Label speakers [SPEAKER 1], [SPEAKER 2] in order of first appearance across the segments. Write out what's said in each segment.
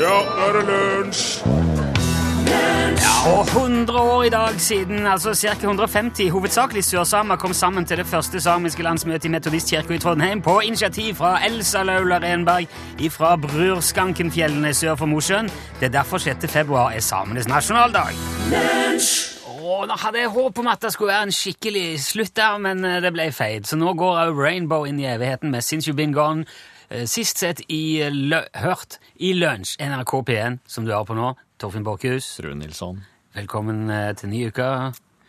[SPEAKER 1] nå er det lunsj!
[SPEAKER 2] Og 100 år i dag siden, altså ca. 150, hovedsakelig sørsamer kom sammen til det første samiske landsmøtet i Metodistkirka i Trondheim på initiativ fra Elsa Laula Renberg ifra Brurskankenfjellene sør for Mosjøen. Det er derfor 6. februar er samenes nasjonaldag. Åh, nå hadde jeg håp om at det skulle være en skikkelig slutt der, men eh, det ble feil. Så nå går òg Rainbow inn i evigheten med Since You've Been Gone. eh, Sist sett i eh, lø Hørt i Lunsj, NRK P1, som du hører på nå. Torfinn Borchhus.
[SPEAKER 1] Frue Nilsson.
[SPEAKER 2] Velkommen eh, til ny uke.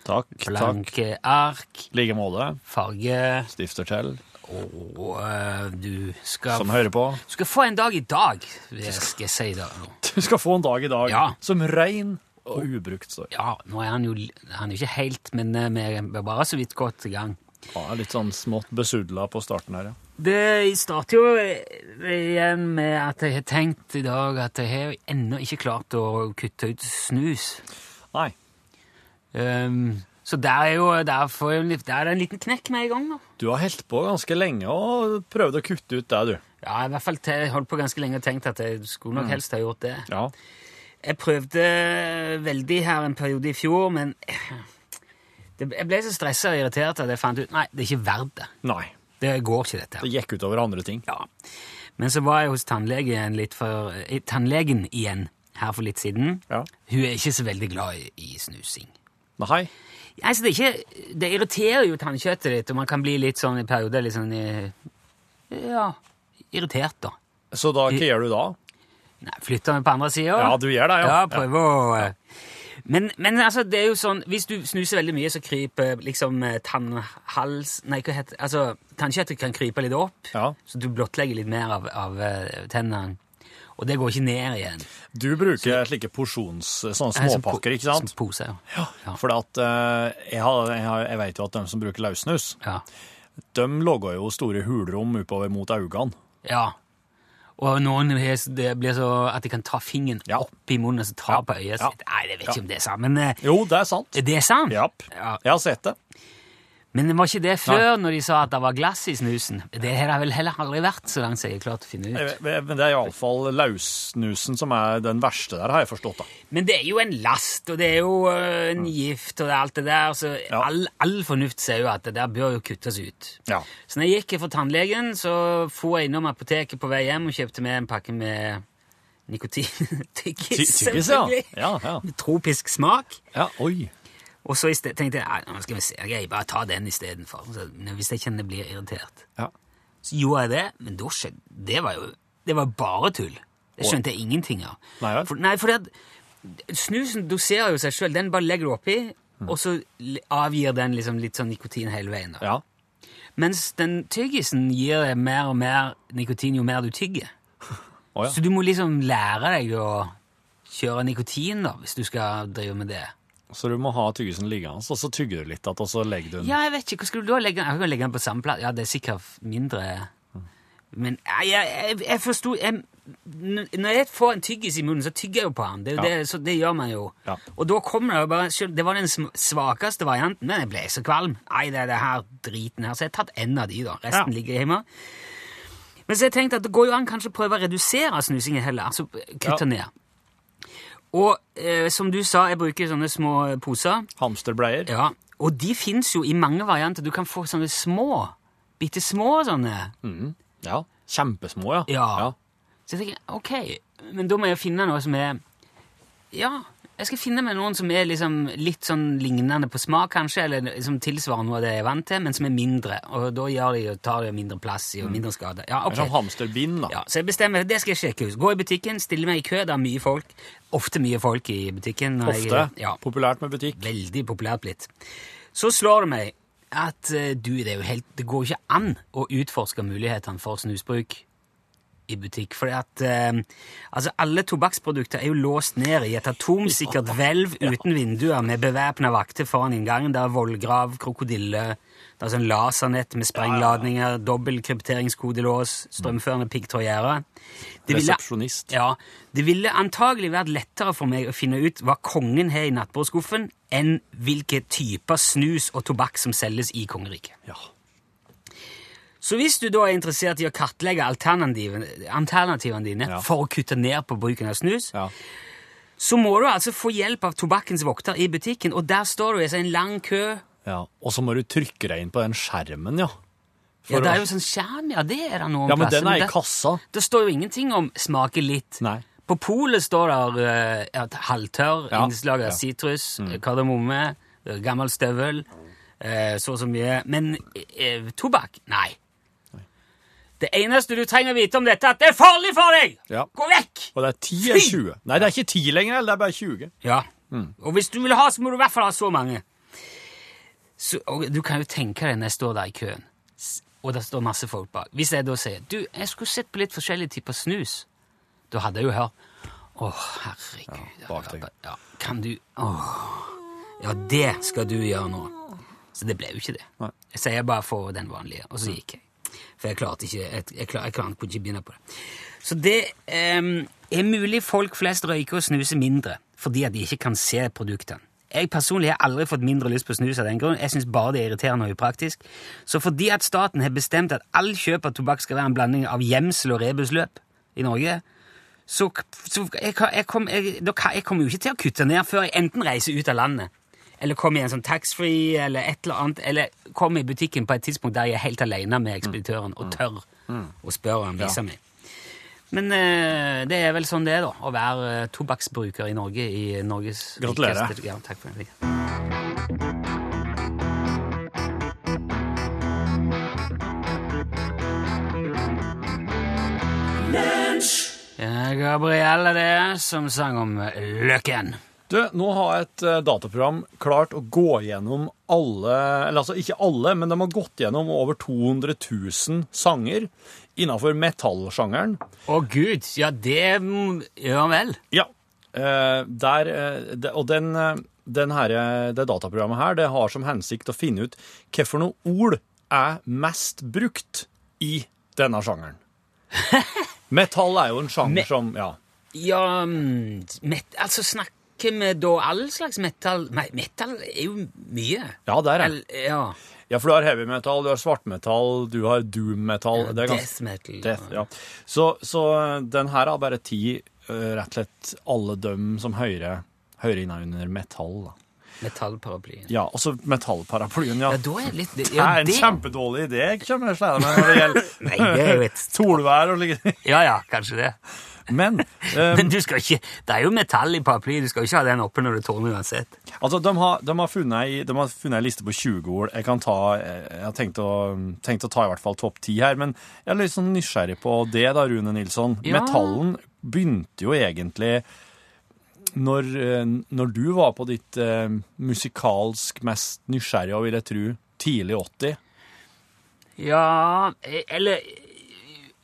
[SPEAKER 1] Takk, takk.
[SPEAKER 2] Blanke ark,
[SPEAKER 1] I like måte.
[SPEAKER 2] farge
[SPEAKER 1] Stifter til,
[SPEAKER 2] og eh, du skal,
[SPEAKER 1] som hører på.
[SPEAKER 2] du skal få en dag i dag, det skal jeg si deg nå.
[SPEAKER 1] Du skal få en dag i dag
[SPEAKER 2] Ja.
[SPEAKER 1] som rein og ubrukt står.
[SPEAKER 2] Ja, nå er han jo han er jo ikke helt, men eh, vi er bare så vidt godt i gang.
[SPEAKER 1] Ja, litt sånn smått besudla på starten her, ja.
[SPEAKER 2] Det starter jo eh, igjen med at jeg har tenkt i dag at jeg har ennå ikke klart å kutte ut snus.
[SPEAKER 1] Nei.
[SPEAKER 2] Um, så der er jo der, får jeg en litt- der er det en liten knekk med i gang, da.
[SPEAKER 1] Du har holdt på ganske lenge og prøvd å kutte ut det, du. Mm.
[SPEAKER 2] Ja, i hvert fall til, jeg holdt på ganske lenge og tenkte at jeg skulle nok helst ha gjort det.
[SPEAKER 1] Ja.
[SPEAKER 2] Jeg prøvde veldig her en periode i fjor, men det, jeg ble så stressa og irritert at jeg fant ut nei, det er ikke verdt det.
[SPEAKER 1] Nei.
[SPEAKER 2] Det går ikke, dette. her.
[SPEAKER 1] Det gikk utover andre ting.
[SPEAKER 2] Ja. Men så var jeg hos tannlegen, litt for, eh, tannlegen igjen her for litt siden.
[SPEAKER 1] Ja.
[SPEAKER 2] Hun er ikke så veldig glad i, i snusing.
[SPEAKER 1] Nei.
[SPEAKER 2] Nei, så det, er ikke, det irriterer jo tannkjøttet ditt, og man kan bli litt sånn i perioder litt sånn eh, Ja, irritert, da.
[SPEAKER 1] Så da, hva gjør du da?
[SPEAKER 2] Nei, flytter meg på andre sida.
[SPEAKER 1] Ja, du gjør det, ja.
[SPEAKER 2] Ja, prøver å eh, men, men altså, det er jo sånn, hvis du snuser veldig mye, så kryper liksom eh, tannhals... Nei, hva heter Altså, tannkjøttet kan krype litt opp,
[SPEAKER 1] Ja.
[SPEAKER 2] så du blottlegger litt mer av, av eh, tennene. Og det går ikke ned igjen.
[SPEAKER 1] Du bruker slike porsjons... Sånne småpakker, ikke sant?
[SPEAKER 2] Som pose, ja. Ja.
[SPEAKER 1] Fordi at eh, jeg, har, jeg, har, jeg vet jo at de som bruker løssnus,
[SPEAKER 2] ja.
[SPEAKER 1] de lager jo store hulrom oppover mot øynene.
[SPEAKER 2] ja. Og noen har s- det blir så at de kan ta fingeren
[SPEAKER 1] Ja.
[SPEAKER 2] opp i munnen og så ta
[SPEAKER 1] Ja.
[SPEAKER 2] på øyet
[SPEAKER 1] Ja.
[SPEAKER 2] sitt. Nei, jeg vet
[SPEAKER 1] Ja.
[SPEAKER 2] ikke om det er sant, men eh,
[SPEAKER 1] Jo, det er sant.
[SPEAKER 2] det er sant.
[SPEAKER 1] Japp.
[SPEAKER 2] Ja.
[SPEAKER 1] Jeg har sett det.
[SPEAKER 2] Men det var ikke det før når de sa at det var glass i snusen. Det har det vel heller aldri vært, så langt jeg har klart å finne ut.
[SPEAKER 1] Jeg- jeg- Eh, Men det er iallfall løssnusen som er den verste der, har jeg forstått. da.
[SPEAKER 2] Men det er jo en last, og det er jo øh, en gift og det er alt det der, så
[SPEAKER 1] Mm. Ja.
[SPEAKER 2] all, all fornuft sier jo at det der bør jo kuttes ut.
[SPEAKER 1] Ja.
[SPEAKER 2] Så når jeg gikk for tannlegen, så for jeg innom apoteket på vei hjem og kjøpte med en pakke med
[SPEAKER 1] Ty-
[SPEAKER 2] nikotintyggis,
[SPEAKER 1] Tyggis, ja. ja, ja.
[SPEAKER 2] Med tropisk smak.
[SPEAKER 1] ja. Oi.
[SPEAKER 2] Og så i sted, tenkte jeg, "Nei, nå skal vi se, jeg bare tar den istedenfor, hvis jeg kjenner jeg blir irritert.
[SPEAKER 1] Ja.
[SPEAKER 2] Så gjorde jeg det, men da skjedde Det var jo det var bare tull. Det skjønte jeg ingenting av.
[SPEAKER 1] Nei vel?
[SPEAKER 2] for, nei, fordi at snusen doserer jo seg sjøl. Den bare legger du oppi,
[SPEAKER 1] Mm.
[SPEAKER 2] og så l- avgir den liksom litt sånn nikotin hele veien. da.
[SPEAKER 1] ja.
[SPEAKER 2] Mens den tyggisen gir deg mer og mer nikotin jo mer du tygger.
[SPEAKER 1] Å, ja.
[SPEAKER 2] Så du må liksom lære deg å kjøre nikotin da, hvis du skal drive med det.
[SPEAKER 1] Så du må ha tyggisen liggende, og så tygger du litt, at, og så legger du den
[SPEAKER 2] Ja, jeg vet ikke, hva skulle du da legge den? Jeg kan legge den på samme plass. Ja, det er sikkert mindre... Men jeg, jeg, jeg, jeg forstod... Jeg, n- når jeg får en tyggis i munnen, så tygger jeg jo på den. Det, er jo
[SPEAKER 1] Ja.
[SPEAKER 2] det, så det gjør man jo.
[SPEAKER 1] Ja.
[SPEAKER 2] Og da kommer det jo bare... selv- Det var den sm- svakeste varianten, men jeg ble så kvalm. Nei, det er det her driten her. Så jeg har tatt en av de da. Resten
[SPEAKER 1] Ja.
[SPEAKER 2] ligger hjemme. Men så jeg tenkte at det går jo an kanskje å prøve å redusere snusingen heller. Altså kutte
[SPEAKER 1] Ja.
[SPEAKER 2] ned. Og eh, som du sa, jeg bruker sånne små poser.
[SPEAKER 1] hamsterbleier.
[SPEAKER 2] Ja, og de fins jo i mange varianter. Du kan få sånne små. Bitte små sånne.
[SPEAKER 1] Mm, Ja. Kjempesmå, ja.
[SPEAKER 2] Ja. Så jeg tenker, ok, men da må jeg finne noe som er Ja, jeg skal finne meg noen som er liksom litt sånn lignende på smak, kanskje, eller som tilsvarer noe av det jeg er vant til, men som er mindre. Og da gjør de, tar de mindre plass i og mindre skade. Ja,
[SPEAKER 1] En sånn
[SPEAKER 2] ok.
[SPEAKER 1] hamsterbind, da.
[SPEAKER 2] Ja, så jeg bestemmer, det skal jeg sjekke ut. Gå i butikken, stille meg i kø, det er mye folk. Ofte mye folk i butikken. når jeg-
[SPEAKER 1] Ofte.
[SPEAKER 2] Ja.
[SPEAKER 1] Populært med butikk.
[SPEAKER 2] veldig populært blitt. Så slår det meg at eh, du, det, er jo helt, det går jo ikke an å utforske mulighetene for snusbruk i butikk. Fordi at eh, altså alle tobakksprodukter er jo låst ned i et atomsikkert hvelv uten vinduer med bevæpna vakter foran inngangen. Det er vollgrav, krokodille, det er sånn lasernett med sprengladninger, dobbel krypteringskodelås, strømførende piggtrådgjerde. Det ville-
[SPEAKER 1] Resepsjonist.
[SPEAKER 2] ja, Det ville antagelig vært lettere for meg å finne ut hva kongen har i nattbordskuffen, enn hvilke typer snus og tobakk som selges i kongeriket.
[SPEAKER 1] Ja.
[SPEAKER 2] Så hvis du da er interessert i å kartlegge alternativene, alternativene dine
[SPEAKER 1] Ja.
[SPEAKER 2] for å kutte ned på bruken av snus,
[SPEAKER 1] Ja.
[SPEAKER 2] så må du altså få hjelp av tobakkens vokter i butikken, og der står du i altså, en lang kø.
[SPEAKER 1] ja. Og så må du trykke deg inn på den skjermen, ja. For
[SPEAKER 2] Ja, det
[SPEAKER 1] å-
[SPEAKER 2] er jo sånn skjerm, ja, det er det noen
[SPEAKER 1] ja, men
[SPEAKER 2] plasser.
[SPEAKER 1] den er i
[SPEAKER 2] det-
[SPEAKER 1] kassa.
[SPEAKER 2] Det står jo ingenting om smake litt.
[SPEAKER 1] Nei.
[SPEAKER 2] På polet står det et halvtørr
[SPEAKER 1] Ja.
[SPEAKER 2] innslag
[SPEAKER 1] Ja. Mm.
[SPEAKER 2] av sitrus, eh, kardemomme, eh, gammel støvel, eh, så og så mye. Men eh, tobakk? Nei. Det eneste du trenger å vite om dette, er at det er farlig for deg!
[SPEAKER 1] Ja.
[SPEAKER 2] Gå vekk!
[SPEAKER 1] Og det er 10 eller 20. Nei, det er ikke 10 lenger, eller det er bare 20.
[SPEAKER 2] Ja.
[SPEAKER 1] Mm.
[SPEAKER 2] Og hvis du vil ha, så må du i hvert fall ha så mange. Så, og du kan jo tenke deg når jeg står der i køen, s- og det står masse folk bak. Hvis jeg da sier du, jeg skulle sett på litt forskjellige typer snus, da hadde jeg jo hørt Å, herregud.
[SPEAKER 1] bak deg.
[SPEAKER 2] Ja, kan du Åh. Ja, det skal du gjøre nå. Så det ble jo ikke det.
[SPEAKER 1] Nei.
[SPEAKER 2] Jeg sier bare for den vanlige, og så gikk jeg. For jeg klarte ikke Jeg, jeg, klar, jeg klarte ikke å begynne på det. Så det ehm, er mulig folk flest røyker og snuser mindre fordi at de ikke kan se produktene. Jeg personlig har aldri fått mindre lyst på snus av den grunn. Jeg synes bare det er irriterende og upraktisk. Så fordi at staten har bestemt at all kjøp av tobakk skal være en blanding av gjemsel og rebusløp i Norge, så, så jeg, kan- jeg, kom, jeg, da kan- jeg kommer jo ikke til å kutte ned før jeg enten reiser ut av landet, eller kommer i en sånn taxfree, eller et eller annet, eller kommer i butikken på et tidspunkt der jeg er helt alene med ekspeditøren Mm. og tør å spørre han viser meg. Men eh, det er vel sånn det er, da, å være eh, tobakksbruker i Norge i Norges
[SPEAKER 1] Gratulerer.
[SPEAKER 2] rikeste- Ja, takk for det. Ja, Gabrielle, det, som sang om eh, Løkken.
[SPEAKER 1] Du, nå har et eh, dataprogram klart å gå gjennom alle, eller altså ikke alle, men de har gått gjennom over 200 000 sanger innenfor metallsjangeren.
[SPEAKER 2] Å gud, ja det mm, Ja vel.
[SPEAKER 1] Ja. Eh, der, eh, det- og den, eh, den her, eh, det dataprogrammet her det har som hensikt å finne ut hva for noen ord er mest brukt i denne sjangeren. Metall er jo en sjanger
[SPEAKER 2] Me-
[SPEAKER 1] som Ja.
[SPEAKER 2] Ja, mm, met, altså snakker vi da all slags metal Nei, metal er jo mye.
[SPEAKER 1] Ja, der er
[SPEAKER 2] Eller, ja.
[SPEAKER 1] Ja, for du har heavy metal, du har svartmetall, du har doom metal. Det er ganske
[SPEAKER 2] Death metal.
[SPEAKER 1] Death, ja. så, så eh, den her har bare ti, eh, rett og slett alle døm som hører, hører innunder metall. Da.
[SPEAKER 2] Metallparaplyen.
[SPEAKER 1] Ja, også metallparaplyen, ja.
[SPEAKER 2] Ja, da er det litt det-
[SPEAKER 1] det
[SPEAKER 2] ja,
[SPEAKER 1] er en
[SPEAKER 2] det,
[SPEAKER 1] kjempedårlig idé, jeg kommer jeg sleder meg når det
[SPEAKER 2] Nei, det er jo
[SPEAKER 1] gjelder
[SPEAKER 2] et
[SPEAKER 1] solvær og like
[SPEAKER 2] Ja ja, kanskje det.
[SPEAKER 1] Men eh,
[SPEAKER 2] Men du skal ikke Det er jo metall i paraplyen, du skal jo ikke ha den oppe når du tårner uansett.
[SPEAKER 1] altså, de, har, de, har funnet ei, de har funnet ei liste på 20 ord. Jeg kan ta, eh, jeg har tenkt å, tenkt å ta i hvert fall topp 10 her, men jeg er litt sånn nysgjerrig på det da, Rune Nilsson.
[SPEAKER 2] Ja.
[SPEAKER 1] Metallen begynte jo egentlig når, eh, når du var på ditt eh, musikalsk mest nysgjerrige, og vil jeg tro, tidlig 80.
[SPEAKER 2] Ja eh, Eller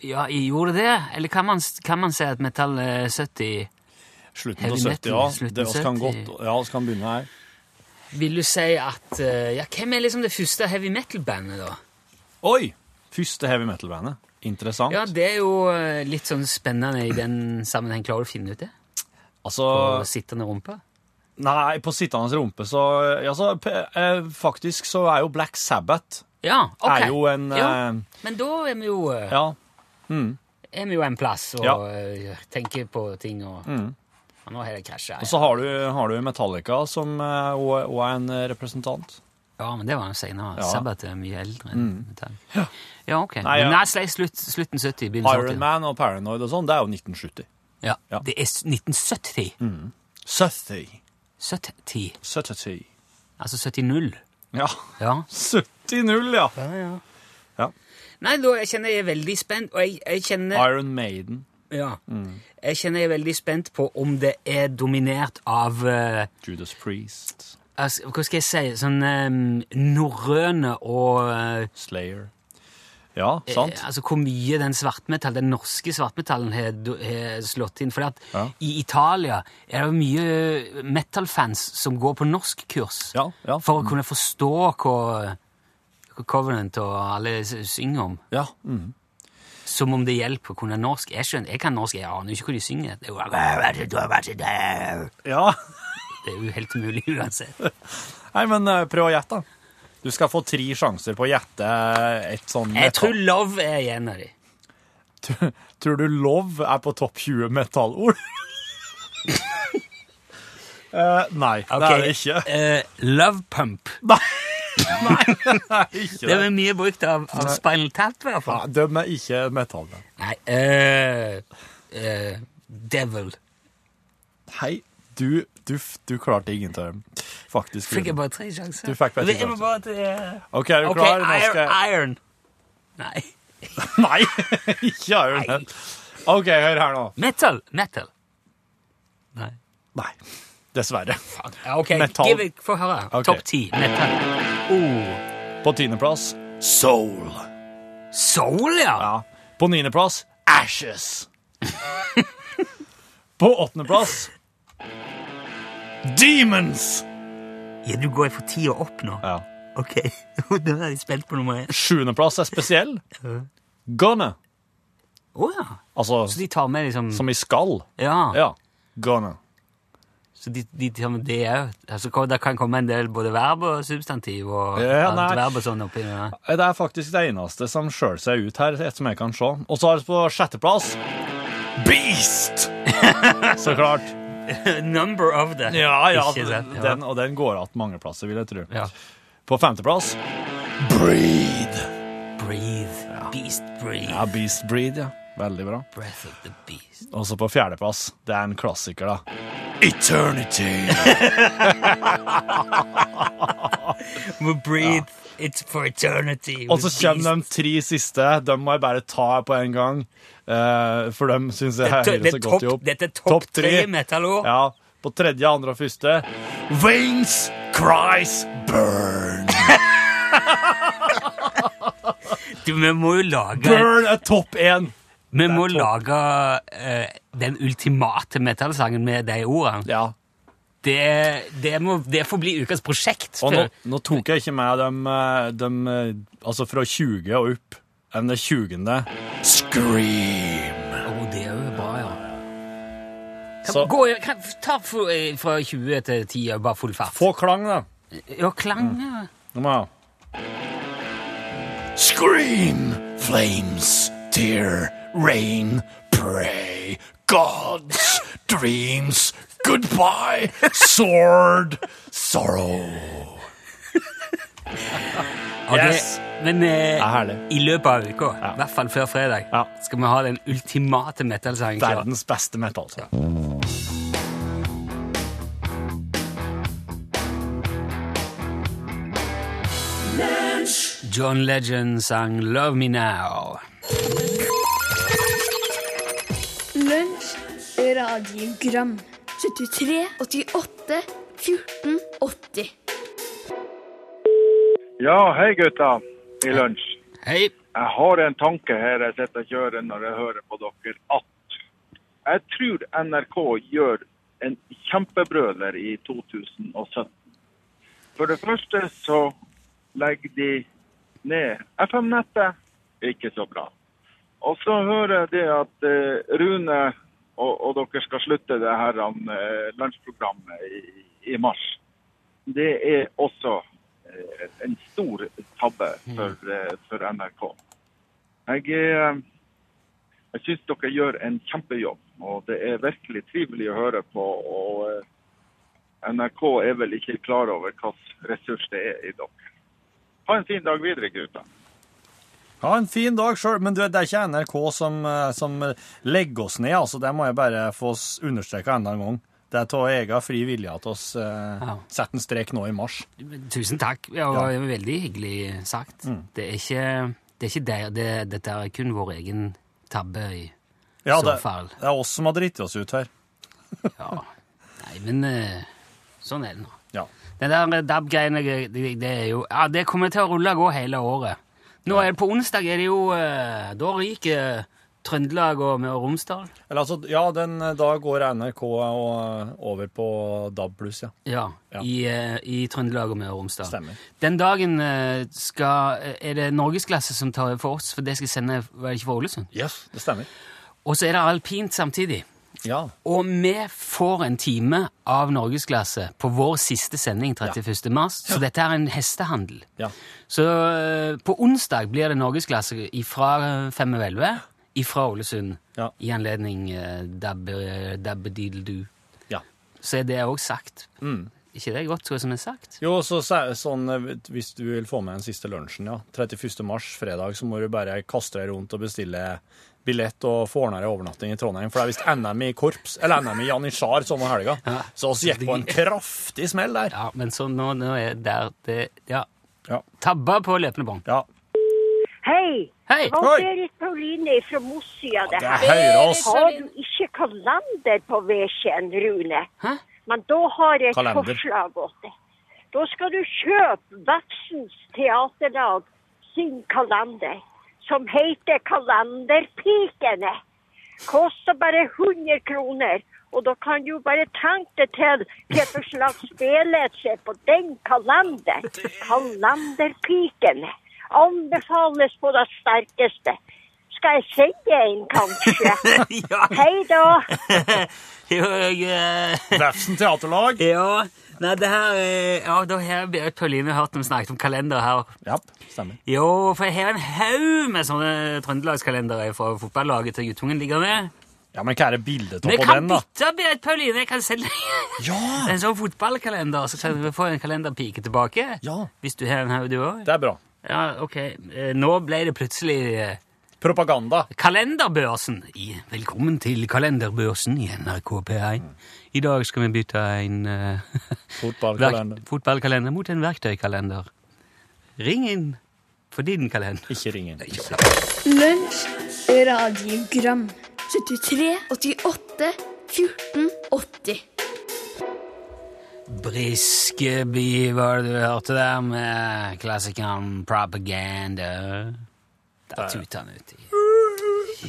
[SPEAKER 2] Ja, gjorde det? Eller kan man, kan man si at metall er 70
[SPEAKER 1] Slutten
[SPEAKER 2] Heavy
[SPEAKER 1] av
[SPEAKER 2] metal,
[SPEAKER 1] 70, ja.
[SPEAKER 2] slutten
[SPEAKER 1] Det oss
[SPEAKER 2] 70.
[SPEAKER 1] kan godt, ja, oss kan begynne her.
[SPEAKER 2] Vil du si at eh, Ja, hvem er liksom det første heavy metal-bandet, da?
[SPEAKER 1] Oi! Første heavy metal-bandet. Interessant.
[SPEAKER 2] Ja, det er jo eh, litt sånn spennende i den sammenheng. Klarer du å finne ut det?
[SPEAKER 1] altså,
[SPEAKER 2] Og sittende rumpe?
[SPEAKER 1] nei, på sittende rumpe så ja, så, p- eh, Faktisk så er jo Black Sabbath
[SPEAKER 2] Ja, ok.
[SPEAKER 1] er jo en
[SPEAKER 2] ja.
[SPEAKER 1] eh,
[SPEAKER 2] Men da er vi jo, eh,
[SPEAKER 1] ja, Mm.
[SPEAKER 2] er vi jo en plass og
[SPEAKER 1] Ja. Mm.
[SPEAKER 2] eh, tenker på ting og Ja, Nå har det krasja.
[SPEAKER 1] Og
[SPEAKER 2] Ja.
[SPEAKER 1] så har du, har du Metallica, som eh, og, og er en eh, representant.
[SPEAKER 2] ja, men det var jo senere.
[SPEAKER 1] Ja.
[SPEAKER 2] Sabbat er mye eldre enn metall. Ja. ok.
[SPEAKER 1] Mm. Nei, ja.
[SPEAKER 2] Men Nei, slik slutt, slutten 70, begynnelsen 80.
[SPEAKER 1] Iron Man og Paranoid og sånn, det er jo 1970.
[SPEAKER 2] Ja.
[SPEAKER 1] Ja. Mm.
[SPEAKER 2] Det er s- 1970.
[SPEAKER 1] 70.
[SPEAKER 2] 70.
[SPEAKER 1] 70.
[SPEAKER 2] Altså 70.
[SPEAKER 1] Ja.
[SPEAKER 2] Ja.
[SPEAKER 1] 70-0, ja. Ja.
[SPEAKER 2] Nei, da jeg kjenner jeg er veldig spent, og jeg, jeg kjenner
[SPEAKER 1] Iron Maiden. Mm.
[SPEAKER 2] ja, Jeg kjenner jeg er veldig spent på om det er dominert av eh,
[SPEAKER 1] Judas Priest.
[SPEAKER 2] altså, Hva skal jeg si Sånn um, norrøne og eh,
[SPEAKER 1] Slayer. Ja, sant?
[SPEAKER 2] eh, Altså hvor mye den svartmetall, den norske svartmetallen har do- har slått inn. For
[SPEAKER 1] Ja.
[SPEAKER 2] i Italia er det mye metal-fans som går på norskkurs
[SPEAKER 1] Ja, ja.
[SPEAKER 2] for å kunne forstå hva, hva Covenant og alle s- synger om.
[SPEAKER 1] Ja. mhm.
[SPEAKER 2] Som om det hjelper å kunne norsk. Jeg skjønner, jeg kan norsk, jeg aner ikke hva de synger. Det er jo,
[SPEAKER 1] ja.
[SPEAKER 2] det er jo helt umulig uansett.
[SPEAKER 1] Nei, men eh, prøv å gjette. da. Du skal få tre sjanser på å gjette et sånn
[SPEAKER 2] Jeg
[SPEAKER 1] metall-
[SPEAKER 2] tror love er en av de.
[SPEAKER 1] Tror du love er på topp 20 metallord? Eh, nei, det er det ikke.
[SPEAKER 2] Eh, love pump.
[SPEAKER 1] Nei, nei det er
[SPEAKER 2] Det
[SPEAKER 1] ikke det.
[SPEAKER 2] er mye brukt av, av Spinal Tap, i hvert
[SPEAKER 1] Nei,
[SPEAKER 2] fall.
[SPEAKER 1] de er ikke metallene.
[SPEAKER 2] Nei, eh, eh, devil.
[SPEAKER 1] Hei, du, du, du klarte ingen av dem. Faktisk.
[SPEAKER 2] Fikk jeg
[SPEAKER 1] Rune.
[SPEAKER 2] bare tre sjanser?
[SPEAKER 1] Du fikk bare tre
[SPEAKER 2] Jeg må
[SPEAKER 1] sjanser.
[SPEAKER 2] bare til, eh,
[SPEAKER 1] OK, er du
[SPEAKER 2] Ok,
[SPEAKER 1] klar? Nå
[SPEAKER 2] iron,
[SPEAKER 1] skal jeg...
[SPEAKER 2] iron. Nei.
[SPEAKER 1] Nei, ikke Iron Man. OK, hør her nå.
[SPEAKER 2] Metal. Metal. Nei.
[SPEAKER 1] Nei, dessverre.
[SPEAKER 2] Ja, Ok,
[SPEAKER 1] Metal.
[SPEAKER 2] give it, få høre.
[SPEAKER 1] Ok.
[SPEAKER 2] Topp ti. Metal. Oh.
[SPEAKER 1] På tiendeplass Soul.
[SPEAKER 2] Soul, ja.
[SPEAKER 1] Ja. På niendeplass Ashes. På åttendeplass Demons.
[SPEAKER 2] ja. Du går fra ti og opp nå.
[SPEAKER 1] Ja.
[SPEAKER 2] Ok, nå er jeg spent på nummer én.
[SPEAKER 1] Sjuendeplass er spesiell. Gonna.
[SPEAKER 2] Å ja. Så
[SPEAKER 1] Altså
[SPEAKER 2] de tar med liksom
[SPEAKER 1] som i skall.
[SPEAKER 2] Ja.
[SPEAKER 1] Ja. Gonna.
[SPEAKER 2] Så de, de tar med det òg. Altså, kom- det kan komme en del både verb og substantiv og
[SPEAKER 1] Ja, nei.
[SPEAKER 2] adverb og sånn oppi der.
[SPEAKER 1] Det er faktisk det eneste som skjøler seg ut her, etter som jeg kan se. Og så har vi på sjetteplass Beast! Så klart.
[SPEAKER 2] Number of the.
[SPEAKER 1] Ja, ja,
[SPEAKER 2] Ikke sant? Ja.
[SPEAKER 1] den, og den går att mange plasser, vil jeg tro.
[SPEAKER 2] Ja.
[SPEAKER 1] På femteplass Breed.
[SPEAKER 2] Breathe. Beast breathe.
[SPEAKER 1] Ja, Beast Breed, ja. Veldig bra.
[SPEAKER 2] Breath of the beast.
[SPEAKER 1] Og så på fjerdeplass, det er en klassiker, da. Eternity.
[SPEAKER 2] We breathe. It's for eternity.
[SPEAKER 1] Og så kommer de tre siste. De må jeg bare ta på en gang, eh, for de syns jeg
[SPEAKER 2] Dette,
[SPEAKER 1] hører så godt i
[SPEAKER 2] topp,
[SPEAKER 1] hop.
[SPEAKER 2] dette er topp
[SPEAKER 1] Topp
[SPEAKER 2] tre
[SPEAKER 1] tre.
[SPEAKER 2] metallord.
[SPEAKER 1] Ja, på tredje, andre og første. Veins cries burn.
[SPEAKER 2] Du, Vi må jo lage,
[SPEAKER 1] Burn er topp én.
[SPEAKER 2] vi må
[SPEAKER 1] topp.
[SPEAKER 2] lage eh, den ultimate metallsangen med de ordene.
[SPEAKER 1] Ja.
[SPEAKER 2] Det, det, må, det får bli ukas prosjekt.
[SPEAKER 1] Og nå,
[SPEAKER 2] tror jeg.
[SPEAKER 1] nå tok jeg ikke med dem, eh, dem eh, altså fra 20 og opp. Enn det 20. Scream.
[SPEAKER 2] Å, det er jo bra, ja. Kan,
[SPEAKER 1] Så-
[SPEAKER 2] gå, kan, ta fra, fra 20 til 10 og bare full fart.
[SPEAKER 1] Få klang, da. Mm.
[SPEAKER 2] Ja, klang, ja.
[SPEAKER 1] Nå må jeg ha. Scream, flames, tear, rain, pray, gods, dreams, goodbye, sword, sorrow.
[SPEAKER 2] Og det-
[SPEAKER 1] Yes.
[SPEAKER 2] Men eh,
[SPEAKER 1] er herlig.
[SPEAKER 2] i løpet av uka,
[SPEAKER 1] Ja.
[SPEAKER 2] i hvert fall før fredag,
[SPEAKER 1] Ja.
[SPEAKER 2] skal vi ha den ultimate metallsangen. klar.
[SPEAKER 1] Verdens beste metal. altså.
[SPEAKER 2] John Legend sang Love Me Now.
[SPEAKER 3] Lunsj, radiogram 73, 88, 14, 80
[SPEAKER 4] Ja, hei gutta i lunsj.
[SPEAKER 2] Hei.
[SPEAKER 4] Jeg har en tanke her jeg sitter og kjører når jeg hører på dere, at jeg tror NRK gjør en kjempebrøler i 2017. For det første så legger de ned FM-nettet. Ikke så bra. Og så hører jeg det at eh, Rune og, og dere skal slutte det her eh, lunsjprogrammet i, i mars. Det er også eh, en stor tabbe for, eh, for NRK. Jeg, er- jeg syns dere gjør en kjempejobb, og det er virkelig trivelig å høre på. og eh, NRK er vel ikke klar over hvilken ressurs det er i dere. Ha en fin dag videre, gutter.
[SPEAKER 1] Ja, en fin dag sjøl, men du, det er ikke NRK som, eh, som legger oss ned, altså. Det må jeg bare få s- understreke enda en gang. Det er av egen fri vilje at oss eh,
[SPEAKER 2] Ja.
[SPEAKER 1] setter en strek nå i mars.
[SPEAKER 2] Tusen takk. Det var veldig hyggelig sagt.
[SPEAKER 1] Mm.
[SPEAKER 2] Det er ikke, det er ikke der, det, dette er kun vår egen tabbe. i.
[SPEAKER 1] Ja,
[SPEAKER 2] Så
[SPEAKER 1] det,
[SPEAKER 2] feil.
[SPEAKER 1] det er oss som har driti oss ut her.
[SPEAKER 2] Ja. Nei, men eh, sånn er det nå.
[SPEAKER 1] Ja.
[SPEAKER 2] Den der eh, DAB-greiene, det, det er jo Ja, det kommer til å rulle og gå hele året. Nå er det på onsdag, er det jo eh, Da ryker eh, Trøndelag og Møre og Romsdal.
[SPEAKER 1] Eller altså, ja, den, da går NRK og, eh, over på DAB pluss, ja.
[SPEAKER 2] Ja,
[SPEAKER 1] Ja.
[SPEAKER 2] I, eh, i Trøndelag og Møre og Romsdal.
[SPEAKER 1] Stemmer.
[SPEAKER 2] Den dagen eh, skal, eh, er det norgesklasse som tar over for oss, for det skal sende var det ikke fra Ålesund.
[SPEAKER 1] Yes. Det stemmer.
[SPEAKER 2] Og så er det alpint samtidig.
[SPEAKER 1] Ja.
[SPEAKER 2] Og vi får en time av norgesklasse på vår siste sending 31. mars, så dette er en hestehandel.
[SPEAKER 1] ja.
[SPEAKER 2] Så eh, på onsdag blir det norgesklasse fra fem over elleve, ifra Ålesund,
[SPEAKER 1] Ja.
[SPEAKER 2] i anledning eh, dabbe- Dabbediddeldu.
[SPEAKER 1] ja.
[SPEAKER 2] Så er det òg sagt.
[SPEAKER 1] Mm.
[SPEAKER 2] Ikke det godt, tror jeg, som er sagt?
[SPEAKER 1] Jo, så, sa- sånn, eh, hvis du vil få med den siste lunsjen, ja. 31. mars, fredag, så må du bare kaste deg rundt og bestille billett og få ordna deg overnatting i Trondheim. For det er visst NM i korps, eller NM i janitsjar sånn om helga.
[SPEAKER 2] Ja.
[SPEAKER 1] Så vi gikk på en kraftig smell der.
[SPEAKER 2] Ja, men så nå, nå er der det Ja.
[SPEAKER 1] Ja.
[SPEAKER 2] Tabba på løpende bånd.
[SPEAKER 1] Ja.
[SPEAKER 5] Hei!
[SPEAKER 2] Hei!
[SPEAKER 5] Det var
[SPEAKER 1] Hei.
[SPEAKER 5] Berit Pauline fra Mossya, det
[SPEAKER 1] Det er
[SPEAKER 5] her.
[SPEAKER 1] høyere oss.
[SPEAKER 5] Har du ikke kalender på veskjeen, Rune?
[SPEAKER 2] Hæ?
[SPEAKER 5] Men da har jeg et
[SPEAKER 1] Kalender.
[SPEAKER 5] forslag åt deg. Da skal du kjøpe Vefsens Teaterlag sin kalender, som heter Kalenderpikene. Koster bare 100 kroner. Og da kan du bare tenke deg til hva for slags spillelse på den kalenderen. Kalenderpikene. Anbefales på det sterkeste. Skal jeg sende en, kanskje?
[SPEAKER 2] ja,
[SPEAKER 5] Hei da.
[SPEAKER 2] jo, jeg eh,
[SPEAKER 1] Vefsn teaterlag.
[SPEAKER 2] Ja, nei, det her eh, Ja, da har Berit Pauline hørt dem snakke om kalender her.
[SPEAKER 1] Ja, stemmer.
[SPEAKER 2] Jo, for jeg har en haug med sånne trøndelagskalendere fra fotballaget til guttungen ligger med.
[SPEAKER 1] Ja, men hva er det bildet av
[SPEAKER 2] Men jeg
[SPEAKER 1] på
[SPEAKER 2] kan
[SPEAKER 1] den, da?
[SPEAKER 2] bytte, Berit Pauline! Jeg kan selge
[SPEAKER 1] Ja!
[SPEAKER 2] en sånn fotballkalender, så kan vi få en kalenderpike tilbake.
[SPEAKER 1] Ja.
[SPEAKER 2] Hvis du har en haug, du òg.
[SPEAKER 1] Det er bra.
[SPEAKER 2] Ja, ok. Eh, Nå ble det plutselig eh,
[SPEAKER 1] Propaganda.
[SPEAKER 2] Kalenderbørsen. I, velkommen til Kalenderbørsen i NRK P1.
[SPEAKER 1] Mm.
[SPEAKER 2] I dag skal vi bytte en eh,
[SPEAKER 1] Fotballkalender.
[SPEAKER 2] verk- fotballkalender mot en verktøykalender. Ring inn for din kalender.
[SPEAKER 1] Ikke ring inn.
[SPEAKER 3] Lunsj, radiogram 73, 88, 14, 80
[SPEAKER 2] Briskeby var det du hørte der med klassikeren Propaganda. Da tuter han ut i.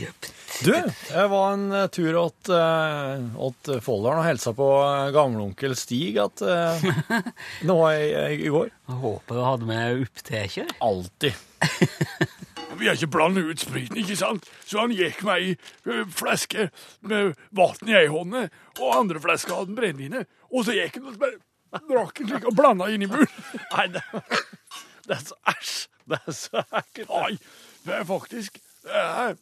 [SPEAKER 2] Jøp.
[SPEAKER 1] Du, jeg var en eh, tur åt, eh, åt Folldalen og helsa på eh, gamleonkel Stig at, eh, nå i, i går.
[SPEAKER 2] Jeg Håper du hadde med opptaker.
[SPEAKER 1] Alltid.
[SPEAKER 6] Vi har ikke blandet ut spriten, ikke sant? Så han gikk meg i ø, flaske med vann i ei hånde, og andre flaska hadde brennevinet. Og så gikk han og bare drakk den slik og blanda inn i munnen.
[SPEAKER 1] Nei, det, det er så æsj. Det er så ekkelt.
[SPEAKER 6] Nei, det er faktisk det er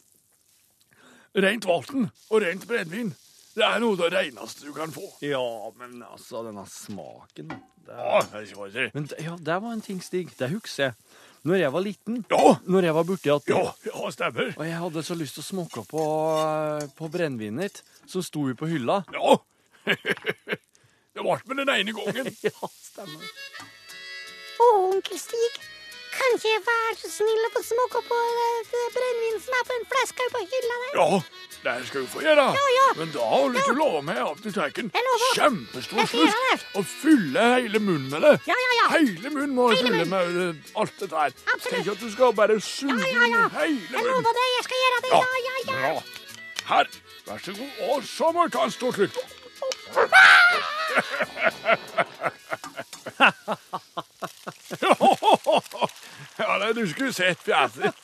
[SPEAKER 6] rent vann og rent brennevin. Det er noe av det reneste du kan få.
[SPEAKER 1] Ja, men altså, denne smaken det
[SPEAKER 6] Å,
[SPEAKER 1] er...
[SPEAKER 6] det er så å si.
[SPEAKER 1] Men det- ja, det var en ting, Stig. Det husker jeg. Når jeg var liten,
[SPEAKER 6] Ja,
[SPEAKER 1] når jeg var borti at
[SPEAKER 6] ja, ja, stemmer.
[SPEAKER 1] Og jeg hadde så lyst til å smokke på, eh, på brennevinet ditt, så sto vi på hylla.
[SPEAKER 6] Ja. Det ble med den ene gangen.
[SPEAKER 1] Ja, stemmer.
[SPEAKER 7] Å, onkel Stig, kan ikke jeg være så snill at å smokke på det, det brennevin som er på en flaske på hylla der?
[SPEAKER 6] Ja, det skal du få gjøre.
[SPEAKER 7] ja.
[SPEAKER 6] Men da har du ikke lova meg at du tar en
[SPEAKER 7] Jeg lover.
[SPEAKER 6] kjempestor
[SPEAKER 7] Jeg skal gjøre
[SPEAKER 6] slurk og fyller hele munnen med det.
[SPEAKER 7] Ja, ja, ja.
[SPEAKER 6] Hele munnen må du
[SPEAKER 7] Hele
[SPEAKER 6] fylle
[SPEAKER 7] munnen.
[SPEAKER 6] med eh, alt det der.
[SPEAKER 7] Absolutt.
[SPEAKER 6] Tenk at du skal bare suge
[SPEAKER 7] Ja, ja, ja.
[SPEAKER 6] inn hele
[SPEAKER 7] Jeg
[SPEAKER 6] munnen.
[SPEAKER 7] lover deg, jeg skal gjøre det.
[SPEAKER 6] Ja,
[SPEAKER 7] Ja, ja, ja.
[SPEAKER 6] bra. Her, vær så god. Og så må du ta en stor slurk. ja, nei, du skulle sett fjeset.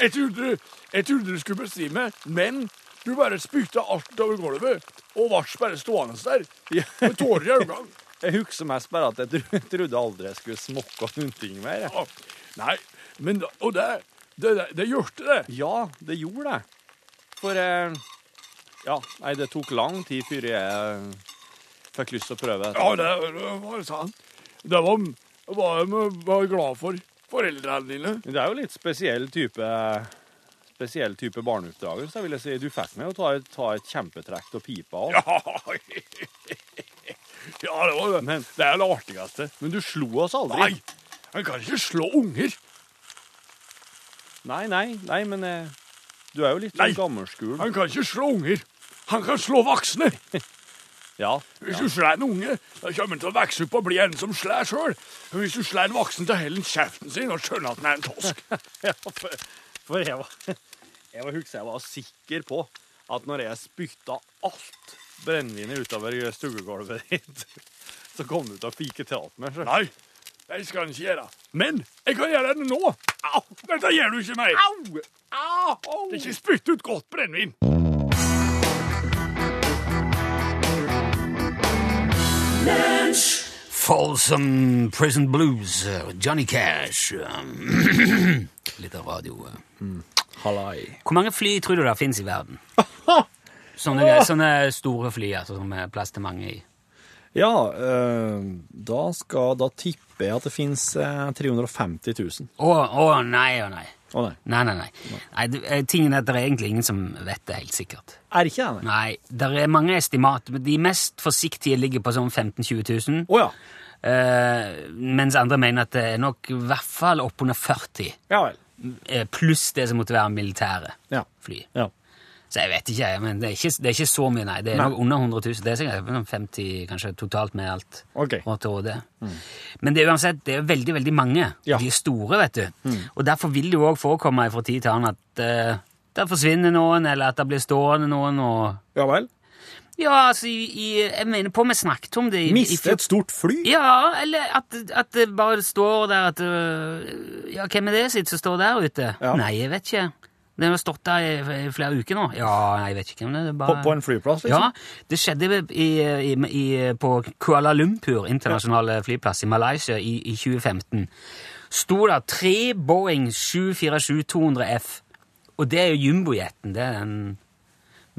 [SPEAKER 6] Jeg trodde, jeg trodde du skulle bestemme, men du bare spytta alt over gulvet og ble bare stående der med tårer i øynene.
[SPEAKER 1] Jeg husker mest bare at jeg tro- trodde aldri jeg skulle smokke noen ting mer. jeg.
[SPEAKER 6] Ja. Nei, men da- Og det, det, det, det gjorde det.
[SPEAKER 1] Ja, det gjorde det. For eh, Ja, nei, det tok lang tid før jeg eh, fikk lyst til å prøve dette.
[SPEAKER 6] Ja, det, det var sant. Det var, var jeg var glad for foreldrene dine.
[SPEAKER 1] Men Det er jo litt spesiell type Spesiell type barneoppdragelse, vil jeg si. Du fikk meg å ta et, ta et kjempetrekk av pipa òg.
[SPEAKER 6] Ja, ja det var det.
[SPEAKER 1] Men-
[SPEAKER 6] det er det artigste.
[SPEAKER 1] Men du slo oss aldri.
[SPEAKER 6] Nei, en kan ikke slå unger.
[SPEAKER 1] nei, nei, nei men eh, du er jo litt
[SPEAKER 6] Nei.
[SPEAKER 1] sånn gammelskolen.
[SPEAKER 6] Han kan ikke slå unger. Han kan slå voksne.
[SPEAKER 1] Ja.
[SPEAKER 6] Hvis du slår en unge, da kommer han til å vokse opp og bli en som slår sjøl. Hvis du slår en voksen til hellen kjeften sin og skjønner at han er en tosk.
[SPEAKER 1] Ja, for, for jeg var Jeg var husker jeg var sikker på at når jeg spytta alt brennevinet utover stuegulvet ditt, så kom du til å fike til alt med.
[SPEAKER 6] Nei, det skal han ikke gjøre. Men jeg kan gjøre det nå. Au, dette gjør du ikke meg.
[SPEAKER 1] Au! Au!
[SPEAKER 6] Det er ikke spytt ut godt brennevin.
[SPEAKER 2] Folsom Prison Blues, eh, Johnny Cash eh, Litt av radio. eh.
[SPEAKER 1] Hallai.
[SPEAKER 2] Hvor mange fly tror du det finnes i verden? Sånne, sånne store fly altså, som er plass til mange i.
[SPEAKER 1] Ja, eh, da skal Da tipper jeg at det fins eh, 350 000.
[SPEAKER 2] Å, å nei, å nei.
[SPEAKER 1] Å nei.
[SPEAKER 2] Nei, nei, nei. nei du, eh, tingen er at det er egentlig ingen som vet det helt sikkert.
[SPEAKER 1] Er ikke det, nei?
[SPEAKER 2] Nei, det er mange estimat, men de mest forsiktige ligger på sånn 15 000-20 000.
[SPEAKER 1] Å ja.
[SPEAKER 2] Eh, mens andre mener at det er nok i hvert fall oppunder 40
[SPEAKER 1] Ja vel.
[SPEAKER 2] eh, pluss det som måtte være militære
[SPEAKER 1] Ja.
[SPEAKER 2] fly.
[SPEAKER 1] Ja.
[SPEAKER 2] Så jeg vet ikke, jeg, men det er ikke, det er ikke så mye, nei. Det er
[SPEAKER 1] Nei.
[SPEAKER 2] nok under 100 000. Det er sikkert sånn 50 kanskje totalt med alt.
[SPEAKER 1] Ok.
[SPEAKER 2] Og til råde. Men det er uansett det er veldig, veldig mange.
[SPEAKER 1] Ja.
[SPEAKER 2] De er store, vet du.
[SPEAKER 1] Mm.
[SPEAKER 2] Og derfor vil det jo òg forekomme fra tid til annen at eh, det forsvinner noen, eller at det blir stående noen, og
[SPEAKER 1] Ja vel.
[SPEAKER 2] Ja, altså, i, i, jeg mener på vi snakket om det i, i
[SPEAKER 1] Miste
[SPEAKER 2] fjor-
[SPEAKER 1] et stort fly?
[SPEAKER 2] Ja, eller at, at det bare står der at øh, Ja, hvem er det sitt som står der ute?
[SPEAKER 1] Ja.
[SPEAKER 2] Nei, jeg vet ikke. Den har stått der i, i flere uker nå. Ja, jeg vet ikke hvem det er. det er
[SPEAKER 1] På,
[SPEAKER 2] Bare...
[SPEAKER 1] på en flyplass, liksom?
[SPEAKER 2] Ja, det skjedde i, i, i, på Kuala Lumpur, internasjonale flyplass i Malaysia, i, i 2015. Sto der tre Boeing 747-200F, og det er jo jumbojeten. Det er den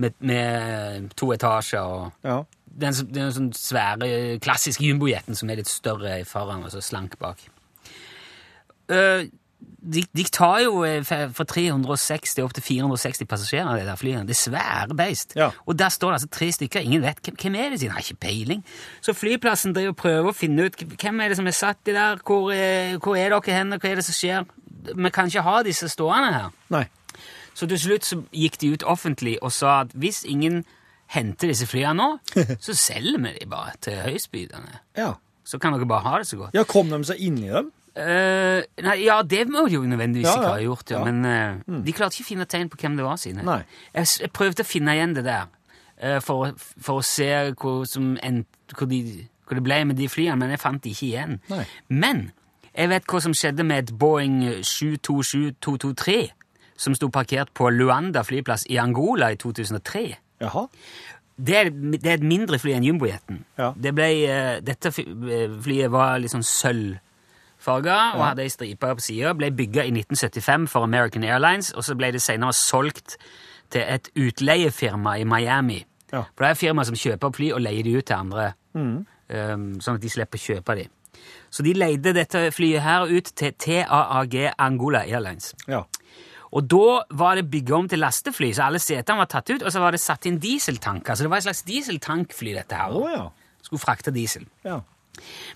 [SPEAKER 2] med, med to etasjer og
[SPEAKER 1] Ja.
[SPEAKER 2] den, som- den sånn svære, klassiske jumbojeten som er litt større foran og så slank bak. Eh, de, de tar jo eh, fra fra 360 opp til 460 passasjerer, det der flyet. Det er svære beist.
[SPEAKER 1] Ja.
[SPEAKER 2] Og der står det altså tre stykker, ingen vet hvem, hvem er det sin, har ikke peiling. Så flyplassen driver og prøver å finne ut hvem er det som er satt i der, hvor, eh, hvor er dere hen, hva er det som skjer? Vi kan ikke ha disse stående her.
[SPEAKER 1] Nei.
[SPEAKER 2] Så til slutt så gikk de ut offentlig og sa at hvis ingen henter disse flyene nå, så selger vi de bare til høystbydende.
[SPEAKER 1] Ja.
[SPEAKER 2] Så kan dere bare ha det så godt.
[SPEAKER 1] ja, kom de seg inni dem?
[SPEAKER 2] Eh, nei, ja, det må de jo nødvendigvis
[SPEAKER 1] Ja,
[SPEAKER 2] ikke
[SPEAKER 1] ja.
[SPEAKER 2] ha gjort, ja.
[SPEAKER 1] Ja. Mm.
[SPEAKER 2] men eh, de klarte ikke å finne tegn på hvem det var sine.
[SPEAKER 1] Nei.
[SPEAKER 2] Jeg, s- jeg prøvde å finne igjen det der, eh, for, å- for å se hvor, som end, hvor, de, hvor det ble med de flyene, men jeg fant de ikke igjen.
[SPEAKER 1] Nei.
[SPEAKER 2] Men jeg vet hva som skjedde med et Boeing 727-223, som sto parkert på Luanda flyplass i Angola i 2003.
[SPEAKER 1] Jaha.
[SPEAKER 2] Det er, det er et mindre fly enn jumbojeten.
[SPEAKER 1] Ja.
[SPEAKER 2] Det ble, eh, dette fly- eh, flyet var litt sånn sølvfarga og hadde ei stripe på sida. Ble bygga i 1975 for American Airlines, og så ble det senere solgt til et utleiefirma i Miami.
[SPEAKER 1] Ja.
[SPEAKER 2] For det er firma som kjøper opp fly og leier de ut til andre,
[SPEAKER 1] Mm.
[SPEAKER 2] um, sånn at de slipper å kjøpe de. Så de leide dette flyet her ut til TAAG Angola Airlines.
[SPEAKER 1] Ja.
[SPEAKER 2] Og da var det bygget om til lastefly, så alle setene var tatt ut, og så var det satt inn dieseltanker. Så det var et slags dieseltankfly, dette her.
[SPEAKER 1] Å ja.
[SPEAKER 2] Skulle frakte diesel.
[SPEAKER 1] ja.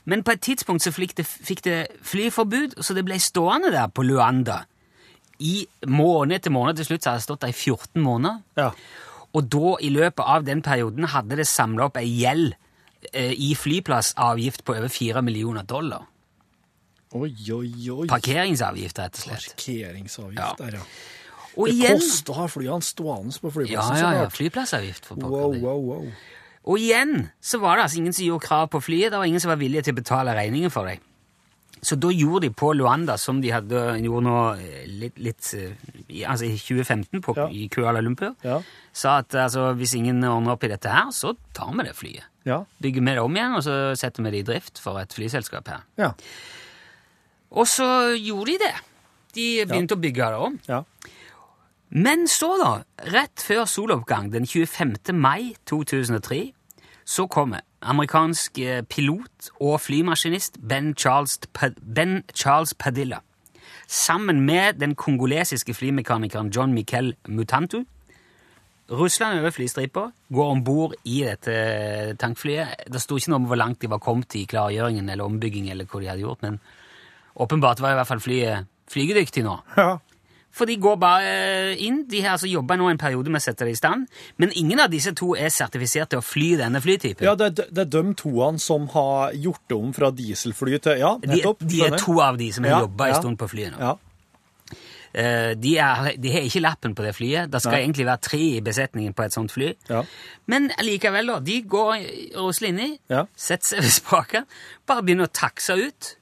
[SPEAKER 2] Men på et tidspunkt så fikk det, fikk det flyforbud, så det ble stående der på Luanda. I måned etter måned til slutt så hadde det stått der i 14 måneder.
[SPEAKER 1] Ja.
[SPEAKER 2] Og da, i løpet av den perioden, hadde det samla opp ei gjeld eh, i flyplassavgift på over 4 millioner dollar.
[SPEAKER 1] Oi, oi, oi.
[SPEAKER 2] Parkeringsavgift, rett og slett.
[SPEAKER 1] Parkeringsavgift
[SPEAKER 2] Ja.
[SPEAKER 1] der, ja.
[SPEAKER 2] Og
[SPEAKER 1] Det
[SPEAKER 2] igjen
[SPEAKER 1] kosta å ha flyene stående på
[SPEAKER 2] Ja,
[SPEAKER 1] flyplassen.
[SPEAKER 2] ja,
[SPEAKER 1] så
[SPEAKER 2] ja.
[SPEAKER 1] klart.
[SPEAKER 2] Flyplassavgift. for pokker.
[SPEAKER 1] Wow, wow, wow.
[SPEAKER 2] Og igjen så var det altså ingen som gjorde krav på flyet, det var ingen som var villige til å betale regningen for deg. Så da gjorde de på Luanda, som de hadde gjort nå eh, litt, litt eh, i- altså i 2015 på,
[SPEAKER 1] Ja.
[SPEAKER 2] i Kuala Lumpur,
[SPEAKER 1] Ja.
[SPEAKER 2] sa at altså, hvis ingen ordner opp i dette her, så tar vi det flyet.
[SPEAKER 1] Ja.
[SPEAKER 2] Bygger vi det om igjen, og så setter vi det i drift for et flyselskap her.
[SPEAKER 1] Ja.
[SPEAKER 2] Og så gjorde de det. De begynte å bygge det om.
[SPEAKER 1] ja.
[SPEAKER 2] Men så, da, rett før soloppgang den 25. mai 2003, så kommer amerikansk eh, pilot og flymaskinist Ben Charles, Pa- ben Charles Padilla sammen med den kongolesiske flymekanikeren John Miquel Mutantu. Russland over flystripa, går om bord i dette eh, tankflyet. Det sto ikke noe om hvor langt de var kommet i klargjøringen eller ombygging, eller hva de hadde gjort, men åpenbart var i hvert fall flyet flygedyktig nå.
[SPEAKER 1] ja.
[SPEAKER 2] For de går bare inn. De har altså jobba nå en periode med å sette det i stand. Men ingen av disse to er sertifisert til å fly denne flytypen.
[SPEAKER 1] ja det, er- det er de toene som har gjort det om fra dieselfly til Ja,
[SPEAKER 2] de,
[SPEAKER 1] nettopp.
[SPEAKER 2] de er
[SPEAKER 1] skjønner.
[SPEAKER 2] to av de som har
[SPEAKER 1] Ja,
[SPEAKER 2] jobba en
[SPEAKER 1] ja.
[SPEAKER 2] stund på flyet nå.
[SPEAKER 1] Ja.
[SPEAKER 2] Eh, de, er, de har ikke lappen på det flyet. Det skal
[SPEAKER 1] Nei.
[SPEAKER 2] egentlig være tre i besetningen på et sånt fly.
[SPEAKER 1] Ja.
[SPEAKER 2] Men likevel, da. De går rusler inni,
[SPEAKER 1] Ja.
[SPEAKER 2] setter seg ved spaken, bare begynner å takse ut.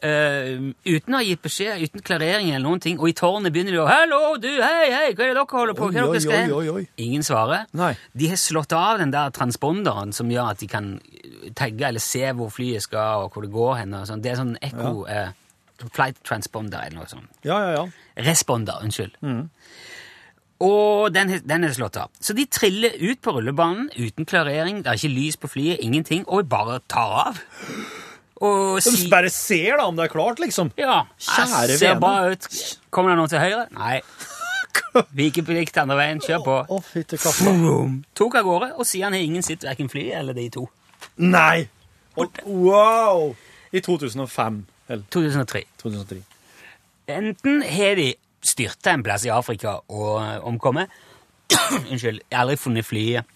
[SPEAKER 2] eh, uten å ha gitt beskjed, uten klarering eller noen ting, og i tårnet begynner de å 'Hallo, du, hei, hei, hva er det dere holder på med?' Hva
[SPEAKER 1] Oi,
[SPEAKER 2] er det
[SPEAKER 1] oi,
[SPEAKER 2] dere skal
[SPEAKER 1] oi,
[SPEAKER 2] hen?»
[SPEAKER 1] oi, oi.
[SPEAKER 2] Ingen svarer.
[SPEAKER 1] Nei.
[SPEAKER 2] De har slått av den der transponderen som gjør at de kan tagge eller se hvor flyet skal, og hvor det går hen. og sånn. Det er sånn ekko eh, Flight transponder eller noe sånt.
[SPEAKER 1] Ja, ja, Mm. ja.
[SPEAKER 2] Responder, unnskyld. Og den, den er slått av. Så de triller ut på rullebanen uten klarering, det er ikke lys på flyet, ingenting, og bare tar av. Og
[SPEAKER 1] De
[SPEAKER 2] si-
[SPEAKER 1] bare ser da om det er klart, liksom.
[SPEAKER 2] Ja,
[SPEAKER 1] Kjære
[SPEAKER 2] jeg ser
[SPEAKER 1] vene.
[SPEAKER 2] bra ut. Kommer det noen til høyre? Nei. Vikeplikt andre veien, kjør på.
[SPEAKER 1] Å, fytti katta.
[SPEAKER 2] Tok av gårde, og siden har ingen sett hverken fly eller de to.
[SPEAKER 1] Nei! Og, wow! I 2005. Eller
[SPEAKER 2] 2003.
[SPEAKER 1] 2003.
[SPEAKER 2] Enten har de styrta en plass i Afrika og eh, omkommet Unnskyld. Aldri funnet flyet.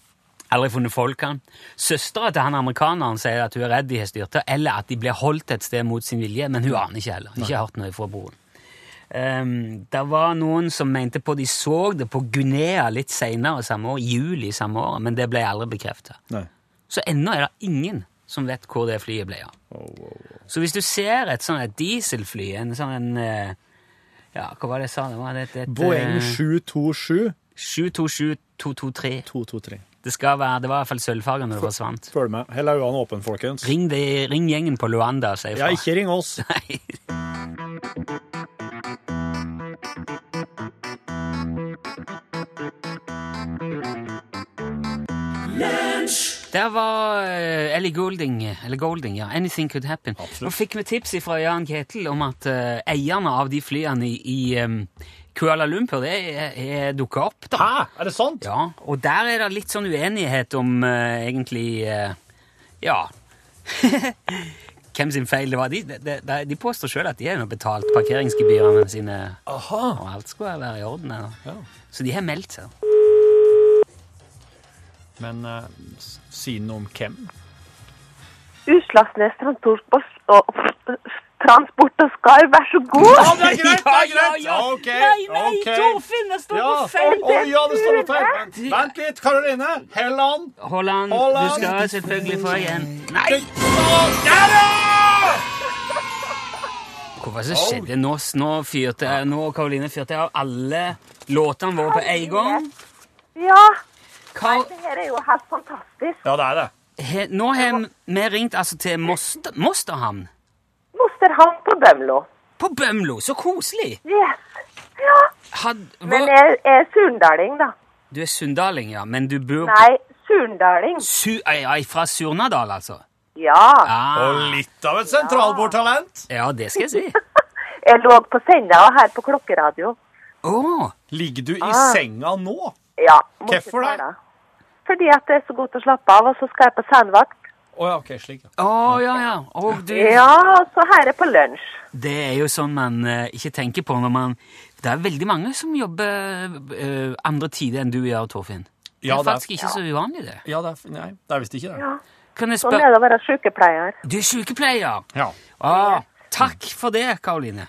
[SPEAKER 2] Aldri funnet folkene. Søstera til han amerikaneren sier at hun er redd de har styrta, eller at de blir holdt et sted mot sin vilje, men hun aner ikke heller. Ikke hørt noe fra broren. Ehm, det var noen som mente på de så det på Guinea litt seinere samme år, i juli samme år, men det ble aldri bekrefta.
[SPEAKER 1] Nei.
[SPEAKER 2] Så ennå er det ingen som vet hvor det flyet ble av. Så hvis du ser et sånn et dieselfly, en sånn en eh, Ja, hva var det jeg sa? Det var et, et,
[SPEAKER 1] Boeing
[SPEAKER 2] eh,
[SPEAKER 1] 727
[SPEAKER 2] 727-223.
[SPEAKER 1] 223.
[SPEAKER 2] Det skal være, det var i hvert fall sølvfargen når det forsvant.
[SPEAKER 1] Følg med. Hold øynene åpne, folkens.
[SPEAKER 2] Ring, de, ring gjengen på Luanda og si
[SPEAKER 1] Ja,
[SPEAKER 2] ifra.
[SPEAKER 1] ikke ring oss.
[SPEAKER 2] Nei. Der var eh, Ellie Goulding, eller Golding, ja. Anything Could Happen. Nå fikk vi tips fra Jan Ketil om at eh, eierne av de flyene i, i em, Kuala Lumpur det er, er dukka opp, da.
[SPEAKER 1] Hæ? Er det sant?
[SPEAKER 2] Ja, og der er det litt sånn uenighet om eh, egentlig eh, Ja. Hvem sin feil det var. De, de, de, de påstår sjøl at de har nå betalt parkeringsgebyrene sine,
[SPEAKER 1] Aha.
[SPEAKER 2] og alt skulle være i orden. her. Så de har meldt seg.
[SPEAKER 1] Men eh, s- si noe om hvem?
[SPEAKER 8] Utslagsnes transport og, og Transport og Skar, vær så god!
[SPEAKER 1] Ja, det er greit! det er greit.
[SPEAKER 2] Ja, ja, ja.
[SPEAKER 1] Ok,
[SPEAKER 2] Nei, nei,
[SPEAKER 1] ok.
[SPEAKER 2] Torfinn, det står
[SPEAKER 1] Ja.
[SPEAKER 2] på feil!
[SPEAKER 1] Å ja, det står opp her. Vent- Vent litt, Karoline. Helland.
[SPEAKER 2] Holland,
[SPEAKER 1] Holland.
[SPEAKER 2] du skal selvfølgelig få igjen. Nei! Hva var det som skjedde nå? Nå fyrte jeg, nå, Karoline, fyrte jeg av alle låtene våre på en gang.
[SPEAKER 8] Ja,
[SPEAKER 2] Kar
[SPEAKER 8] det her er jo helt fantastisk.
[SPEAKER 1] Ja, det er det.
[SPEAKER 2] he, nå har vi ringt altså til Moster, Mosterhamn
[SPEAKER 8] Mosterhamn på Bømlo.
[SPEAKER 2] på Bømlo. Så koselig!
[SPEAKER 8] Yes. Ja,
[SPEAKER 2] Had,
[SPEAKER 8] men
[SPEAKER 2] hva,
[SPEAKER 8] jeg er sunndaling, da.
[SPEAKER 2] du er sunndaling, ja, men du bor på
[SPEAKER 8] Nei, sunndaling.
[SPEAKER 2] Su, ei, ei, Fra Surnadal, altså?
[SPEAKER 8] Ja.
[SPEAKER 2] Ah,
[SPEAKER 1] Og litt av et sentralbordtalent.
[SPEAKER 2] ja, det skal jeg si.
[SPEAKER 8] Jeg lå på senda og her på klokkeradio.
[SPEAKER 2] Å,
[SPEAKER 1] Ligger du i senga nå?
[SPEAKER 8] Ja. måtte
[SPEAKER 1] Hvorfor det?
[SPEAKER 8] ta Fordi at det er så godt å slappe av, og så skal jeg på sandvakt.
[SPEAKER 1] Å ja, OK, slik. ja.
[SPEAKER 2] å ja, ja. Å, du.
[SPEAKER 8] Ja, så her er på lunsj.
[SPEAKER 2] Det er jo sånn man eh, ikke tenker på når man Det er veldig mange som jobber eh, andre tider enn du gjør, Torfinn. Det er
[SPEAKER 1] Ja, det er-
[SPEAKER 2] faktisk ikke så uvanlig, det.
[SPEAKER 1] Ja, det er, nei, det er visst ikke det.
[SPEAKER 2] Kan jeg
[SPEAKER 8] Sånn er
[SPEAKER 2] spørre
[SPEAKER 8] det å være sykepleier.
[SPEAKER 2] Du er sykepleier!
[SPEAKER 1] Ja.
[SPEAKER 2] Ah, takk for det, Karoline.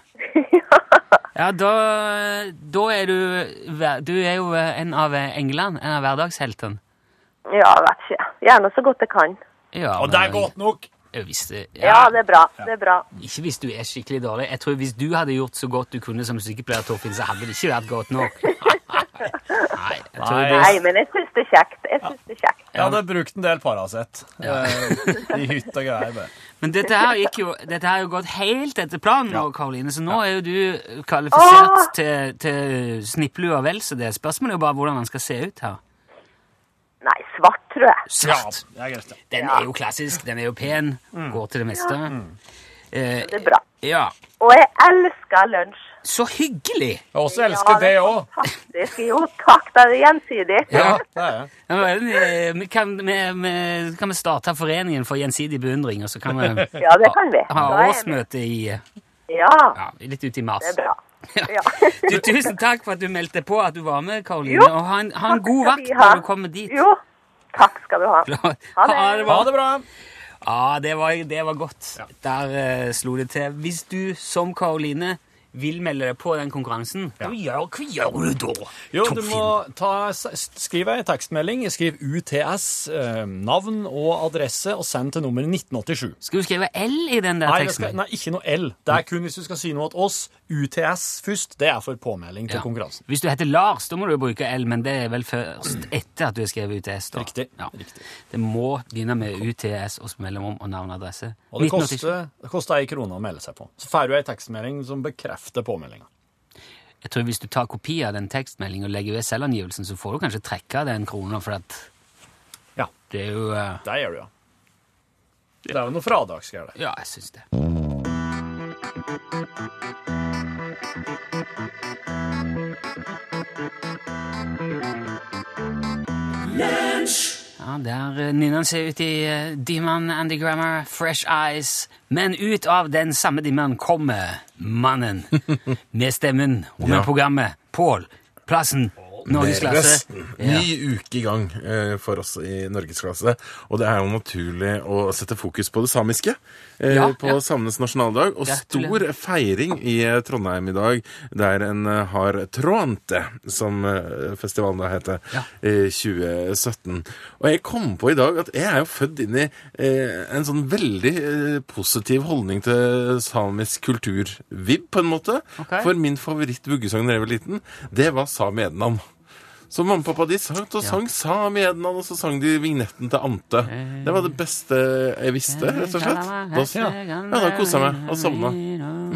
[SPEAKER 2] Ja, da, da er du hver- Du er jo en av England, en av hverdagsheltene.
[SPEAKER 8] Ja, vet ikke. Gjerne så godt jeg kan.
[SPEAKER 2] Ja,
[SPEAKER 1] Og det er godt nok.
[SPEAKER 2] Jeg visste,
[SPEAKER 8] Ja,
[SPEAKER 2] ja,
[SPEAKER 8] det er bra. Det er bra.
[SPEAKER 2] Ikke hvis du er skikkelig dårlig. Jeg tror Hvis du hadde gjort så godt du kunne som sykepleier, Torfinn, så hadde det ikke vært godt nok. Nei, jeg tror
[SPEAKER 1] Nei.
[SPEAKER 2] det
[SPEAKER 8] Nei, men jeg syns det er kjekt. Jeg synes det er kjekt.
[SPEAKER 1] Jeg hadde brukt en del Paracet eh, i hytt og greier. bare.
[SPEAKER 2] Men dette her, gikk jo, dette her har jo gått helt etter planen, nå, Karoline, så nå er jo du kvalifisert
[SPEAKER 8] Åh!
[SPEAKER 2] til, til snipplua vel, så det spørsmålet er jo bare hvordan den skal se ut her.
[SPEAKER 8] Nei, svart, tror jeg.
[SPEAKER 1] Ja,
[SPEAKER 2] Svart.
[SPEAKER 1] det er greit. ja. Mm.
[SPEAKER 2] Den er jo klassisk, den er jo pen, går til det meste. Eh,
[SPEAKER 8] Det er bra.
[SPEAKER 2] ja,
[SPEAKER 8] Og jeg elsker lunsj.
[SPEAKER 2] så hyggelig!
[SPEAKER 1] Jeg også elsker det òg.
[SPEAKER 8] Fantastisk. Ah, Jo, takk. Da er det gjensidig.
[SPEAKER 2] Ja.
[SPEAKER 1] Det er jeg.
[SPEAKER 2] Ja, men, eh, vi kan, vi, vi, så kan vi starte Foreningen for gjensidig beundring, og så kan vi
[SPEAKER 8] Ja, det kan vi.
[SPEAKER 2] ha
[SPEAKER 8] Da er jeg med.
[SPEAKER 2] årsmøte i, eh,
[SPEAKER 8] Ja,
[SPEAKER 2] ja, litt ut i mars.
[SPEAKER 8] det er bra. Ja.
[SPEAKER 2] Du, tusen takk for at du meldte på at du var med, Karoline.
[SPEAKER 8] Jo,
[SPEAKER 2] Og ha en, ha en
[SPEAKER 8] takk
[SPEAKER 2] god
[SPEAKER 8] skal
[SPEAKER 2] vakt
[SPEAKER 8] vi ha.
[SPEAKER 2] når du kommer dit.
[SPEAKER 8] Jo, takk skal du ha. Ha det.
[SPEAKER 1] Ha det bra.
[SPEAKER 2] Ja, det var, det var godt. Der eh, slo det til. Hvis du, som Karoline, vil melde deg på den konkurransen, hva, gjør, hva gjør du da?
[SPEAKER 9] Jo, du
[SPEAKER 2] Torfinn?
[SPEAKER 9] må ta, s- skriv ei tekstmelding. Skriv UTS, eh, navn og adresse, og send til nummer 1987.
[SPEAKER 2] Skal du skrive L i den der
[SPEAKER 9] Nei, det skal,
[SPEAKER 2] teksten?
[SPEAKER 9] nei, ikke noe L. Det er kun hvis du skal si noe til oss. UTS først. Det er for påmelding til
[SPEAKER 2] Ja.
[SPEAKER 9] konkurransen.
[SPEAKER 2] Hvis du heter Lars, da må du jo bruke L, men det er vel først etter at du har skrevet UTS. da.
[SPEAKER 9] Riktig,
[SPEAKER 2] Ja.
[SPEAKER 9] riktig.
[SPEAKER 2] Det må begynne med UTS og så mellomrom og navn og adresse.
[SPEAKER 9] Og det
[SPEAKER 2] 1987.
[SPEAKER 9] koster, det koster ei krone å melde seg på. Så får du ei tekstmelding som bekrefter påmeldinga.
[SPEAKER 2] Jeg tror Hvis du tar kopi av den tekstmeldingen og legger ved selvangivelsen, så får du kanskje trekke den krona, for at
[SPEAKER 9] Ja.
[SPEAKER 2] det er jo eh,
[SPEAKER 9] Det gjør du, ja. Det er jo noe fradragsgreier der.
[SPEAKER 2] Ja, jeg syns det. Ja, der eh, nynner han seg ut i eh, Demon Andy Grammer, Fresh Eyes. Men ut av den samme dimmen kommer mannen med stemmen og med programmet. Pål Plassen, Norgesklasse.
[SPEAKER 10] Resten.
[SPEAKER 2] Ja.
[SPEAKER 10] Ny uke i gang eh, for oss i norgesklasse. Og det er jo naturlig å sette fokus på det samiske eh,
[SPEAKER 2] Ja,
[SPEAKER 10] på
[SPEAKER 2] ja.
[SPEAKER 10] samenes nasjonaldag. Og stor
[SPEAKER 2] Gratulerer.
[SPEAKER 10] feiring i eh, Trondheim i dag, der en eh, har Tråante, som eh, festivalen da heter, i 2017. Og jeg kom på i dag at jeg er jo født inn i eh, en sånn veldig eh, positiv holdning til samisk kultur-vib, på en måte.
[SPEAKER 2] Ok.
[SPEAKER 10] For min favoritt-vuggesang da jeg var liten, det var Sami Ednam. Så mamma og pappa de sang og sang Sami Ednan, og så sang de vignetten til Ante. Det var det beste jeg visste, rett og slett.
[SPEAKER 2] Eh,
[SPEAKER 10] Da, ja, da kosa jeg meg og sovna.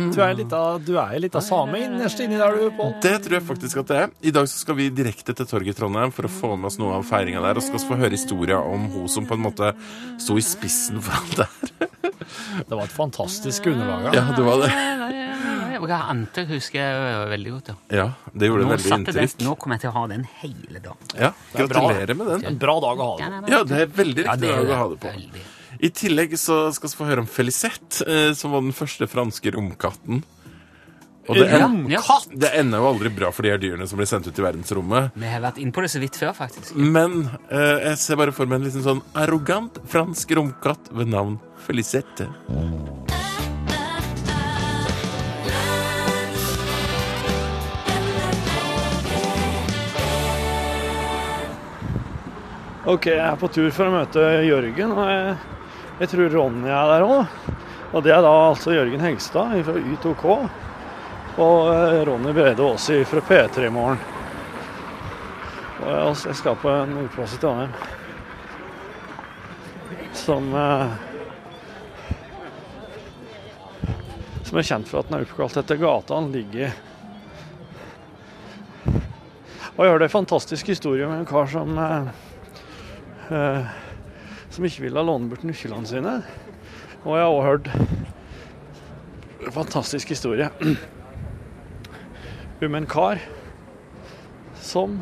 [SPEAKER 9] Du er litt av, du er litt av same innerst inni der, du, Pål.
[SPEAKER 10] Det tror jeg faktisk at det er. I dag så skal vi direkte til torget i Trondheim for å få med oss noe av feiringa der, og skal få høre historia om hun som på en måte sto i spissen for alt det her.
[SPEAKER 9] Det var et fantastisk underlag.
[SPEAKER 10] Ja, det var det.
[SPEAKER 2] Og jeg Ante husker jeg eh, veldig godt. ja.
[SPEAKER 10] Ja, det gjorde
[SPEAKER 2] Nå,
[SPEAKER 10] veldig
[SPEAKER 2] satte den,
[SPEAKER 10] inntrykk.
[SPEAKER 2] nå kommer jeg til å ha den hele dagen.
[SPEAKER 10] Ja,
[SPEAKER 9] bra.
[SPEAKER 10] gratulerer med den.
[SPEAKER 9] En bra dag å ha det på.
[SPEAKER 10] Ja, det er veldig
[SPEAKER 2] Ja,
[SPEAKER 10] riktig
[SPEAKER 2] det er
[SPEAKER 10] dag
[SPEAKER 2] det.
[SPEAKER 10] å ha det på.
[SPEAKER 2] Veldig.
[SPEAKER 10] I tillegg så skal vi få høre om Felicette, eh, som var den første franske romkatten. Og det,
[SPEAKER 2] Ja,
[SPEAKER 10] en,
[SPEAKER 2] ja.
[SPEAKER 10] det ender jo aldri bra for de her dyrene som blir sendt ut i verdensrommet.
[SPEAKER 2] Vi har vært inne på det så vidt før, faktisk.
[SPEAKER 10] Men eh, jeg ser bare for meg en liten sånn arrogant fransk romkatt ved navn Felicette.
[SPEAKER 1] Ok, jeg er på tur for å møte Jørgen, og jeg, jeg tror Ronny er der òg. Og det er da altså Jørgen Hegstad fra Y2K og eh, Ronny Brede Aase fra P3 i morgen. Og jeg, altså, jeg skal på en ordplass i Trondheim som eh, Som er kjent for at den er oppkalt etter gata han ligger i. Og jeg hørte en fantastisk historie med en kar som eh, eh, som ikke ville låne bort nøklene sine. Og jeg har også hørt en fantastisk historie om en kar som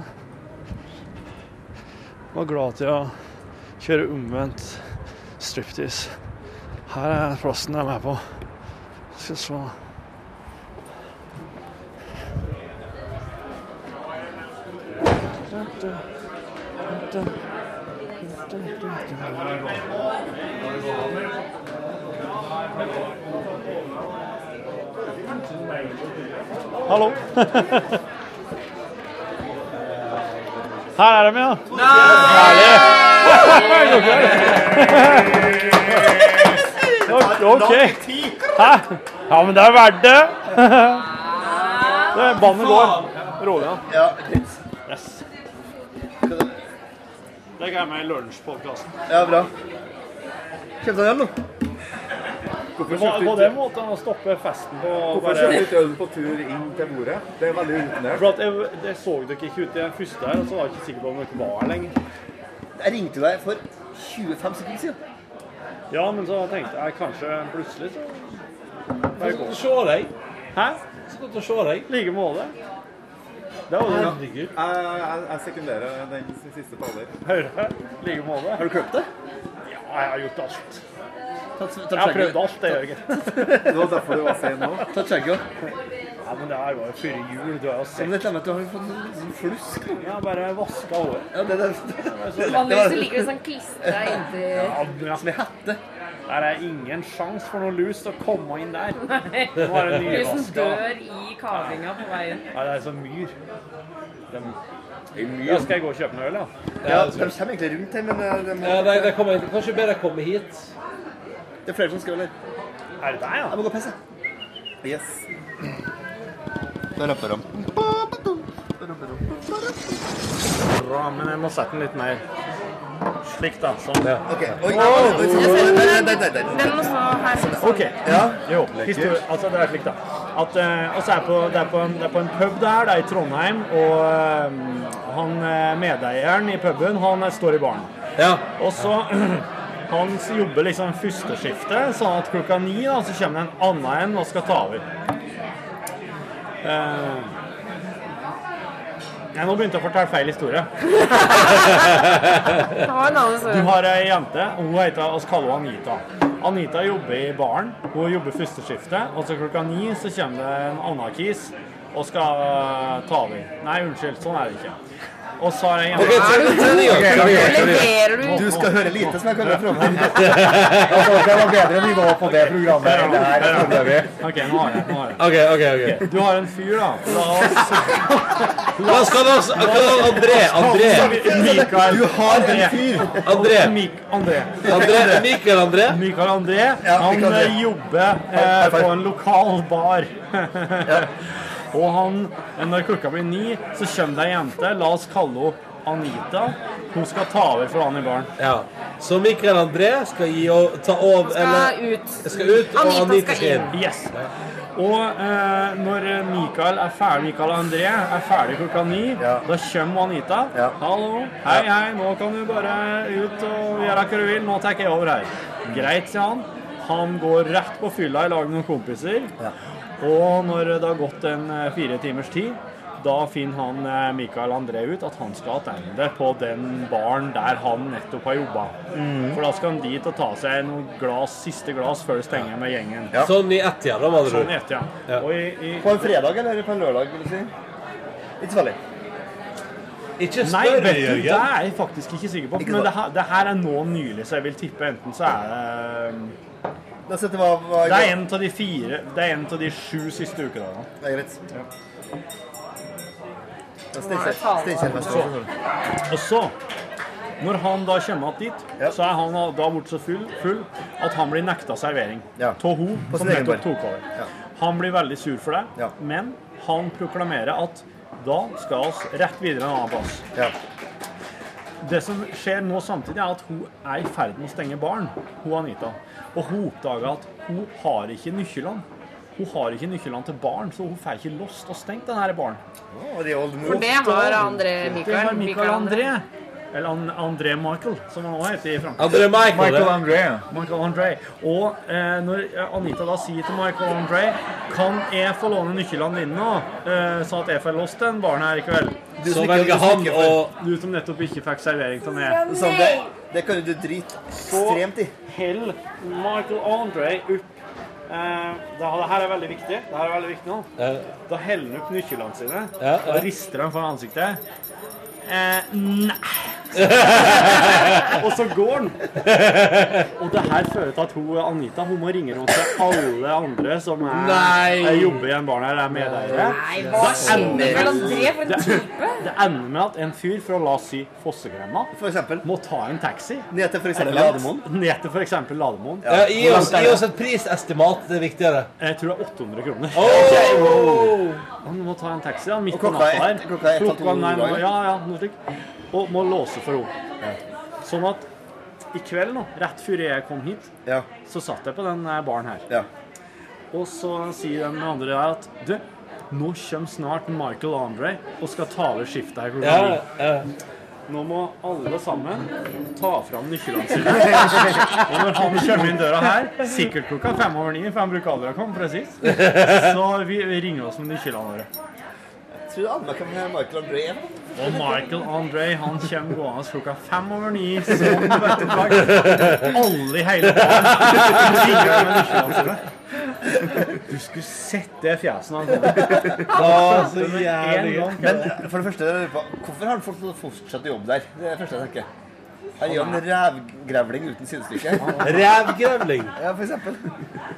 [SPEAKER 1] var glad til å kjøre omvendt striptease. Her er plassen jeg er med på. Skal vi se Hallo. Her er de, ja. Herlig. Ok, OK. Hæ? Ja, men det er verdt det. det Bandet går. Rolig, ja. Yes. Det kan jeg med i lunsjpodkasten. På, på den måten å stoppe festen på bare For at jeg, det så dere ikke ut i den første her, og så var jeg ikke sikker på om dere var her lenger.
[SPEAKER 11] Jeg ringte deg for 25 sekunder siden.
[SPEAKER 1] Ja, men så tenkte jeg kanskje plutselig så
[SPEAKER 11] Jeg skal se deg.
[SPEAKER 1] Hæ?
[SPEAKER 11] Jeg skal se deg.
[SPEAKER 1] I like måte. Det var jo herregud.
[SPEAKER 11] Jeg, jeg, jeg sekunderer den siste baller.
[SPEAKER 1] Hører jeg. I like måte.
[SPEAKER 11] Har du kløpt deg?
[SPEAKER 1] Ja, jeg har gjort alt.
[SPEAKER 11] Ta, ta,
[SPEAKER 1] Jeg har prøvd alt, det, Jørgen.
[SPEAKER 11] Det var derfor du var sen nå. Ta skjegget.
[SPEAKER 1] Ja, men det her var jo før jul. Du har jo
[SPEAKER 11] Men
[SPEAKER 1] sett
[SPEAKER 11] dette med at du har fått en sånn flusk nå.
[SPEAKER 1] Ja, bare vaska håret.
[SPEAKER 11] Ja, Altså, det, det, det,
[SPEAKER 12] Vanligvis så ligger det sånn klistra
[SPEAKER 1] Ja,
[SPEAKER 12] inntil
[SPEAKER 1] ja. Som hette. Der er ingen sjans for noe lus til å komme inn der. Nå er det
[SPEAKER 12] Husen
[SPEAKER 1] nyvaska.
[SPEAKER 12] sånn dør i kavinga på veien.
[SPEAKER 1] Nei, det er sånn myr. Det er myr. Da skal jeg gå og kjøpe en øl, da.
[SPEAKER 11] Ja, de kommer egentlig rundt her, men eh, de må...
[SPEAKER 1] Ja, nei, det
[SPEAKER 11] kommer egentlig kanskje bedre å komme hit. Det er flere som skal, eller?
[SPEAKER 1] Er det deg, ja?
[SPEAKER 11] Jeg må gå og pisse. Yes. Da rapper de.
[SPEAKER 1] Bra, men jeg må sette den litt mer slik, da. Sånn.
[SPEAKER 11] Ok. Oi, oi, oi, oi, oi, nei, nei, nei, nei.
[SPEAKER 12] Den må stå her.
[SPEAKER 1] Ok. Jo, historie, altså det er slik, da. At, eh, altså, jeg er på, det, er på en, det er på en pub der, det er i Trondheim, og eh, han eh, medeieren i puben, han eh, står i baren. Og så Han jobber liksom førsteskiftet, sånn at klokka ni da, så kommer det en annen en og skal ta over. Eh, Nei, nå begynte jeg å fortelle feil historie.
[SPEAKER 12] Det var en annen
[SPEAKER 1] Du
[SPEAKER 12] historie.
[SPEAKER 1] har ei jente, og hun heter, og så kaller hun Anita. Anita jobber i baren. Hun jobber første skiftet, og så klokka ni så kommer det en annen kis og skal eh, ta over. Nei, unnskyld, sånn er det ikke. Og så har ei jente
[SPEAKER 11] Ok, ta det, ta det, ja. Leverer du? Leverer du?
[SPEAKER 1] Nå- nå-
[SPEAKER 11] Du skal høre Altså, lite, som jeg kaller det fra meg.
[SPEAKER 1] Det var bedre nivå på det
[SPEAKER 11] programmet enn det her, trodde vi.
[SPEAKER 1] Ok, nå har jeg det. nå har jeg det.
[SPEAKER 13] OK, OK. ok.
[SPEAKER 1] Du har en fyr, da.
[SPEAKER 13] Hva skal du også- hva- André, André.
[SPEAKER 1] Mikael.
[SPEAKER 13] Du har en
[SPEAKER 1] André.
[SPEAKER 13] fyr. André.
[SPEAKER 1] Mik André.
[SPEAKER 13] André- Mikael André.
[SPEAKER 1] Mikael André.
[SPEAKER 13] Ja,
[SPEAKER 1] han
[SPEAKER 13] Mikael André.
[SPEAKER 1] eh, jobber eh, på en lokal bar. Og han, når klokka blir ni, så kommer det ei jente. La oss kalle henne Anita. Hun skal ta over for han i baren.
[SPEAKER 13] Ja. Så Mikael André skal gi og ta over eller,
[SPEAKER 12] ut.
[SPEAKER 13] Skal ut, og Anita, skal inn.
[SPEAKER 1] Yes. Og eh, når Mikael er ferdig, Mikael og André er ferdig klokka ni, da kommer Anita. Hallo. Hei, hei, nå kan du bare ut og gjøre hva du vil. Nå tar jeg over her. Greit, sier han. Han går rett på fylla i lag med noen kompiser. Og når det har gått en eh, fire timers tid, da finner han eh, Mikael André ut at han skal tilbake på den baren der han nettopp har jobba.
[SPEAKER 13] Mhm.
[SPEAKER 1] For da skal han dit og ta seg noen glass, siste glass før det stenger med gjengen.
[SPEAKER 13] Sånn i ett-tida, da, med andre ord.
[SPEAKER 1] Sånn i ett, ja.
[SPEAKER 13] Ja.
[SPEAKER 1] Og i, i...
[SPEAKER 11] På en fredag eller på en lørdag, vil du si? Ikke så veldig.
[SPEAKER 13] Ikke
[SPEAKER 1] Nei,
[SPEAKER 11] større,
[SPEAKER 1] vet du,
[SPEAKER 11] Jørgen.
[SPEAKER 1] det er jeg faktisk ikke sikker på.
[SPEAKER 11] Ikke
[SPEAKER 1] men
[SPEAKER 11] sant?
[SPEAKER 1] det her, det her er nå nylig, så jeg vil tippe enten så er det um,
[SPEAKER 11] Da setter vi av... av-
[SPEAKER 1] Det er en av de fire Det er en av de sju siste ukedagene.
[SPEAKER 11] Det er greit. Da
[SPEAKER 1] Nå er det
[SPEAKER 11] Steinkjer- Steinkjer fest.
[SPEAKER 1] Så- Og så, når han da kommer att dit, så er han da blitt så full, full at han blir nekta servering av hun
[SPEAKER 11] På
[SPEAKER 1] som
[SPEAKER 11] sin egen
[SPEAKER 1] nettopp
[SPEAKER 11] bar.
[SPEAKER 1] tok over. Han blir veldig sur for det, men han proklamerer at da skal oss rett videre en annen plass. Det som skjer nå samtidig, er at hun er i ferd med å stenge baren, hun Anita. Og hun oppdager at hun har ikke nøklene. Hun har ikke nøklene til baren, så hun får ikke låst og stengt den her baren.
[SPEAKER 12] For det har André
[SPEAKER 1] Det
[SPEAKER 12] Mikael.
[SPEAKER 1] var Mikael André. Eller An- André Michael, som han også heter i Frankrike.
[SPEAKER 13] André Michael, Michael det.
[SPEAKER 11] André.
[SPEAKER 1] Michael André. Og eh, når Anita da sier til Michael André Kan jeg få låne nøklene dine nå, eh, sånn at jeg får låst den baren her i kveld?
[SPEAKER 11] Du som Så ikke- velger du som han ikke får- å-
[SPEAKER 1] Du som nettopp ikke fikk servering til meg.
[SPEAKER 11] Så det, det kan jo du drite ekstremt i.
[SPEAKER 1] Hell Michael André opp eh, det, her- det her er veldig viktig. Det her er veldig viktig nå. Da heller han opp nøklene sine
[SPEAKER 13] Ja, ja.
[SPEAKER 1] og rister dem foran ansiktet. Eh, nei. og så går han. Og det her fører til at hun, Anita hun må ringe rundt til alle andre som er,
[SPEAKER 13] Nei.
[SPEAKER 1] er jobber i en barn her, er medeiere.
[SPEAKER 12] Nei, hva
[SPEAKER 1] Det
[SPEAKER 12] skjer
[SPEAKER 1] ender-
[SPEAKER 12] med André for en
[SPEAKER 1] det,
[SPEAKER 12] type?
[SPEAKER 1] det ender med at en fyr fra la oss si Fossegrenda må ta en taxi
[SPEAKER 11] ned til for eksempel
[SPEAKER 1] Eller langt.
[SPEAKER 11] Lademoen.
[SPEAKER 1] Ned til for eksempel Lademoen.
[SPEAKER 13] Ja, gi, oss, gi oss et prisestimat, det er viktigere.
[SPEAKER 1] Jeg tror det er 800 kroner.
[SPEAKER 13] Oh!
[SPEAKER 1] Han må ta en taxi han, midt
[SPEAKER 13] Og
[SPEAKER 1] på
[SPEAKER 13] klokka
[SPEAKER 1] natta
[SPEAKER 13] er
[SPEAKER 1] her.
[SPEAKER 13] ett- klokka er ett og to
[SPEAKER 1] nei,
[SPEAKER 13] dager.
[SPEAKER 1] nå- Ja, ja, noe slikt. Og må låse for henne. Sånn at i kveld nå, rett før jeg kom hit, så satt jeg på den eh, baren her. Og så sier den andre der at du, nå kommer snart Michael Andre og skal ta over skiftet her klokka
[SPEAKER 13] Ja,
[SPEAKER 1] ni. Nå må alle sammen ta fram nøklene sine. Og når han kommer inn døra her, sikkert klokka fem over ni, for han bruker aldri å komme presis, så vi vi ringer oss med nøklene våre.
[SPEAKER 11] Jeg tror alle kan være Michael André.
[SPEAKER 1] Og Michael André han kommer gående klokka fem over ni
[SPEAKER 13] som bøtteplagg.
[SPEAKER 1] Alle i hele baren. Du skulle sett det fjeset han
[SPEAKER 11] Å, så jævlig gøy. Men for det første, hvorfor har han fått fortsatt å jobbe der? Det er det første jeg tenker. Han gjør en rævgrevling uten sidestykke.
[SPEAKER 13] Rævgrevling?
[SPEAKER 11] Ja, for eksempel.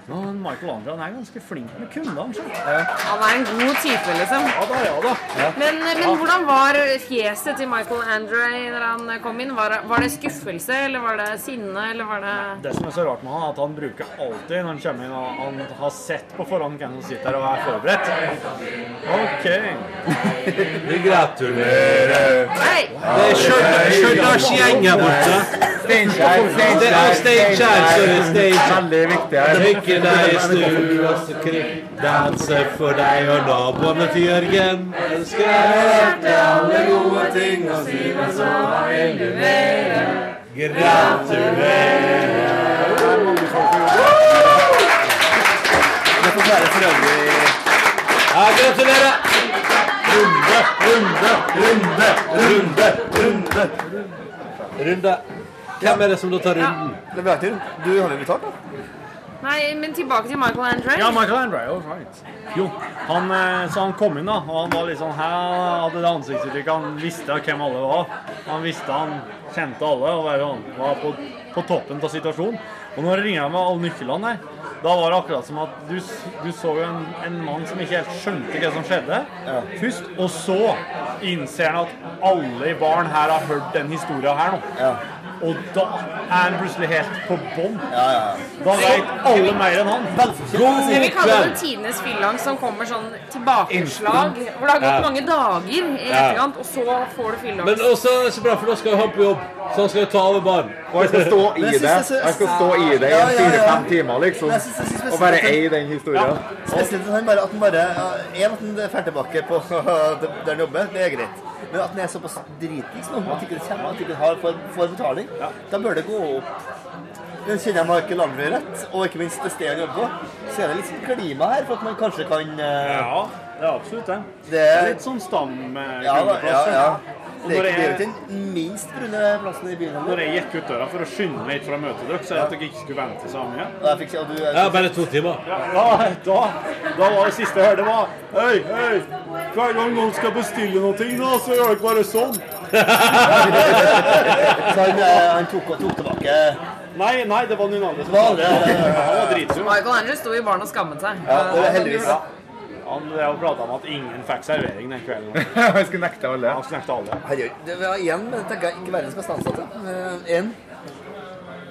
[SPEAKER 1] Men Michael André han er ganske flink med kundene. så.
[SPEAKER 12] Han er en god type, liksom.
[SPEAKER 1] Ja da, ja da.
[SPEAKER 12] Men, men hvordan var fjeset til Michael Andre når han kom inn? Var, var det skuffelse, eller var det sinne, eller var det
[SPEAKER 1] Det som er så rart med han, er at han bruker alltid når han kommer inn og han har sett på forhånd hvem som sitter her og er forberedt. OK.
[SPEAKER 13] Vi gratulerer. Det er Stjørdals- Stjørdals gjeng her borte.
[SPEAKER 11] Steinkjer,
[SPEAKER 13] Det er Steinkjer, sorry, Steinkjer.
[SPEAKER 11] Veldig viktig her.
[SPEAKER 13] Drikke deg i stua, så kri- danse for deg og naboene til Jørgen. Ønsker deg hjerte, alle gode ting, og si meg så hva vil du mere? Ja, gratulerer! Runde, runde, runde, runde, runde. Runde. Hvem er det som da tar runden?
[SPEAKER 11] Det blir alltid rundt. Du har jo betalt, da.
[SPEAKER 12] Nei, men tilbake til Michael Andre.
[SPEAKER 1] Ja, Michael Andre, all right. Jo, han, eh, så han kom inn da, og han var litt sånn her, han hadde det ansiktsuttrykket, han visste hvem alle var. Han visste han kjente alle, og var, var på, på toppen av situasjonen. Og når jeg ringer med alle nøklene her, da var det akkurat som at du, s- du så jo en, en mann som ikke helt skjønte hva som skjedde først, og så innser han at alle i barn her har hørt den historien her nå. Og da er han plutselig helt på bånn. Da vet alle mer enn han.
[SPEAKER 12] Jeg vil kalle det tidenes fyllang som kommer sånn tilbakeslag.
[SPEAKER 13] Instant.
[SPEAKER 12] Hvor det har gått
[SPEAKER 13] Ja.
[SPEAKER 12] mange dager i
[SPEAKER 13] Ja.
[SPEAKER 12] etterkant, og så får du fyllang.
[SPEAKER 13] Men også er det så bra, for da skal jo han på jobb. Så han skal jo ta over baren.
[SPEAKER 11] Og jeg skal stå i det. Jeg skal stå i det i fire-fem timer, liksom.
[SPEAKER 13] Jeg synes- jeg synes-
[SPEAKER 11] Og bare eie den historien.
[SPEAKER 13] Ja.
[SPEAKER 11] Spesielt at han bare at han bare En, at han drar tilbake på der han jobber, det er greit. Men at han er såpass dritings nå, at ikke det kommer, at ikke det har får, får betaling, da bør det gå opp. Men Kjenner jeg Michael Landry rett, og ikke minst det stedet han jobber på, så er det liksom klima her for at man kanskje kan eh,
[SPEAKER 1] Ja, det er absolutt det.
[SPEAKER 11] Det er-
[SPEAKER 1] litt sånn stamkundeplass.
[SPEAKER 11] Ja, da, ja, ja.
[SPEAKER 1] Og
[SPEAKER 11] Det er
[SPEAKER 1] når
[SPEAKER 11] ikke det er jo
[SPEAKER 1] jeg,
[SPEAKER 11] ikke den minst brune plassen i byen.
[SPEAKER 1] når jeg gikk ut døra for å skynde meg hit for å møte dere, så jeg at dere ikke skulle vente så mye.
[SPEAKER 11] Og jeg fikk se at du
[SPEAKER 13] Ja, bare to timer.
[SPEAKER 1] Ja, da, da, da var det siste jeg hørte, var Hei, hei! Hver gang noen skal bestille noe, da, så gjør det ikke bare sånn.
[SPEAKER 11] Så han, eh, han tok, tok tilbake
[SPEAKER 1] Nei, nei, det var noen andre som
[SPEAKER 11] var det, det, det.
[SPEAKER 1] Han var
[SPEAKER 12] Så
[SPEAKER 1] dritsur.
[SPEAKER 12] Michael Andre sto i baren og skammet seg.
[SPEAKER 1] Ja. Han drev og prata om at ingen fikk servering den kvelden.
[SPEAKER 11] Han skulle nekte alle.
[SPEAKER 1] Han skulle nekte alle.
[SPEAKER 11] Herregud, det var igjen, men dette er ikke verdens beste ansatte. Eh, En.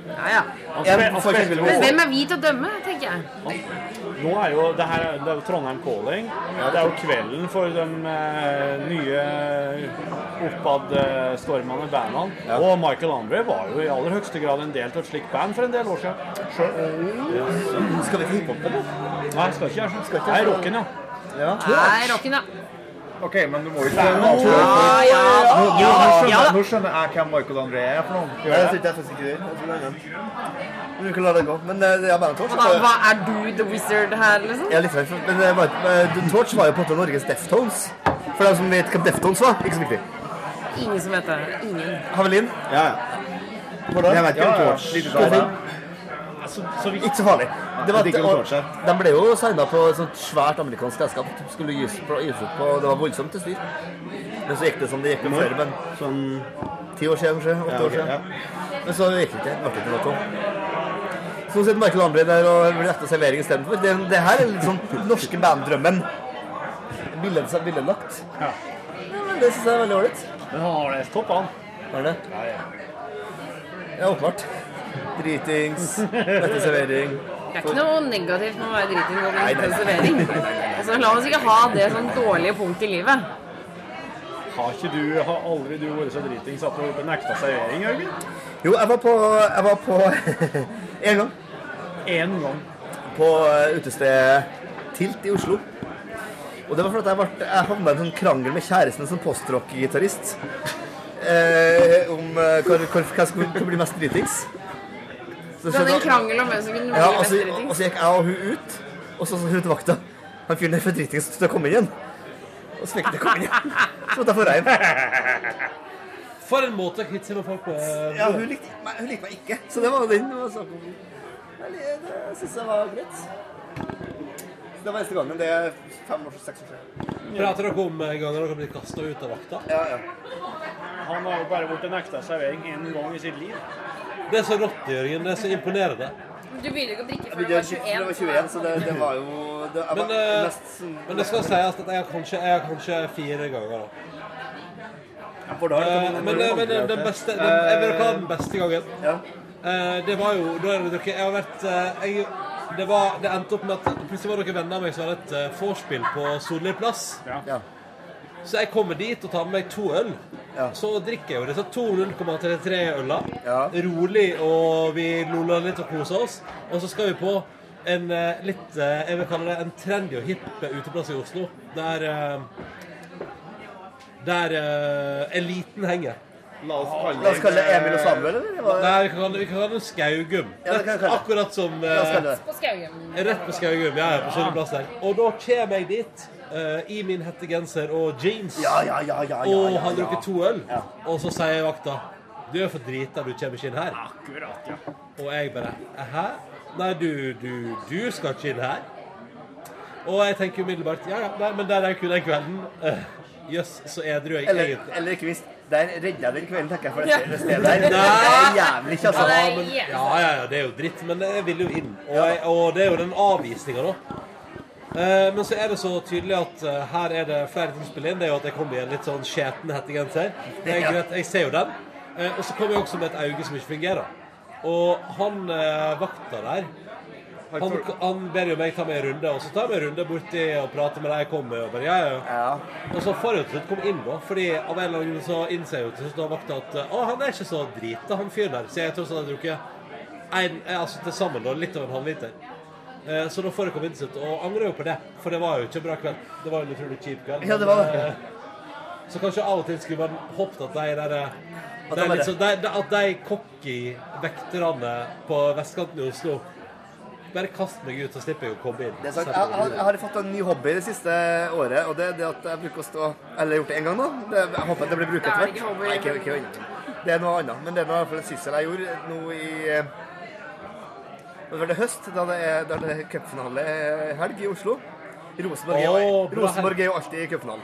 [SPEAKER 12] Ja, ja.
[SPEAKER 11] En får ikke spille
[SPEAKER 12] Men hvem
[SPEAKER 11] med
[SPEAKER 12] er vi til å dømme, tenker jeg.
[SPEAKER 1] Nå er jo det her er- det er jo Trondheim Calling. Det er jo kvelden for de eh, nye eh, oppadstormende eh, bandene. Og Michael Andre var jo i aller høyeste grad en del av et slikt band for en del år siden. Sjøl.
[SPEAKER 11] Skal vi hiphop, eller?
[SPEAKER 1] Nei, skal ikke gjøre
[SPEAKER 11] ikke
[SPEAKER 1] sånn. Nei, rocken, ja.
[SPEAKER 11] Ja.
[SPEAKER 12] Nei, rocken, ja.
[SPEAKER 14] OK, men du må jo ikke
[SPEAKER 1] Ja,
[SPEAKER 14] Nå-
[SPEAKER 1] ja, ja,
[SPEAKER 14] Nå, nå, nå, skjønner,
[SPEAKER 1] ja.
[SPEAKER 14] nå skjønner jeg hvem Michael André er for noen.
[SPEAKER 11] Nei, jeg tror ikke jeg faktisk ikke det. Jeg tror det er den. Men vi kan la det gå. Men eh, det er bare en
[SPEAKER 12] Og
[SPEAKER 11] torch.
[SPEAKER 12] da, hva
[SPEAKER 11] så-
[SPEAKER 12] er du the wizard her, liksom?
[SPEAKER 11] Jeg er litt redd for Men eh, bare, eh, The Torch var jo på en måte Norges Deftones. For dem som vet hva Deftones var. Ikke så viktig.
[SPEAKER 12] Ingen som heter det. Ingen.
[SPEAKER 11] Havelin? Ja, ja. Hvordan? Jeg vet ikke om
[SPEAKER 14] Ja, ja.
[SPEAKER 11] Torch.
[SPEAKER 14] Lite
[SPEAKER 11] Hvorfor?
[SPEAKER 14] skade.
[SPEAKER 11] Ikke så farlig. Det var,
[SPEAKER 14] Jeg digger
[SPEAKER 11] og,
[SPEAKER 14] Torch her.
[SPEAKER 11] de ble jo signa på et sånt svært amerikansk selskap. De Skulle gis på, gis ut på Det var voldsomt til styr. Men så gikk det som det gikk med
[SPEAKER 14] Når?
[SPEAKER 11] flere band. Sånn ti år siden, kanskje? Åtte
[SPEAKER 14] Ja, ok,
[SPEAKER 11] år siden.
[SPEAKER 14] ja.
[SPEAKER 11] Men så gikk det ikke. Det ble ikke noe av. Så nå sitter Michael André der og blir retta servering istedenfor. Det, det her er litt sånn den norske banddrømmen. Bildet seg billedlagt.
[SPEAKER 1] Ja.
[SPEAKER 11] men det syns jeg er veldig ålreit.
[SPEAKER 1] Men han har det topp, han.
[SPEAKER 11] Er det?
[SPEAKER 1] Ja, ja.
[SPEAKER 11] Ja, åpenbart. Dritings, rette servering.
[SPEAKER 12] Det er ikke noe negativt med å være driting og
[SPEAKER 11] Nei, nei.
[SPEAKER 12] drikke servering. Altså, la oss ikke ha det som dårlige punkt i livet.
[SPEAKER 1] Har ikke du, har aldri du vært så dritings at du har gjort en ekte servering, Jørgen?
[SPEAKER 11] Jo, jeg var på, jeg var på en gang.
[SPEAKER 1] En gang.
[SPEAKER 11] På eh, utestedet Tilt i Oslo. Og det var fordi jeg, vart- jeg havna i en sånn krangel med kjæresten som postrock-gitarist. Eh, om eh, hvor- hvor- hva som skulle bli mest dritings.
[SPEAKER 12] Du hadde en krangel om hvem som kunne bli
[SPEAKER 11] Ja, og
[SPEAKER 12] best
[SPEAKER 11] så,
[SPEAKER 12] driting.
[SPEAKER 11] og så gikk jeg og hun ut, og så sa hun til vakta Han fyren er for dritings til å komme inn igjen. Og smekket kom inn. Så måtte jeg få rein.
[SPEAKER 13] For en måte å kvitte seg med folk på. eh,
[SPEAKER 11] Ja, hun likte, nei, hun likte meg ikke. Så det var jo den det var snakk om. Nei, Det, det syns jeg var greit. Så Det var eneste gangen. Det er fem år, seks år siden.
[SPEAKER 13] Prater dere om eh, ganger dere har blitt kasta ut av vakta?
[SPEAKER 11] Ja, ja.
[SPEAKER 15] Han har jo bare blitt nekta servering én gang i sitt liv.
[SPEAKER 13] Det er så rått, Jørgen. Det er så imponerende.
[SPEAKER 12] Du begynner ikke å drikke
[SPEAKER 11] Jeg
[SPEAKER 12] før du
[SPEAKER 11] begynte å
[SPEAKER 12] var
[SPEAKER 11] drikke før jeg var 21, så det, det var jo det, jeg
[SPEAKER 13] Men,
[SPEAKER 11] var
[SPEAKER 13] eh,
[SPEAKER 11] mest sånn-
[SPEAKER 13] men det skal sies at jeg har kanskje, jeg har kanskje fire ganger. da.
[SPEAKER 11] for Eh, da er det
[SPEAKER 13] Eh,
[SPEAKER 11] sånn-
[SPEAKER 13] men men, men den, den beste den, Jeg vil ha den beste gangen. Eh, det var jo Da er det dere Jeg har vært eh, jeg, det, var, det endte opp med at plutselig var dere venner av meg som hadde et eh, vorspiel på Solli plass. Så jeg kommer dit og tar med meg to øl. Så drikker jeg jo disse to 0,33 øla. Rolig, og vi loller litt og koser oss. Og så skal vi på en eh, litt eh, Jeg vil kalle det en trendy og hipp uteplass i Oslo. Der eh, Der eh, eliten henger. La
[SPEAKER 11] oss kalle La oss kalle det Emil og Samuel, eller? Hva-
[SPEAKER 13] Nei, vi kan kalle det- vi kan kalle det Skaugum.
[SPEAKER 11] Ja, det kan vi kalle det.
[SPEAKER 13] Akkurat som eh,
[SPEAKER 11] La oss kalle det.
[SPEAKER 12] På Skaugum.
[SPEAKER 13] Rett på Skaugum, ja, ja, på Solli plass der. Og da kommer jeg dit eh, i min hettegenser og jeans
[SPEAKER 11] Ja, ja, ja, ja, ja,
[SPEAKER 13] og
[SPEAKER 11] ja,
[SPEAKER 13] har
[SPEAKER 11] ja.
[SPEAKER 13] drukket to øl. Og så sier vakta Du er for drita, du kommer ikke inn her. Akkurat, ja. Og jeg bare Hæ? Nei, du, du, du skal ikke inn her. Og jeg tenker umiddelbart Ja, ja, nei, men der er kun den kvelden. Eh, Jøss, så edru jeg
[SPEAKER 11] Eller,
[SPEAKER 13] egentlig.
[SPEAKER 11] eller ikke visst. Der redda jeg den kvelden, tenker jeg, for
[SPEAKER 13] Ja.
[SPEAKER 11] det stedet der. Det er altså. jævlig ikke, altså.
[SPEAKER 13] Ja, men, ja, ja, ja, det er jo dritt, men jeg vil jo inn. Og, jeg, og det er jo den avvisninga, da. Eh, men så er det så tydelig at eh, her er det flere ting som spiller inn. Det er jo at jeg kom i en litt sånn skjeten hettegenser. Det er
[SPEAKER 11] Ja.
[SPEAKER 13] greit, jeg ser jo den. Eh, og så kom jeg også med et øye som ikke fungerer. Og han eh, vakta der han, han ber jo meg ta meg en runde, og så tar jeg meg en runde borti og prater med de jeg kom med. Og, bare, ja, ja. og så får jeg jo til slutt komme inn, da. Fordi av en eller annen grunn så innser jeg jo til slutt da vakta at eh, Å, han er ikke så drita, han fyren der. Så jeg tror sånn jeg har drukket en, eh, altså til sammen da, litt over en halvliter. Eh, Så da får jeg komme inn til slutt, og angrer jo på det. For det var jo ikke en bra kveld. Det var jo en utrolig kjip kveld.
[SPEAKER 11] Ja, det
[SPEAKER 13] men,
[SPEAKER 11] var det.
[SPEAKER 13] eh, Så kanskje av og til skulle man håpet at de der eh, de
[SPEAKER 11] At det var
[SPEAKER 13] litt
[SPEAKER 11] det.
[SPEAKER 13] sånn- de- de- At de cocky vekterne på vestkanten i Oslo bare kast meg ut, så slipper jeg å komme inn.
[SPEAKER 11] Det er sant. Jeg, jeg, har- jeg har fått en ny hobby det siste året, og det er det at jeg bruker å stå Eller jeg har gjort det én gang, da. Det, jeg håper at det blir brukt
[SPEAKER 12] Det er
[SPEAKER 11] etter
[SPEAKER 12] ikke hobby.
[SPEAKER 11] Nei, ikke, ikke, ikke. Det er noe annet. Men det er nå i hvert fall en syssel jeg gjorde nå i eh, Hva var det høst, da det er, da det er cupfinalehelg i Oslo. Rosenborg, er jo-
[SPEAKER 13] Åh, bra.
[SPEAKER 11] Rosenborg er jo alltid i cupfinalen.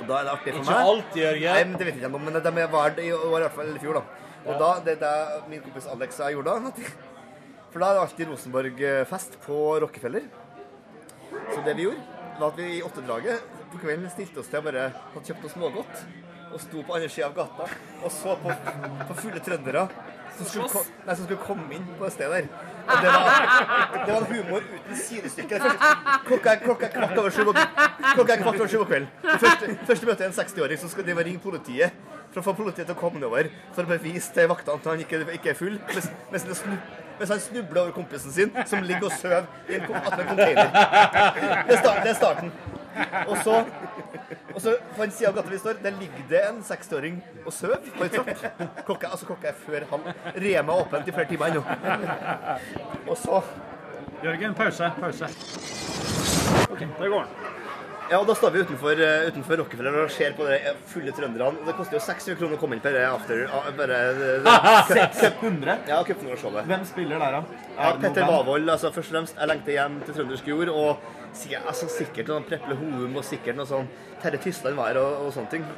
[SPEAKER 11] Og da er det artig for
[SPEAKER 13] Ikke
[SPEAKER 11] meg.
[SPEAKER 13] alt, Jørgen.
[SPEAKER 11] Nei, men det vet jeg ikke om, men de er var i år, i hvert fall i fjor, da. Og
[SPEAKER 13] Ja.
[SPEAKER 11] da, det er det min kompis Alex og jeg gjorde da. at- For da er det alltid Rosenborg-fest på Rockefeller. Så det vi gjorde, var at vi i åttedraget på kvelden stilte oss til og bare hadde kjøpt oss smågodt. Og sto på andre sida av gata og så på, på fulle trøndere som skulle, ko- nei, som skulle komme inn på det stedet der. Og det var, det var en humor uten sidestykke. Det første- Klokka er klokka er kvart over sju på klokka er kvart over sju på kvelden. Det Første, første møte er en 60-åring som skal drive og ringe politiet for å få politiet til å komme nedover for å bevise til vaktene at han ikke, ikke er full. Mens, mens, han snu, mens han snubler over kompisen sin, som ligger og sover i en, kom- attmed en container. Det er, start, det er starten. Og så, og så på en side av gata vi står, der ligger det en 60-åring og sover på en trapp. Klokka, altså klokka er før halv. Rema er åpent i flere timer ennå. Og så
[SPEAKER 15] Jørgen, pause. Pause. Ok, der går den.
[SPEAKER 11] Ja, og da står vi utenfor, eh, utenfor Rockefeller og ser på de fulle trønderne. Det koster jo 600 kroner å komme inn på det after... ah, Bare, det- det-
[SPEAKER 14] 600?
[SPEAKER 11] Ja, cupfinaleshowet.
[SPEAKER 14] Hvem spiller der, da?
[SPEAKER 11] Ja,
[SPEAKER 14] Er det noe
[SPEAKER 11] Petter
[SPEAKER 14] band?
[SPEAKER 11] Bavold, altså først og fremst. Jeg lengter hjem til trøndersk jord. Og sikkert, altså, sikkert noe Preple Houm og sikkert noe sånn Terje Tysland var her og, og sånne ting.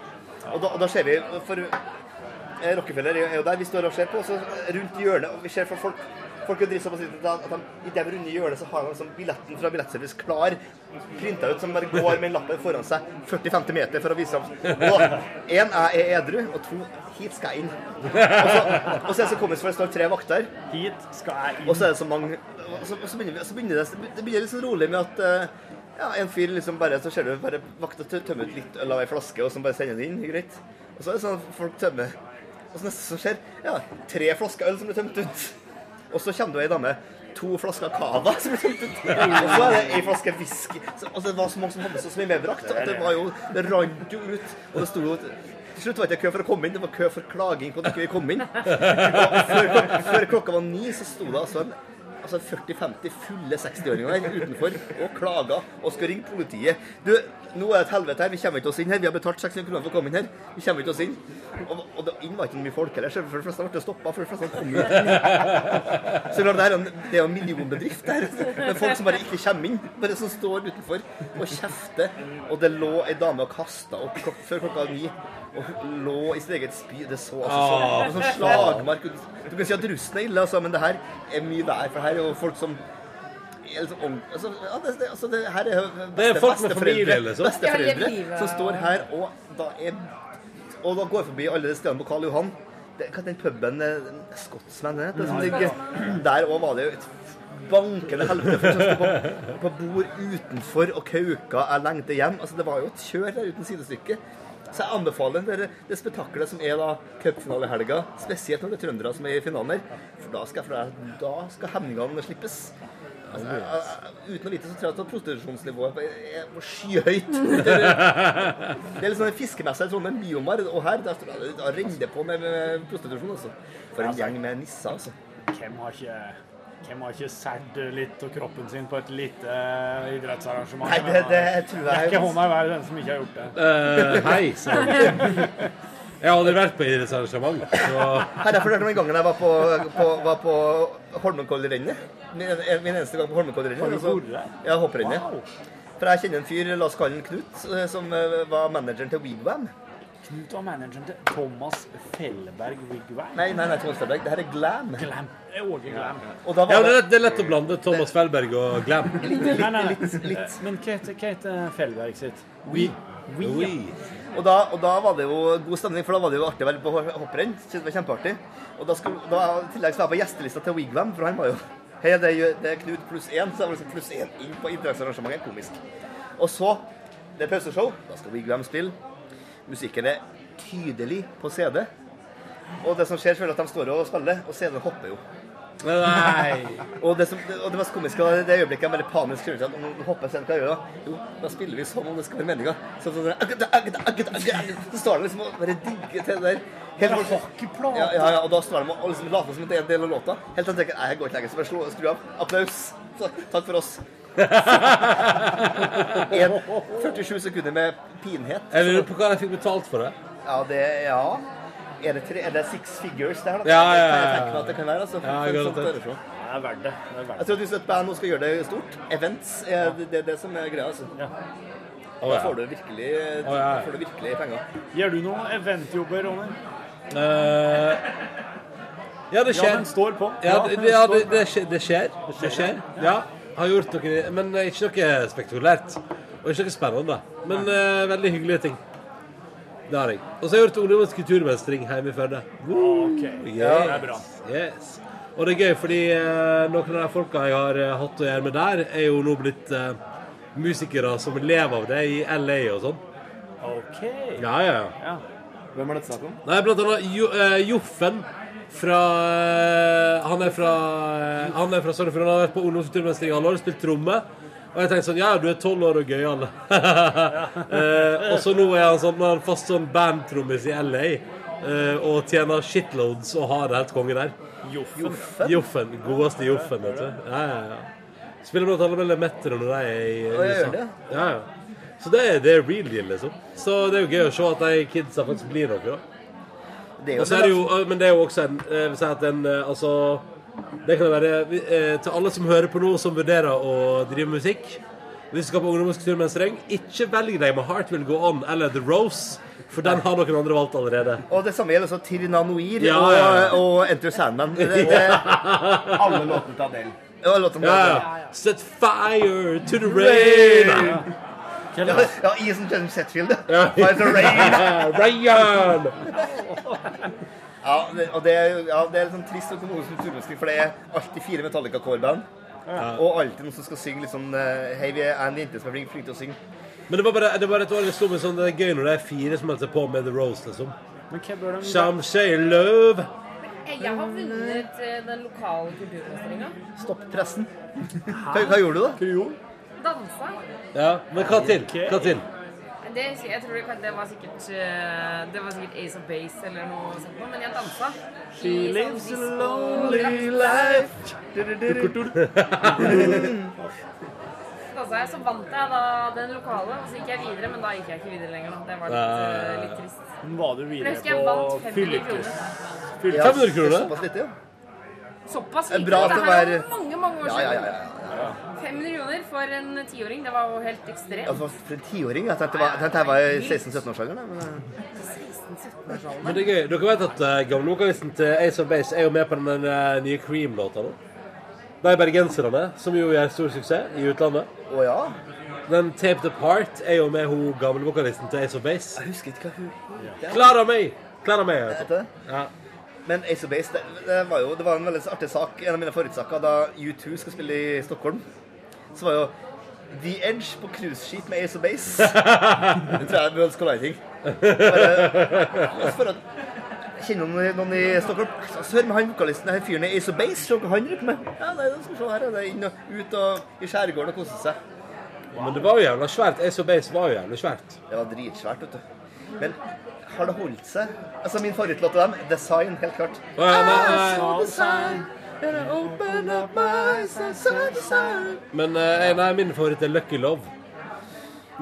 [SPEAKER 11] Og da, og da ser vi For eh, Rockefeller er jo der vi står og ser på, og så rundt hjørnet og vi ser for folk Folk er dritsåpass lite at de, i det runde hjørnet så har de liksom billetten fra Billettservice klar, printa ut, som bare går med lappen foran seg 40-50 meter for å vise fram. Og én jeg er edru, og to hit skal jeg inn. Og så, og så er det så komisk, for det står tre vakter.
[SPEAKER 15] Hit skal jeg inn.
[SPEAKER 11] Og så er det så mange og så, og så, begynner, vi, så begynner det, det begynner litt sånn rolig med at eh, ja, en fyr liksom bare Så ser du bare vakta tø- tømmer ut litt øl av ei flaske, og så bare sender det inn. Greit. Og så er det sånn at folk tømmer Og så neste som skjer, ja, tre flasker øl som blir tømt ut. Og så kommer det ei dame. To flasker cava som blir tømt ut. Og så er det ei flaske whisky. Så- Altså, det var så mange som hadde så mye medbrakt. at Det var jo, det rant jo ut. Og det sto jo til slutt var det ikke kø for å komme inn, det var kø for klaging på at ikke vi kom inn. Og før, klok- før klokka var ni, så sto det altså en altså altså 40-50 fulle 60-åringer der utenfor og klager og skal ringe politiet. Du, nå er det et helvete her, vi kommer ikke oss inn her. Vi har betalt 600 kroner for å komme inn her. Vi kommer ikke oss inn. Og, og det inn var ikke mye folk heller, så for de fleste ble stoppa, for de fleste kom jo ikke inn. Så det er jo en- det er jo en millionbedrift der. Det er folk som bare ikke kommer inn. Bare som står utenfor og kjefter. Og det lå ei dame og kasta opp klok før klokka ni. Og hun lå i sitt eget spy. Det så altså så,
[SPEAKER 13] Ah.
[SPEAKER 11] det var sånn slagmark ut. Du kan si at russen er ille, altså, men det her er mye vær. For her er jo folk som er liksom ordent- altså, ja, det, det, altså, det her er jo
[SPEAKER 13] Det er folk med
[SPEAKER 11] besteforeldre-
[SPEAKER 13] familie, liksom. Ja,
[SPEAKER 11] Besteforeldre
[SPEAKER 13] det er livet.
[SPEAKER 11] som står her og da er Og da går jeg forbi alle de stedene på Karl Johan. Det, hva er den puben eh, Scotsman, er det? det som
[SPEAKER 13] Ja.
[SPEAKER 11] ligger Der òg var det jo et bankende helvete. For jeg på, på bord utenfor og kauka. Jeg lengter hjem. Altså, det var jo et kjør der uten sidestykke. Så jeg anbefaler dere det spetakkelet som er da cupfinalehelga, spesielt når det er trøndere som er i finalen her. For da skal, jeg- da skal hemningene slippes. Altså, jeg, jeg, uten å vite så tror jeg at prostitusjonsnivået er er skyhøyt. Det er, det er litt sånn en fiskemesse i Trondheim, Biomar, og her der, står- da renner det på med, med prostitusjon. Altså. For en gjeng med nisser, altså.
[SPEAKER 16] Hvem har ikke hvem har ikke sært litt av kroppen sin på et lite eh, idrettsarrangement?
[SPEAKER 11] Nei, det- det tror jeg-
[SPEAKER 16] Det er ikke hånda i været, den som ikke har gjort det.
[SPEAKER 13] Eh, hei, sa han. Jeg har aldri vært på idrettsarrangement. så-
[SPEAKER 11] Her jeg fortalte om en gang jeg var på, på, var på Holmenkollrennet. Min, min eneste gang på Holmenkollrennet.
[SPEAKER 16] Har du
[SPEAKER 11] altså.
[SPEAKER 16] vært der?
[SPEAKER 11] Ja, hopprennet.
[SPEAKER 16] Wow.
[SPEAKER 11] For jeg kjenner en fyr, la oss kalle han Knut, eh, som eh, var manageren til Wigwam.
[SPEAKER 16] Knut var manageren til Thomas Felleberg Wigwam.
[SPEAKER 11] Nei, nei, nei, Thomas Felleberg. Det her er Glam.
[SPEAKER 16] Glam. Det er Åge Glam.
[SPEAKER 11] Og da
[SPEAKER 13] ja,
[SPEAKER 11] var
[SPEAKER 13] men det,
[SPEAKER 11] det
[SPEAKER 13] er- det er lett å blande Thomas Felberg og Glam.
[SPEAKER 16] Nei, nei, nei.
[SPEAKER 11] litt.
[SPEAKER 16] Eh, Men hva heter, hva heter Felleberg sitt?
[SPEAKER 13] We.
[SPEAKER 16] We.
[SPEAKER 11] Og da, og da var det jo god stemning, for da var det jo artig å være på hopprenn. Synes Det var kjempeartig. Og da skulle, da, i tillegg så var jeg på gjestelista til Wigwam, for han var jo Hei, det er, jo- det er Knut pluss én, så jeg var liksom pluss én inn på idrettsarrangementet. Komisk. Og så Det er pauseshow. Da skal Wigwam spille. Musikken er tydelig på CD. Og det som skjer, selvfølgelig at de står og spiller, og CD-en hopper jo.
[SPEAKER 13] Nei.
[SPEAKER 11] og, det som, og det mest komiske var det øyeblikket jeg bare panisk skjønte at om den hopper CD, hva gjør jeg da? Jo, da spiller vi som om det skal være meninga. Sånn sånn agda, agda, agda, agda. Så står det liksom og bare digger til det der. Helt
[SPEAKER 16] hockeyplate!
[SPEAKER 11] Ja, ja, ja, og da står de og liksom later som at det er en del av låta. Helt til jeg tenker nei, jeg går ikke lenger, så bare slå, skru av. Applaus. Så, takk for oss. En, 47 sekunder med pinhet.
[SPEAKER 13] Jeg lurer på hva jeg fikk betalt for det.
[SPEAKER 11] Ja, det Ja. Er det, tre, er det six figures der, da?
[SPEAKER 13] Ja, ja, ja, ja.
[SPEAKER 11] Jeg tenker meg at det kan være, altså.
[SPEAKER 13] Ja, jeg
[SPEAKER 11] For Altså- sånt
[SPEAKER 13] garantert.
[SPEAKER 11] arrangement.
[SPEAKER 16] Det er verdt det. det, er verdt
[SPEAKER 11] Jeg tror at hvis et band nå skal gjøre det stort, events, er det det, er det som er greia. Altså.
[SPEAKER 16] Å,
[SPEAKER 11] Da
[SPEAKER 16] ja.
[SPEAKER 11] får du virkelig,
[SPEAKER 16] Å, ja, ja.
[SPEAKER 11] får du virkelig penger.
[SPEAKER 16] det. Gjør du noen eventjobber, Ronny?
[SPEAKER 13] Eh, ja, det skjer.
[SPEAKER 16] Ja, den står på.
[SPEAKER 13] Ja, det, det, ja,
[SPEAKER 16] den
[SPEAKER 13] det,
[SPEAKER 16] står på.
[SPEAKER 13] det, skjer, det skjer. Det skjer. Ja. Har gjort noe, men ikke noe spektakulært. Og ikke noe spennende. Men eh, veldig hyggelige ting. Det har jeg. Og så har jeg gjort ungdommens kulturmønstring hjemme i Førde.
[SPEAKER 16] Ok, ja, det er bra.
[SPEAKER 13] Yes. Og det er gøy, fordi eh, noen av de folka jeg har eh, hatt å gjøre med der, er jo nå blitt eh, musikere som lever av det i LA og sånn.
[SPEAKER 16] OK.
[SPEAKER 13] Ja, ja, ja.
[SPEAKER 11] Hvem er dette snakk om?
[SPEAKER 13] Nei, blant annet jo, eh, Joffen fra eh, Han er fra eh, Han er fra Sogn og Fjordane. Han har vært på ungdomskulturmestring i halvår, spilt tromme. Og jeg tenkte sånn Ja, du er tolv år og gøyal. eh, og så nå er han sånn han er fast sånn bandtrommis i LA. eh, og tjener shitloads og har det helt konge der.
[SPEAKER 16] Joffen.
[SPEAKER 13] Joffen. Godeste Joffen, vet du. Ja, ja, ja. Spiller blant annet med Lemetter når de er i
[SPEAKER 11] Å,
[SPEAKER 13] eh,
[SPEAKER 11] jeg
[SPEAKER 13] USA.
[SPEAKER 11] gjør det?
[SPEAKER 13] Ja, ja. Så det er, det er real deal, liksom. Så det er jo gøy å se at de kidsa faktisk blir noe, da.
[SPEAKER 11] Det er jo
[SPEAKER 13] Og så er det jo, men det er jo også en eh, vil si at en, eh, altså, Det kan være eh, til alle som hører på nå, som vurderer å drive med musikk. Hvis du skal på ungdommens kulturmønstring, ikke velg deg med Heart Will Go On eller The Rose, for den har noen andre valgt allerede.
[SPEAKER 11] Og det samme gjelder også Tirinanoir
[SPEAKER 13] Ja, ja, ja.
[SPEAKER 11] og, og Enter Sandman. Det, det,
[SPEAKER 13] Alle
[SPEAKER 11] låtene til Adele. Ja, låtene til
[SPEAKER 13] Ja,
[SPEAKER 11] Adele.
[SPEAKER 13] ja. Set fire to the rain!
[SPEAKER 11] Ja, ja Isen James Setfield.
[SPEAKER 13] Ja.
[SPEAKER 11] By the rain.
[SPEAKER 13] Rayan!
[SPEAKER 11] Ja, det, og det, er jo- ja, det er litt sånn trist økonomisk kulturmønstring, for det er alltid fire Metallica-coreband.
[SPEAKER 13] Ja.
[SPEAKER 11] Og alltid noen som skal synge litt sånn eh, Hei, vi er en jente som er flink, flink til å synge.
[SPEAKER 13] Men det var bare, det var et år det sto med sånn Det er gøy når det er fire som melder seg på med The Rose, liksom.
[SPEAKER 16] Men hva bør de
[SPEAKER 13] Some say love.
[SPEAKER 12] Eh, Jeg har vunnet eh, den lokale kulturmestringa.
[SPEAKER 11] Stopp pressen. Hva, hva gjorde du, da?
[SPEAKER 12] Dansa.
[SPEAKER 13] Ja, men hva til? Hva til?
[SPEAKER 12] det, husker jeg jeg tror det, kan- det var sikkert eh, Det var sikkert Ace of Base eller noe sånt, noe, men jeg dansa.
[SPEAKER 1] She
[SPEAKER 12] I sånn
[SPEAKER 1] lives a
[SPEAKER 12] disco-
[SPEAKER 1] lonely
[SPEAKER 12] drakt.
[SPEAKER 1] life.
[SPEAKER 12] Dansa jeg, så vant jeg da den lokale, og så gikk jeg videre, men da gikk jeg ikke videre lenger. Da. Det var litt, eh, litt trist.
[SPEAKER 1] Men Var du
[SPEAKER 12] Men jeg
[SPEAKER 1] videre
[SPEAKER 12] husker jeg vant
[SPEAKER 1] på
[SPEAKER 12] 500
[SPEAKER 1] fyllikes?
[SPEAKER 12] kroner.
[SPEAKER 1] fyllikes-
[SPEAKER 11] Ja, 500 kroner? Såpass lite, ja.
[SPEAKER 12] Såpass
[SPEAKER 11] Det er
[SPEAKER 12] lite.
[SPEAKER 11] bra
[SPEAKER 12] det
[SPEAKER 11] til å
[SPEAKER 12] her er
[SPEAKER 11] være-
[SPEAKER 12] mange, mange år
[SPEAKER 11] Ja,
[SPEAKER 12] siden.
[SPEAKER 11] ja, ja, ja.
[SPEAKER 12] 500 kroner for en tiåring, det var jo helt ekstremt.
[SPEAKER 11] Altså, for en tiåring. Jeg tenkte det var- jeg tenkte jeg var i 16-17-årsalderen. Men... eh,
[SPEAKER 12] 16-17-årsalderen.
[SPEAKER 13] Men det er gøy. Dere vet at uh, gamlelokavisen til Ace of Base er jo med på den eh, nye Cream-låta nå. De bergenserne, som jo gjør stor suksess i utlandet.
[SPEAKER 11] Å ja?
[SPEAKER 13] Den Taped Apart er jo med hun gamlevokalisten til Ace of Base.
[SPEAKER 11] Jeg husker ikke hva hun heter.
[SPEAKER 13] Klara May! Klara May,
[SPEAKER 11] Jeg
[SPEAKER 13] altså.
[SPEAKER 11] heter det. Men Ace of Base, det, det var jo det var en veldig artig sak. En av mine favorittsaker da U2 skal spille i Stockholm, så var jo The Edge på cruiseskip med Ace of Base. Det tror jeg er World's Colliding. Bare- altså, for at- Kjenner noen, noen i Stockholm? Altså, hør med han vokalisten, den her fyren i Ace of Base, se hva han driver med. Ja, nei, da skal vi se her, er det inn og ut og i skjærgården og kose seg.
[SPEAKER 13] Men det var jo jævla svært. Ace of Base var jo jævlig svært.
[SPEAKER 11] Det var dritsvært, vet du. Men har det holdt seg? Altså, min favorittlåt av dem, Design, helt klart.
[SPEAKER 13] Å, ja, nei, nei.
[SPEAKER 11] I saw the sign, and I opened up my eyes, I saw the sign.
[SPEAKER 13] Men eh, nei, min favoritt er Lucky Love.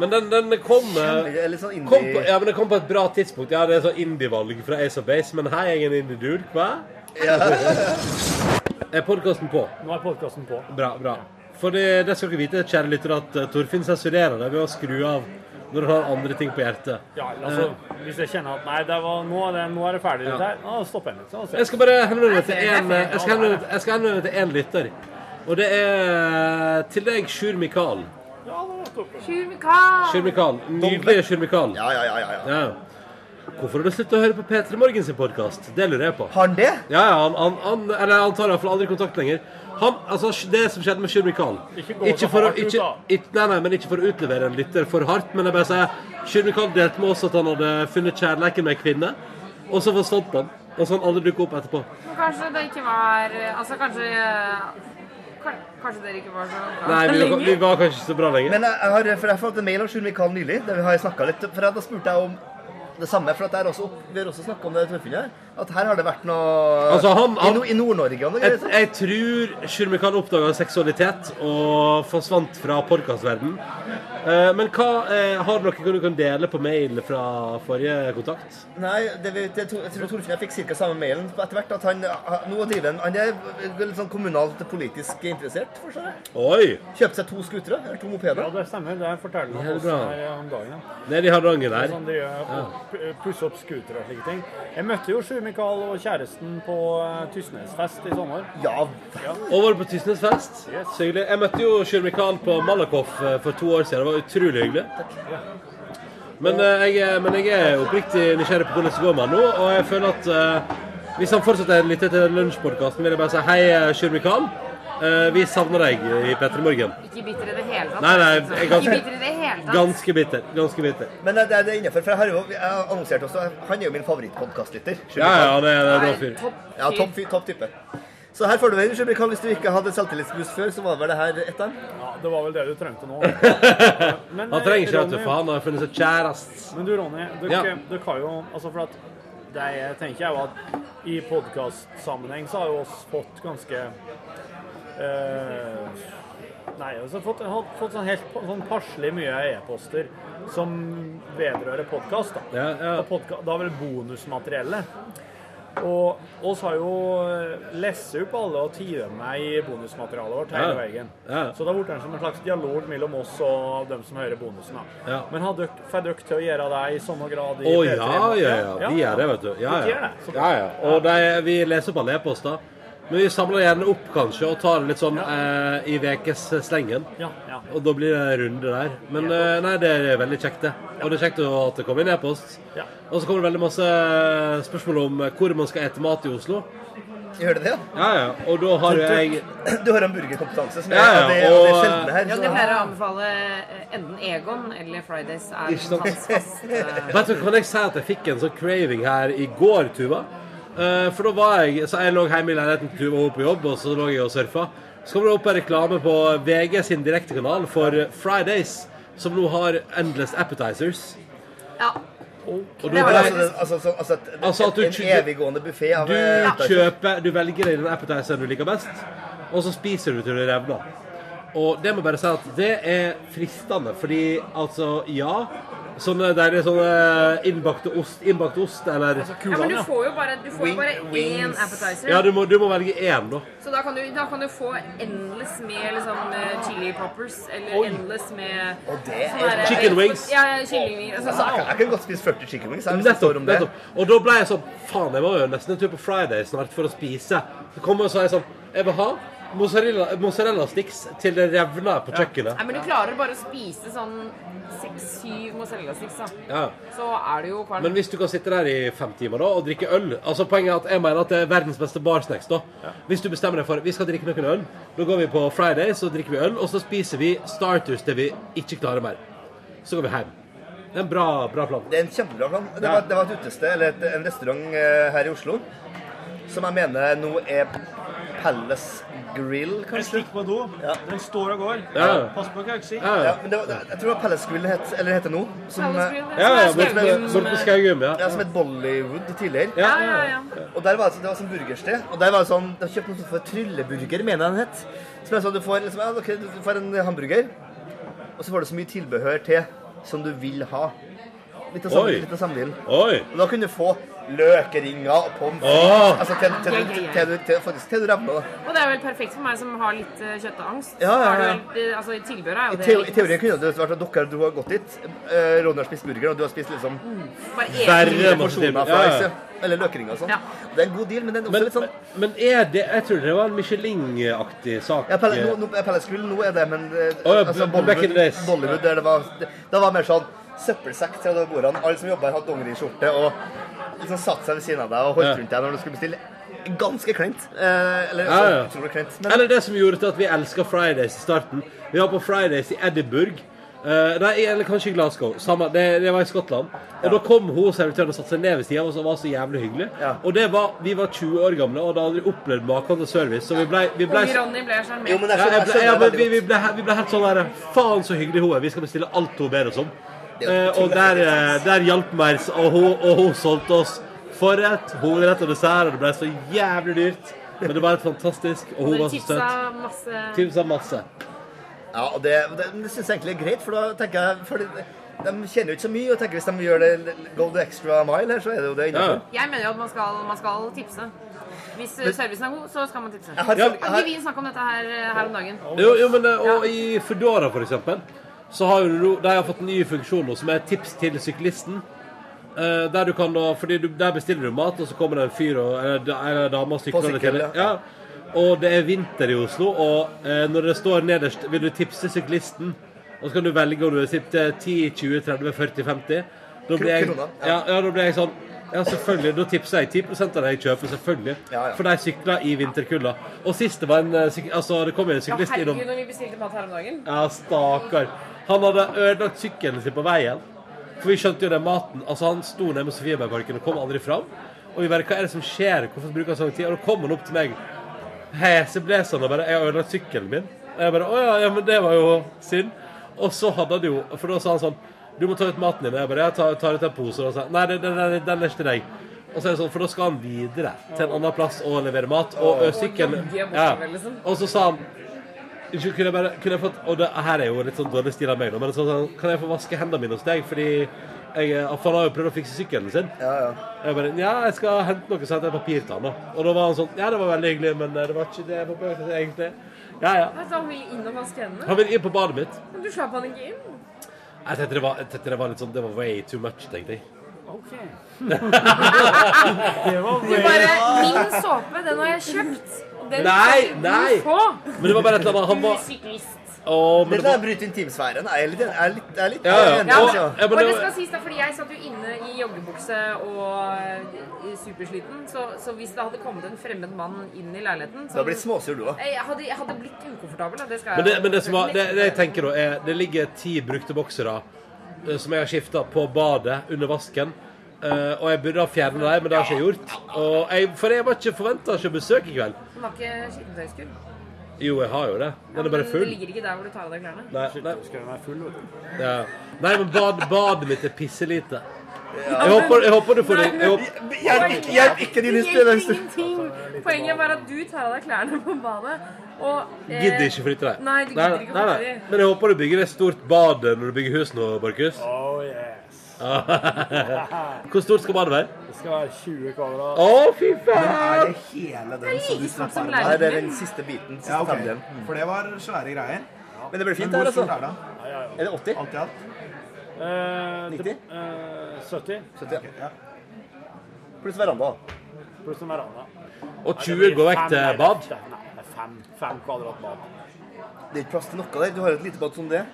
[SPEAKER 13] Men den, den kom, eh,
[SPEAKER 11] Kjempe- eller sånn indie-
[SPEAKER 13] kom på, Ja, men den kom på et bra tidspunkt. Ja, det er sånn indie-valg fra Ace of Base, men hei, jeg er en indie-dude, hva? er podkasten på?
[SPEAKER 1] Nå er podkasten på.
[SPEAKER 13] Bra, bra. For det, det skal dere vite, kjære lyttere, at eh, Torfinn sensurerer deg ved å skru av når han har andre ting på hjertet. Eh,
[SPEAKER 1] Ja, altså, hvis jeg kjenner at nei, det var, nå, er det, nå er det ferdig, dette her, nå stopper jeg litt. sånn, så-
[SPEAKER 13] Jeg skal bare henvende meg til en, eh, jeg skal henvende, jeg skal henvende meg til en lytter. Og det er eh, til deg, Sjur Mikael.
[SPEAKER 12] Sjur Mikael!
[SPEAKER 13] Sjur Mikael. Nydelige Sjur Mikael. Ja,
[SPEAKER 11] ja, ja,
[SPEAKER 13] Hvorfor har du sluttet å høre på P3 Morgen sin podkast? Det lurer jeg på.
[SPEAKER 11] Har han det?
[SPEAKER 13] Ja, ja, han, han, han, eller han tar iallfall aldri kontakt lenger. Han, altså, Det som skjedde med Sjur Mikael
[SPEAKER 1] Ikke gå så
[SPEAKER 13] for å-
[SPEAKER 1] hardt ut,
[SPEAKER 13] ikke,
[SPEAKER 1] da.
[SPEAKER 13] ikke, nei, nei, men ikke for å utlevere en lytter for hardt, men jeg bare sier Sjur Mikael delte med oss at han hadde funnet kjærleiken med ei kvinne, og så forsvant han. Og så har han aldri dukket opp etterpå.
[SPEAKER 12] Men kanskje det ikke var Altså, kanskje kan- Kanskje dere ikke var så bra
[SPEAKER 13] Nei, vi var, vi var kanskje ikke så bra lenger.
[SPEAKER 11] Men jeg, jeg har, for jeg fått en mail av Sjur Mikael nylig, der vi har snakket litt, for da spurte jeg om det samme, for at der også, vi har også snakket om det i Torfinn her, at her har det vært noe
[SPEAKER 13] Altså, han- han-
[SPEAKER 11] i, no- i Nord-Norge og noe
[SPEAKER 13] Jeg,
[SPEAKER 11] greier. sånn.
[SPEAKER 13] jeg tror Sjur Mikael oppdaga seksualitet og forsvant fra podkastverden. Eh, men hva eh, har dere kan du kan dele på mail fra forrige kontakt?
[SPEAKER 11] Nei, det, vi- det, jeg tror Torfinn jeg fikk cirka samme mailen etter hvert, at han, han- nå driver han, han er litt sånn kommunalt politisk interessert, forstår jeg.
[SPEAKER 13] Oi!
[SPEAKER 11] Kjøpte seg to skutere, eller to mopeder.
[SPEAKER 1] Ja, det stemmer. Det forteller han
[SPEAKER 13] Jævlig
[SPEAKER 1] oss
[SPEAKER 13] bra.
[SPEAKER 1] her om dagen. ja.
[SPEAKER 13] Det er de Hardanger
[SPEAKER 1] Det er
[SPEAKER 13] der.
[SPEAKER 1] Sånn de gjør,
[SPEAKER 13] Ja.
[SPEAKER 1] og p- pusse opp skuter og slike ting. Jeg møtte jo Sjur Mikael og kjæresten på eh, Tysnesfest i sommer.
[SPEAKER 11] Ja.
[SPEAKER 13] Og var du på Tysnesfest? Så hyggelig. Jeg møtte jo Sjur Mikael på Malakoff eh, for to år siden. Det var utrolig hyggelig. Men, eh, jeg, er- men jeg er oppriktig nysgjerrig på hvordan det går med han nå, og jeg føler at eh, hvis han fortsetter å lytte til lunsjpodkasten, vil jeg bare si hei, eh, Sjur Mikael. Eh, vi savner deg i P3 Morgen.
[SPEAKER 12] Ikke bitter i det hele tatt. altså.
[SPEAKER 13] Nei, nei, jeg er ganske-
[SPEAKER 12] Ikke bitter i det hele tatt.
[SPEAKER 13] Ganske bitter. Ganske bitter.
[SPEAKER 11] Men det, det er innenfor, for jeg har jo jeg annonserte også, han er jo min favorittpodkastlytter. Sjur
[SPEAKER 13] Ja, ja,
[SPEAKER 11] Mikael.
[SPEAKER 13] det er- det er bra fyr.
[SPEAKER 11] Ja, topp fyr, topp type. Så her får du en Sjubrik Hvis du ikke hadde selvtillitsboost før, så var vel det her et av dem.
[SPEAKER 1] Ja, det var vel det du trengte nå. Men,
[SPEAKER 13] Han trenger ikke
[SPEAKER 1] eh,
[SPEAKER 13] det,
[SPEAKER 1] Ronny-
[SPEAKER 13] for han har funnet seg kjæreste.
[SPEAKER 1] Men du, Ronny, dere,
[SPEAKER 13] Ja.
[SPEAKER 1] dere har jo Altså, for at det jeg tenker jeg jo at i podkastsammenheng så har jo oss fått ganske eh, Nei, altså fått, har fått sånn helt sånn passelig mye e-poster som vedrører podkast. Da.
[SPEAKER 13] Ja, ja.
[SPEAKER 1] Og podka- da er vel bonusmateriellet. Og oss har jo lest opp alle og tidet meg i bonusmaterialet vårt hele
[SPEAKER 13] Ja.
[SPEAKER 1] veien.
[SPEAKER 13] Ja.
[SPEAKER 1] Så da ble det som en slags dialog mellom oss og dem som hører bonusen. da.
[SPEAKER 13] Ja.
[SPEAKER 1] Men har dere, får dere til å gjøre det i samme grad i
[SPEAKER 13] Å
[SPEAKER 1] P3
[SPEAKER 13] ja, ja, ja. De
[SPEAKER 1] ja.
[SPEAKER 13] er det, vet du. Ja,
[SPEAKER 1] Dere
[SPEAKER 13] ja.
[SPEAKER 1] gjør det, så bra.
[SPEAKER 13] ja, ja. Og de, vi leser opp alle e-poster. Men vi samler gjerne opp, kanskje, og tar det litt sånn eh, i ukesslengen.
[SPEAKER 1] Ja, ja.
[SPEAKER 13] Og da blir det en runde der. Men eh, nei, det er veldig kjekt, det. Og det er kjekt å- at det kommer inn e-post.
[SPEAKER 1] Ja.
[SPEAKER 13] Og så kommer det veldig masse eh, spørsmål om hvor man skal ete mat i Oslo.
[SPEAKER 11] Gjør det det?
[SPEAKER 13] Ja, ja. Og da har jo jeg
[SPEAKER 11] Du har en burgerkompetanse som er,
[SPEAKER 13] Ja, ja,
[SPEAKER 11] det, og, det er
[SPEAKER 13] og-
[SPEAKER 11] sjeldne her.
[SPEAKER 12] Ja,
[SPEAKER 11] så-
[SPEAKER 12] de pleier å anbefale eh, enten Egon eller Fridays er eh.
[SPEAKER 13] Ikke sant?
[SPEAKER 12] hans faste
[SPEAKER 13] Vet du, kan jeg si at jeg fikk en sånn craving her i går, Tuva? Eh, for da var jeg Så jeg lå hjemme i leiligheten til Tuva og hun på jobb, og så lå jeg og surfa. Så kom det opp en reklame på VG sin direktekanal for Fridays, som nå har Endless Appetizers.
[SPEAKER 12] Ja.
[SPEAKER 13] Og
[SPEAKER 11] Ja,
[SPEAKER 13] da-
[SPEAKER 11] men altså, det- altså, altså, altså, et-
[SPEAKER 13] Altså at du
[SPEAKER 11] en
[SPEAKER 13] kjø-
[SPEAKER 11] eviggående buffé av
[SPEAKER 13] Du
[SPEAKER 11] eh, appetizer.
[SPEAKER 13] kjøper, du velger deg den appetizeren du liker best, og så spiser du til du revner. Og det må jeg bare si at det er fristende, fordi altså, ja Sånne deilige sånne innbakte ost, innbakt ost eller
[SPEAKER 12] Ja, men du får jo bare, du får jo bare én appetizer.
[SPEAKER 13] Ja, du må, du må velge én, da.
[SPEAKER 12] Så da kan, du, da kan du få endless med liksom, eh, chili poppers, eller endless med
[SPEAKER 11] det er-
[SPEAKER 12] sånn der-
[SPEAKER 13] Chicken wings.
[SPEAKER 12] Ja, ja, kyllingvinger. Altså,
[SPEAKER 11] Altså, jeg kan-
[SPEAKER 12] sånn.
[SPEAKER 11] jeg kan godt spise 40 chicken wings. jeg, hvis det står
[SPEAKER 13] Nettopp.
[SPEAKER 11] om det.
[SPEAKER 13] nettopp. Og da ble jeg sånn Faen, jeg var jo nesten en tur på Friday snart for å spise. Så kom jeg og sa jeg sånn Jeg vil ha mozzarella, mozzarella sticks til det revner på
[SPEAKER 12] Nei,
[SPEAKER 13] kjøkkenet.
[SPEAKER 12] men du klarer bare å spise sånn seks-syv mozzarella-sticks, da.
[SPEAKER 13] Ja.
[SPEAKER 12] Så er du jo kvalm.
[SPEAKER 13] Men hvis du kan sitte der i fem timer da og drikke øl Altså Poenget er at jeg mener at det er verdens beste barsnacks. da Hvis du bestemmer deg for vi skal drikke noen øl, da går vi på Friday, så drikker vi øl, og så spiser vi starters til vi ikke klarer mer. Så går vi hjem. Det er en bra, bra plan.
[SPEAKER 11] Det er en kjempebra plan. Det var, det var et utested, eller et, en restaurant eh, her i Oslo, som jeg mener nå er Palace Grill,
[SPEAKER 16] En
[SPEAKER 11] kanskje?
[SPEAKER 16] stikk på do. Den står og går.
[SPEAKER 11] Ja, ja.
[SPEAKER 16] Pass på kaksi.
[SPEAKER 11] Ja, men det var, jeg tror det var Palace Grill het, eller heter nå. eh,
[SPEAKER 16] Palace Grill,
[SPEAKER 13] ja. Ja, ja, borte ved- borte ved Skaugum, ja.
[SPEAKER 11] Som het Bollywood tidligere.
[SPEAKER 13] Ja, ja, ja.
[SPEAKER 11] Og der var det, sånn- det var sånn burgersted. Og der var det sånn, De kjøpte noe sånt for trylleburger, mener jeg den het. Som er sånn, du får, liksom, ja, ok, du får en hamburger, og så får du så mye tilbehør til som du vil ha. Litt av samme,
[SPEAKER 13] Oi.
[SPEAKER 11] litt av samme dealen.
[SPEAKER 13] Oi!
[SPEAKER 11] Og da kunne du få løkeringer og pommes
[SPEAKER 13] Åh!
[SPEAKER 11] frites. Altså, til, til,
[SPEAKER 12] Ja,
[SPEAKER 11] til,
[SPEAKER 12] ja, ja.
[SPEAKER 11] til, til, faktisk til du revner. da.
[SPEAKER 12] Og det er vel perfekt for meg som har litt eh, kjøttangst.
[SPEAKER 11] Ja, ja,
[SPEAKER 12] Så har du
[SPEAKER 11] ja.
[SPEAKER 12] vel- det- Altså, tilbehøret er
[SPEAKER 11] I,
[SPEAKER 12] jo det
[SPEAKER 11] teo I teorien kunne det vært at dere du har gått dit. Eh, Ronny har spist burger, og du har spist liksom
[SPEAKER 12] Mm. Bare
[SPEAKER 13] Verre masse
[SPEAKER 11] porsjoner
[SPEAKER 13] tilbud.
[SPEAKER 11] fra
[SPEAKER 13] Ja, ja.
[SPEAKER 11] Ice, Eller løkringer og sånn. Det er en god deal, men den er også
[SPEAKER 13] Men,
[SPEAKER 11] litt sånn
[SPEAKER 13] men er det Jeg tror det var en Michelin-aktig sak.
[SPEAKER 11] ja, Pelle, nå, nå, er Palace Grill, nå er det, men eh,
[SPEAKER 13] Å, ja, b- back in the
[SPEAKER 11] Bollywood,
[SPEAKER 13] days.
[SPEAKER 11] Bollywood der det var det, Da var det mer sånn søppelsekk til alle bordene. Alle som jobba her, hadde dongeriskjorte og liksom satte seg ved siden av deg og holdt
[SPEAKER 13] Ja.
[SPEAKER 11] rundt deg når du skulle bestille. Ganske kleint. Eh, eller
[SPEAKER 13] Ja, ja.
[SPEAKER 11] utrolig kleint. Men
[SPEAKER 13] Eller det som gjorde til at vi elska Fridays i starten. Vi var på Fridays i Edinburgh. Eh, nei, eller kanskje i Glasgow. Samme, det, det var i Skottland. Og da kom hun servitøren og satte seg ned ved sida av oss og var så jævlig hyggelig. Og det var, vi var 20 år gamle og hadde aldri opplevd maken til service, så vi blei ble,
[SPEAKER 12] Unge Ronny ble sjarmert.
[SPEAKER 13] ja, jeg ble, ja, men vi, vi, ble, he- vi ble helt sånn der Faen så hyggelig hun er. Vi skal bestille alt hun ber oss om. Eh, og der, eh, der hjalp meg, og hun, og hun solgte oss forrett, hovedrett og dessert, og det ble så jævlig dyrt. Men det var helt fantastisk, og hun
[SPEAKER 12] Dere
[SPEAKER 13] var så
[SPEAKER 12] tipsa
[SPEAKER 13] søt.
[SPEAKER 12] masse
[SPEAKER 13] Tipsa masse.
[SPEAKER 11] Ja, og det, det, det syns jeg egentlig er greit, for da tenker jeg for de, de kjenner jo ikke så mye, og tenker hvis de gjør det go the extra mile her, så er det jo det innafor.
[SPEAKER 12] Jeg mener jo at man skal, man skal tipse. Hvis eh,
[SPEAKER 11] Men-
[SPEAKER 12] servicen er god, så skal man tipse.
[SPEAKER 11] Jeg har-
[SPEAKER 12] Hadde
[SPEAKER 13] jeg har-
[SPEAKER 12] ikke vi snakket om dette her, eh, her om dagen?
[SPEAKER 13] Jo, jo men eh, og i Foodora for eksempel så har jo nå- de har fått en ny funksjon nå, som er tips til syklisten. Eh, der du kan da Fordi du, der bestiller du mat, og så kommer det en fyr og eller, da- eller dame og
[SPEAKER 11] På
[SPEAKER 13] sykler
[SPEAKER 11] sykkel,
[SPEAKER 13] deg til. Ja. Og det er vinter i Oslo, og eh, når det står nederst 'Vil du tipse syklisten?' Og så kan du velge om du vil tipse 10, 20, 30, 40, 50. Da blir jeg,
[SPEAKER 11] Kroner,
[SPEAKER 13] ja, ja, da blir jeg sånn Ja, selvfølgelig. Da tipser jeg 10 av det jeg kjøper, selvfølgelig.
[SPEAKER 11] ja.
[SPEAKER 13] For de sykler i vinterkulda. Og sist det var en eh, syk, Altså, det kom jo en
[SPEAKER 12] Ja,
[SPEAKER 13] syklist innom
[SPEAKER 12] herregud, når vi bestilte mat her om dagen.
[SPEAKER 13] ja, stakkar. Han hadde ødelagt sykkelen sin på veien. For vi skjønte jo den maten. Altså, han sto nede med Sofiebergparken og kom aldri fram. Og vi bare Hva er det som skjer? Hvorfor bruker han sånn tid? Og da kom han opp til meg heseblesende sånn, og bare 'Jeg har ødelagt sykkelen min'. Og jeg bare 'Å ja, ja, men det var jo synd'. Og så hadde han jo For da sa han sånn 'Du må ta ut maten din'. Og jeg bare 'Jeg tar, tar ut en pose'. Og han sa 'Nei, den, den, den, den er ikke til deg'. Og så er det sånn, For da skal han videre til en annen plass og levere mat. Og ø, sykkelen
[SPEAKER 12] Og jogge
[SPEAKER 13] ja.
[SPEAKER 12] bortover, liksom.
[SPEAKER 13] Og så sa han Unnskyld, kunne jeg bare kunne jeg fått, Og det her er jo litt sånn dårlig stil av meg, nå, men sånn, sånn, kan jeg få vaske hendene mine hos deg? Fordi jeg, eh, for han har jo prøvd å fikse sykkelen sin. Jeg bare Ja, jeg skal hente noe som heter papir til han, da. Og da var han sånn Ja, det var veldig hyggelig, men eh, det var ikke det jeg forberedte egentlig. Ja, ja.
[SPEAKER 12] Vet du, Han ville inn og vaske hendene.
[SPEAKER 13] Han vil inn på badet mitt.
[SPEAKER 12] Men du slapp han ikke inn.
[SPEAKER 13] Jeg tenkte det var, jeg tenkte det var litt sånn Det var way too much, tenkte jeg.
[SPEAKER 12] Ok.
[SPEAKER 13] det var
[SPEAKER 12] Du bare Min såpe, den har jeg kjøpt. Og den
[SPEAKER 13] Nei,
[SPEAKER 12] skal du
[SPEAKER 13] nei.
[SPEAKER 12] Få.
[SPEAKER 13] Men det var bare et eller annet, han var-
[SPEAKER 12] Du syklist.
[SPEAKER 13] Åh, men
[SPEAKER 11] Det
[SPEAKER 13] det var-
[SPEAKER 11] der bryter intimsfæren. Jeg er litt, jeg er litt, jeg er litt
[SPEAKER 13] Ja, ja.
[SPEAKER 11] jeg er enig,
[SPEAKER 12] Ja,
[SPEAKER 11] altså.
[SPEAKER 12] og det skal sies da, fordi jeg satt jo inne i joggebukse og eh, supersliten, så, så hvis det hadde kommet en fremmed mann inn i leiligheten
[SPEAKER 11] Du har blitt småsur, du òg.
[SPEAKER 12] Eh, Jeg hadde, jeg hadde blitt ukomfortabel, da. Det skal
[SPEAKER 13] Men det,
[SPEAKER 12] jeg
[SPEAKER 13] men det, som var, det, det jeg tenker da er Det ligger ti brukte boksere eh, som jeg har skifta på badet under vasken. Eh, og jeg burde ha fjernet dem, men det har jeg ikke gjort. Og jeg, for jeg var ikke forventa ikke besøk i kveld.
[SPEAKER 12] Den var ikke skittentøyskull.
[SPEAKER 13] Jo, jeg har jo det. Den er bare
[SPEAKER 12] men
[SPEAKER 13] full.
[SPEAKER 12] Det ligger ikke der hvor du tar av deg klærne.
[SPEAKER 13] Nei, nei.
[SPEAKER 1] Den er full, vet du.
[SPEAKER 13] Ja. nei men bad, badet mitt er pisselite. Jeg, håper, jeg håper du får det. Jeg håper...
[SPEAKER 12] Hjelp
[SPEAKER 11] ikke- hjelp ikke din historie.
[SPEAKER 12] ingenting. Poenget var at du tar av deg klærne på badet, og eh,
[SPEAKER 13] Gidder ikke flytte deg.
[SPEAKER 12] Nei, du gidder ikke
[SPEAKER 13] nei,
[SPEAKER 12] flytte
[SPEAKER 13] nei.
[SPEAKER 12] deg.
[SPEAKER 13] Men jeg håper du bygger et stort bad når du bygger hus nå, Markus.
[SPEAKER 1] Oh yes.
[SPEAKER 13] Hvor stort skal badet være?
[SPEAKER 1] Det skal være 20 kvadrat.
[SPEAKER 13] Å, fy
[SPEAKER 1] faen!
[SPEAKER 17] Er det hele den
[SPEAKER 1] Det er like
[SPEAKER 17] som du
[SPEAKER 1] stort
[SPEAKER 17] snakker
[SPEAKER 1] som
[SPEAKER 17] om?
[SPEAKER 1] leiligheten Nei, det er
[SPEAKER 11] den min. siste biten, siste
[SPEAKER 17] ja, ok.
[SPEAKER 11] halvdelen.
[SPEAKER 17] For det var svære greier.
[SPEAKER 11] Men det blir fint
[SPEAKER 17] hvor
[SPEAKER 11] der, altså.
[SPEAKER 17] stort Er det?
[SPEAKER 11] Er det 80?
[SPEAKER 17] Alt i alt?
[SPEAKER 1] Eh, det- eh, 70.
[SPEAKER 11] 70, Pluss veranda.
[SPEAKER 1] Pluss en veranda.
[SPEAKER 13] Og
[SPEAKER 1] Nei,
[SPEAKER 13] 20
[SPEAKER 1] det blir
[SPEAKER 13] går vekk
[SPEAKER 1] fem,
[SPEAKER 13] til
[SPEAKER 1] eller-
[SPEAKER 13] bad?
[SPEAKER 1] Nei, det er fem, fem kvadrat bad.
[SPEAKER 11] Det er ikke plass til noe der. Du har et lite bad som det.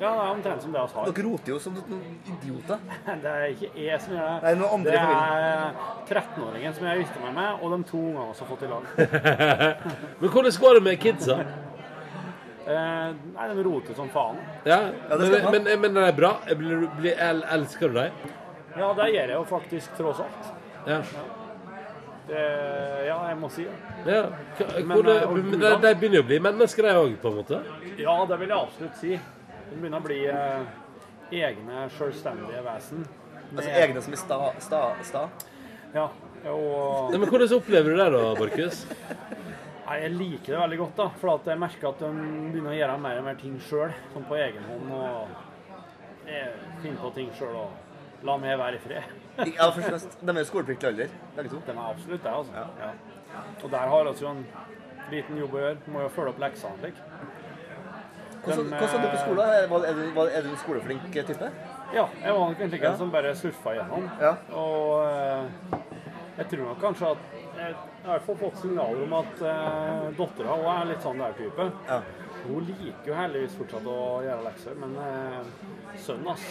[SPEAKER 1] Ja, det er omtrent som det vi har.
[SPEAKER 11] Dere roter jo som noen idioter.
[SPEAKER 1] Det er ikke jeg som gjør
[SPEAKER 11] Nei, noen andre
[SPEAKER 1] det
[SPEAKER 11] i
[SPEAKER 1] er 13-åringen som jeg gifter meg med, og de to ungene som har fått i lag.
[SPEAKER 13] Men hvordan går det med kidsa?
[SPEAKER 1] Eh, nei, de roter som faen.
[SPEAKER 13] Ja,
[SPEAKER 1] Ja, det
[SPEAKER 13] men,
[SPEAKER 1] skal man.
[SPEAKER 13] men, men det er bra. Jeg blir, blir, el- elsker du dem?
[SPEAKER 1] Ja, det gjør jeg jo faktisk tross alt.
[SPEAKER 13] Ja.
[SPEAKER 1] Det, ja, jeg må si det.
[SPEAKER 13] Ja. Hva-
[SPEAKER 1] Men,
[SPEAKER 13] hvor det-
[SPEAKER 1] eh, og
[SPEAKER 13] men De
[SPEAKER 1] gula?
[SPEAKER 13] de begynner jo å bli mennesker, de òg, på en måte.
[SPEAKER 1] Ja, det vil jeg absolutt si. De begynner å bli eh, egne, selvstendige vesen.
[SPEAKER 11] Altså egne som er sta. sta, sta.
[SPEAKER 1] Ja, og...
[SPEAKER 13] Nei, men Hvordan opplever du det, da, Markus?
[SPEAKER 1] Nei, Jeg liker det veldig godt, da. For at jeg merker at de begynner å gjøre mer og mer ting sjøl. Sånn på egen hånd. Og jeg finner på ting sjøl og la meg være i fred.
[SPEAKER 11] Ja, først og fremst. De er jo skolepliktig alder, begge to.
[SPEAKER 1] De er absolutt det, altså. Ja. Og der har vi jo en liten jobb å gjøre. Må jo følge opp leksene slik.
[SPEAKER 11] Hvordan
[SPEAKER 1] De,
[SPEAKER 11] hvordan er du på skolen? Er, var- er, du, var- er du en skoleflink type?
[SPEAKER 1] eh, Ja, jeg var nok egentlig ikke
[SPEAKER 11] Ja.
[SPEAKER 1] en sånn- som bare surfa gjennom. Og eh, jeg tror nok kanskje at Jeg har i hvert fall fått signaler om at eh, dattera òg er litt sånn der type. Hun liker jo heldigvis fortsatt å gjøre lekser, men eh, sønnen, ass,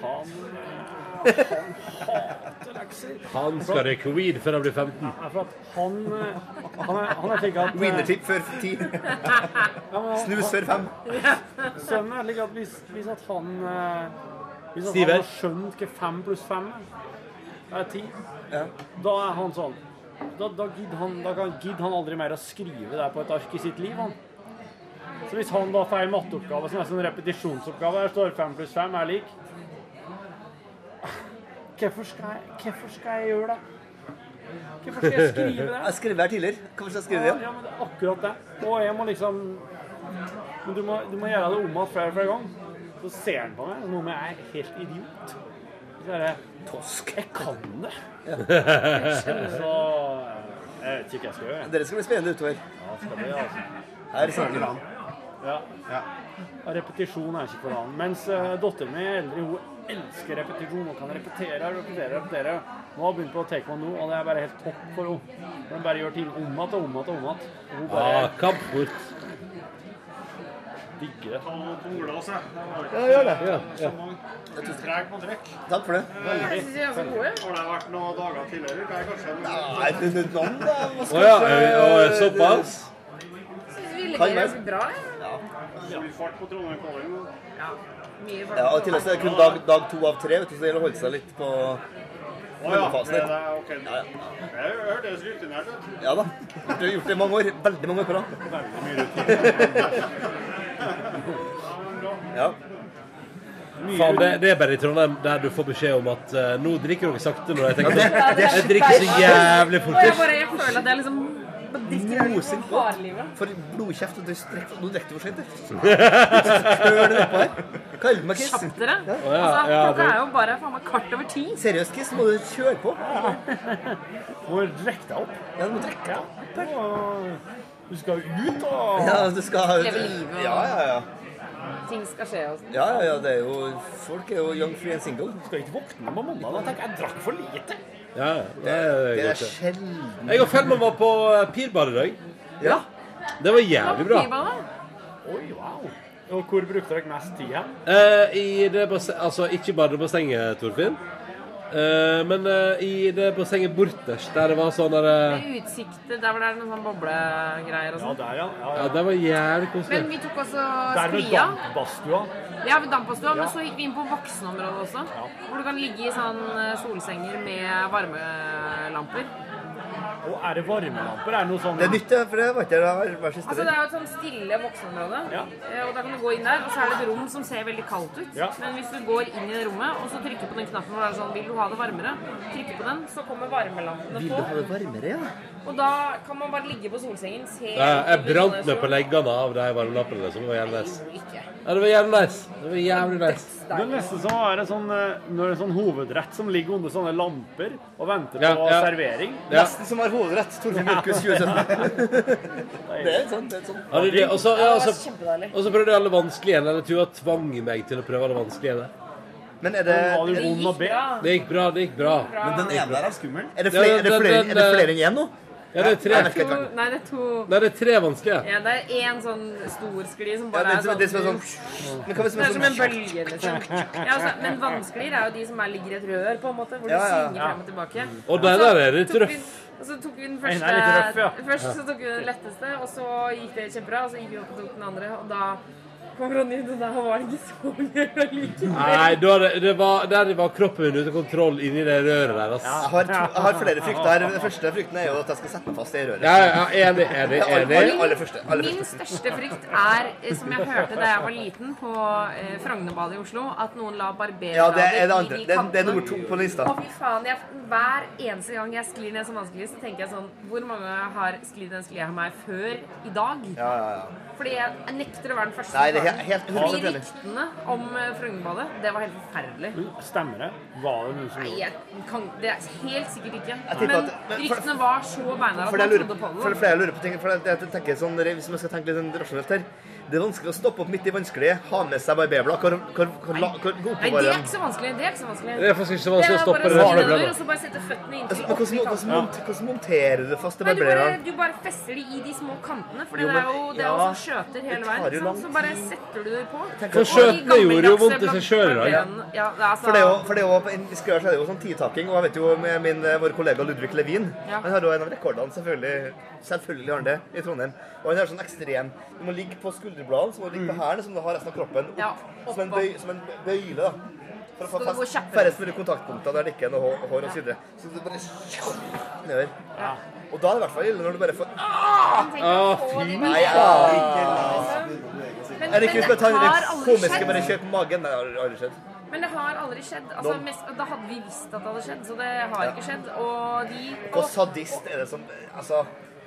[SPEAKER 1] han, eh, han hater lekser.
[SPEAKER 13] Han skal røyke weed før han blir 15.
[SPEAKER 1] Ja, for at han, eh, han, er, han er slik at eh,
[SPEAKER 11] Winnertip før ti.
[SPEAKER 1] Ja, men han-
[SPEAKER 11] Snus før fem.
[SPEAKER 1] Sønnen er slik at hvis, hvis at han eh, Hvis at
[SPEAKER 11] Stiver.
[SPEAKER 1] han har skjønt hva fem pluss fem er, er ti, da er han sånn Da, da gidder han, da kan- gidder han aldri mer å skrive det på et ark i sitt liv, han. Så hvis han da får en matteoppgave som er sånn repetisjonsoppgave, der står fem pluss fem er lik Hvorfor skal jeg, hvorfor skal jeg gjøre det? Hvorfor skal jeg skrive det?
[SPEAKER 11] Jeg skrev her tidligere. Hvorfor skal jeg skrive det igjen?
[SPEAKER 1] Ja, men det er akkurat det. Og jeg må liksom Men du må, du må gjøre det om igjen flere og flere ganger. Så ser han på meg som om jeg er helt idiot. Så er det Tosk. Jeg kan det. Så jeg vet ikke hva jeg skal gjøre. jeg.
[SPEAKER 11] Dere skal bli spennende utover.
[SPEAKER 1] Ja, skal bli, altså.
[SPEAKER 11] Her snakker han.
[SPEAKER 1] Ja. Og Repetisjon er ikke for han. Mens uh, datteren min er eldre, hun elsker repetisjon. Hun kan repetere og repetere. repetere. Nå har hun begynt på taekwondo, og det er bare helt topp for henne. Hun bare gjør ting om igjen og om igjen og om igjen. Hun bare
[SPEAKER 13] Ah, kampsport.
[SPEAKER 1] digger det.
[SPEAKER 11] Ja, gjør det.
[SPEAKER 13] Ja, ja.
[SPEAKER 18] Treg på trekk.
[SPEAKER 11] Takk for det.
[SPEAKER 18] Jeg synes de er så gode. Har det vært noen dager tidligere? Kan jeg kanskje
[SPEAKER 11] Nei, det er noen da. Hva
[SPEAKER 13] Å ja, og såpass?
[SPEAKER 12] Syns vi
[SPEAKER 11] Kan
[SPEAKER 12] ligger
[SPEAKER 11] være.
[SPEAKER 12] ganske bra, jeg.
[SPEAKER 18] Full fart på Trondheim Calling. nå.
[SPEAKER 12] Mye
[SPEAKER 11] Ja, og til og med så er det kun dag, dag to av tre, vet du, så det gjelder å holde seg litt på
[SPEAKER 18] Å ja,
[SPEAKER 11] mellomfasen.
[SPEAKER 18] det er det.
[SPEAKER 11] litt.
[SPEAKER 18] Ok. Jeg hørtes rutinert ut.
[SPEAKER 11] Ja da. Du har gjort det i mange år. Veldig mange år på rad. Ja.
[SPEAKER 13] Faen, det, det er bare i Trondheim der du får beskjed om at eh, nå drikker dere sakte. Når jeg tenker
[SPEAKER 12] Ja,
[SPEAKER 13] sånn,
[SPEAKER 12] det er
[SPEAKER 13] Jeg drikker så jævlig
[SPEAKER 12] Og jeg
[SPEAKER 13] fort.
[SPEAKER 12] bare jeg føler at det er liksom
[SPEAKER 11] Mosing
[SPEAKER 12] på harelivet.
[SPEAKER 11] For blodkjeft og drekk- Nå drikker du for sent, du. Kjør det nedpå her. Hva er det med
[SPEAKER 12] Kjapp
[SPEAKER 11] Kiss?
[SPEAKER 12] dere.
[SPEAKER 11] Å ja,
[SPEAKER 12] Altså,
[SPEAKER 11] ja,
[SPEAKER 12] klokka
[SPEAKER 11] det-
[SPEAKER 12] er jo bare faen meg kvart over ti.
[SPEAKER 11] Seriøst, Kiss, må du kjøre på.
[SPEAKER 1] Må rekke deg opp.
[SPEAKER 11] Ja, du må drikke deg opp.
[SPEAKER 1] Du skal jo ut og
[SPEAKER 11] Ja, du skal
[SPEAKER 12] Leve livet og-
[SPEAKER 11] Ja, ja, ja.
[SPEAKER 12] Ting skal skje og sånn.
[SPEAKER 11] Ja, ja, ja, det er jo Folk er jo young, free and single. Du
[SPEAKER 1] skal ikke våkne på mandag og tenke 'jeg drakk for lite'.
[SPEAKER 13] Ja, det
[SPEAKER 11] Det
[SPEAKER 13] er
[SPEAKER 11] er
[SPEAKER 13] godt. det.
[SPEAKER 11] sjelden.
[SPEAKER 13] Jeg og Feldman var på eh, Pirbad i dag.
[SPEAKER 11] Ja.
[SPEAKER 13] Det var jævlig bra.
[SPEAKER 1] Oi, wow. Og hvor brukte dere mest tid hen?
[SPEAKER 13] Eh, I det basse- altså ikke bare det bassenget, Torfinn. Eh, men eh, i det bassenget borterst, der det var sånn der eh,
[SPEAKER 12] Med utsikter der hvor det er noen sånn boblegreier og sånn.
[SPEAKER 13] Ja, det var jævlig koselig.
[SPEAKER 12] Men vi tok også
[SPEAKER 1] Der ved
[SPEAKER 12] sklia.
[SPEAKER 1] dampbadstua.
[SPEAKER 12] Ja, ved dampbadstua,
[SPEAKER 1] Ja.
[SPEAKER 12] men så gikk vi inn på voksenområdet også. Hvor du kan ligge i sånn eh, solsenger med varmelamper.
[SPEAKER 1] Å
[SPEAKER 16] Og er det varmelamper? Er det noe sånn
[SPEAKER 11] Det er nytt, ja, for det var ikke det var hver siste
[SPEAKER 12] Altså, det er jo et sånn stille voksenområde. Eh, Og da kan du gå inn der, og så er det et rom som ser veldig kaldt ut.
[SPEAKER 11] Ja.
[SPEAKER 12] Men hvis du går inn i det rommet, og så trykker på den knappen hvor det er sånn Vil du ha det varmere? Trykker på den, så kommer varmelampene
[SPEAKER 11] Vil du ha det
[SPEAKER 12] på.
[SPEAKER 11] varmere, ja?
[SPEAKER 12] Og da kan man bare ligge på solsengen, se
[SPEAKER 13] Jeg, Eh, jeg brant meg på leggene av de varmelappene. liksom. Det var jævlig nice.
[SPEAKER 12] Ikke.
[SPEAKER 13] Ja, det var jævlig nice. Det var jævlig nice.
[SPEAKER 16] Det er nesten som å være sånn, eh, når det er en sånn hovedrett som ligger under sånne lamper og venter
[SPEAKER 13] Ja,
[SPEAKER 16] på
[SPEAKER 13] ja.
[SPEAKER 16] servering.
[SPEAKER 13] Ja. Nesten
[SPEAKER 11] som har hovedrett. Torfinn Borchhus
[SPEAKER 16] 2017.
[SPEAKER 11] Det er sånn, det er sånn.
[SPEAKER 13] Ja, det, det, og så- ja, og så-
[SPEAKER 12] kjempedeilig.
[SPEAKER 13] og så prøvde jeg alle vanskelige igjen. Eller Tua tvang meg til å prøve alle vanskelige igjen.
[SPEAKER 11] Men er det-
[SPEAKER 13] Var
[SPEAKER 11] Det gikk bra.
[SPEAKER 13] Det gikk bra. Det gikk bra.
[SPEAKER 11] Men den ene der er skummel. Er det
[SPEAKER 13] Ja,
[SPEAKER 11] flere, er det
[SPEAKER 13] den-
[SPEAKER 11] flere, er det
[SPEAKER 13] den, eh,
[SPEAKER 11] flere enn én nå?
[SPEAKER 13] Ja, det er tre.
[SPEAKER 11] Jeg vet
[SPEAKER 12] To,
[SPEAKER 11] ikke hva
[SPEAKER 12] nei, det er to
[SPEAKER 13] Nei, det er tre vanskelige.
[SPEAKER 12] Ja, det er én sånn stor skli som
[SPEAKER 11] Ja,
[SPEAKER 12] bare
[SPEAKER 11] det
[SPEAKER 12] er
[SPEAKER 11] som-
[SPEAKER 12] sånn
[SPEAKER 11] det som er sånn- Men hva hvis
[SPEAKER 12] Det
[SPEAKER 11] det er
[SPEAKER 12] er som en
[SPEAKER 11] sånn-
[SPEAKER 12] bølge, liksom. Ja, altså, men vanskeligere er jo de som er, ligger i et rør, på en måte,
[SPEAKER 13] Ja,
[SPEAKER 12] hvor du
[SPEAKER 13] ja,
[SPEAKER 12] svinger
[SPEAKER 13] ja.
[SPEAKER 12] frem og tilbake.
[SPEAKER 13] Og den
[SPEAKER 12] så
[SPEAKER 13] der er litt
[SPEAKER 12] tok vi-
[SPEAKER 13] røff.
[SPEAKER 12] Og så tok vi den
[SPEAKER 13] Den er
[SPEAKER 12] første
[SPEAKER 13] litt røff, ja.
[SPEAKER 12] Først så
[SPEAKER 13] Ja.
[SPEAKER 12] tok vi den letteste, og så gikk det kjempebra, og så gikk vi opp og tok den andre, og da kom Ronny, og da var det ikke så mye å like.
[SPEAKER 13] Nei, da det, det var, der var kroppen min ute av kontroll inni det røret der. ass.
[SPEAKER 11] Jeg har, to, jeg har flere frykter her. Den første frykten er jo at jeg skal sette meg fast i røret.
[SPEAKER 13] Ja, ja, ja, enig, enig,
[SPEAKER 11] Ja, aller-
[SPEAKER 13] enig.
[SPEAKER 11] Aller, aller første. Aller
[SPEAKER 12] Min
[SPEAKER 11] første.
[SPEAKER 12] største frykt er, eh, som jeg hørte da jeg var liten på eh, Frognerbadet i Oslo, at noen la
[SPEAKER 11] Ja, det er det
[SPEAKER 12] barbergrader
[SPEAKER 11] andre. Det er, det er nummer to på lista.
[SPEAKER 12] Å, fy faen. Jeg, hver eneste gang jeg sklir ned som vanskelig, så tenker jeg sånn Hvor mange har sklidd den sklia her meg før i dag?
[SPEAKER 11] Ja, ja, ja.
[SPEAKER 12] Fordi jeg nekter å være den første.
[SPEAKER 11] Nei,
[SPEAKER 12] som
[SPEAKER 11] det er
[SPEAKER 12] tar den.
[SPEAKER 11] he- helt 100%
[SPEAKER 12] Fordi
[SPEAKER 11] enig.
[SPEAKER 12] ryktene om eh, Frognerbadet, det var helt forferdelig.
[SPEAKER 16] Stemmer det? Var det noen som
[SPEAKER 12] Nei,
[SPEAKER 16] gjorde det?
[SPEAKER 12] jeg kan, det er helt sikkert ikke.
[SPEAKER 11] tipper
[SPEAKER 12] Men,
[SPEAKER 11] at- men for-
[SPEAKER 12] ryktene var så beinharde
[SPEAKER 11] For
[SPEAKER 12] at
[SPEAKER 11] det
[SPEAKER 12] man
[SPEAKER 11] jeg lurer,
[SPEAKER 12] trodde på
[SPEAKER 11] for det
[SPEAKER 12] det.
[SPEAKER 11] flere lurer på ting, for det, jeg tenker sånn, hvis man skal tenke litt sånn rasjonelt her Det er vanskelig å stoppe opp midt i vanskelige, ha med seg barberblad Hvor, hvor, hvor, la- hvor, hvor
[SPEAKER 12] Nei, det
[SPEAKER 11] oppbevarer
[SPEAKER 12] er
[SPEAKER 11] dem?
[SPEAKER 12] ikke så vanskelig. Det er ikke så vanskelig.
[SPEAKER 11] Det er faktisk ikke så vanskelig å
[SPEAKER 12] Det er
[SPEAKER 11] stoppe det
[SPEAKER 12] bare å
[SPEAKER 11] der.
[SPEAKER 12] svinne over, og så bare sette
[SPEAKER 11] Altså,
[SPEAKER 12] føttene inntil
[SPEAKER 11] men hvordan, hvordan, mont- hvordan monterer du fast i
[SPEAKER 12] Nei, du bare,
[SPEAKER 11] barberblad?
[SPEAKER 12] du bare fester det i de små kantene, for
[SPEAKER 11] Jo,
[SPEAKER 12] det
[SPEAKER 11] men-
[SPEAKER 12] er jo, det er jo
[SPEAKER 11] ja,
[SPEAKER 12] sånn skjøter hele
[SPEAKER 11] det tar
[SPEAKER 12] veien.
[SPEAKER 11] jo
[SPEAKER 12] ikke sant?
[SPEAKER 11] lang
[SPEAKER 12] Så bare setter du det på.
[SPEAKER 11] For
[SPEAKER 12] Og de
[SPEAKER 11] skjøtene
[SPEAKER 12] gammeldagse
[SPEAKER 11] gjorde jo vondt i seg selv, da.
[SPEAKER 12] blankene- Ja, det er altså,
[SPEAKER 11] For det er jo, for det er jo, på en viss grad så er det jo sånn tidtaking, og jeg vet jo med min, eh, vår kollega Ludvig Levin,
[SPEAKER 12] Ja.
[SPEAKER 11] han har jo en av rekordene, selvfølgelig, selvfølgelig har han det, i Trondheim. Og han har sånn ekstrem, du må ligge på skulderbladene, så må du ligge på hærene, som du har resten av kroppen, opp,
[SPEAKER 12] Mm. Ja,
[SPEAKER 11] som, en
[SPEAKER 12] oppå.
[SPEAKER 11] bøy, som en bøyle, da. For å få
[SPEAKER 12] Skal det gå
[SPEAKER 11] fast
[SPEAKER 12] kjappere?
[SPEAKER 11] færrest mulig kontaktpunkter der det ikke er noe hår, hår og så videre. Så du bare nedover. Og da er det i hvert fall ille når du bare får
[SPEAKER 12] man
[SPEAKER 11] Å,
[SPEAKER 12] tenker på
[SPEAKER 11] fy
[SPEAKER 12] de
[SPEAKER 11] faen. Nei,
[SPEAKER 12] blankene.
[SPEAKER 11] ikke la oss
[SPEAKER 12] Men-
[SPEAKER 11] Er det ikke
[SPEAKER 12] men
[SPEAKER 11] hvis man tar
[SPEAKER 12] har
[SPEAKER 11] det
[SPEAKER 12] aldri
[SPEAKER 11] komiske
[SPEAKER 12] skjedd.
[SPEAKER 11] bare kjørt på magen? Nei, det har aldri skjedd.
[SPEAKER 12] Men det har aldri skjedd. Altså,
[SPEAKER 11] Nå.
[SPEAKER 12] mest, da hadde vi visst at det hadde skjedd, så det har
[SPEAKER 11] Ja.
[SPEAKER 12] ikke skjedd. Og de
[SPEAKER 11] Hvor sadist er det som Altså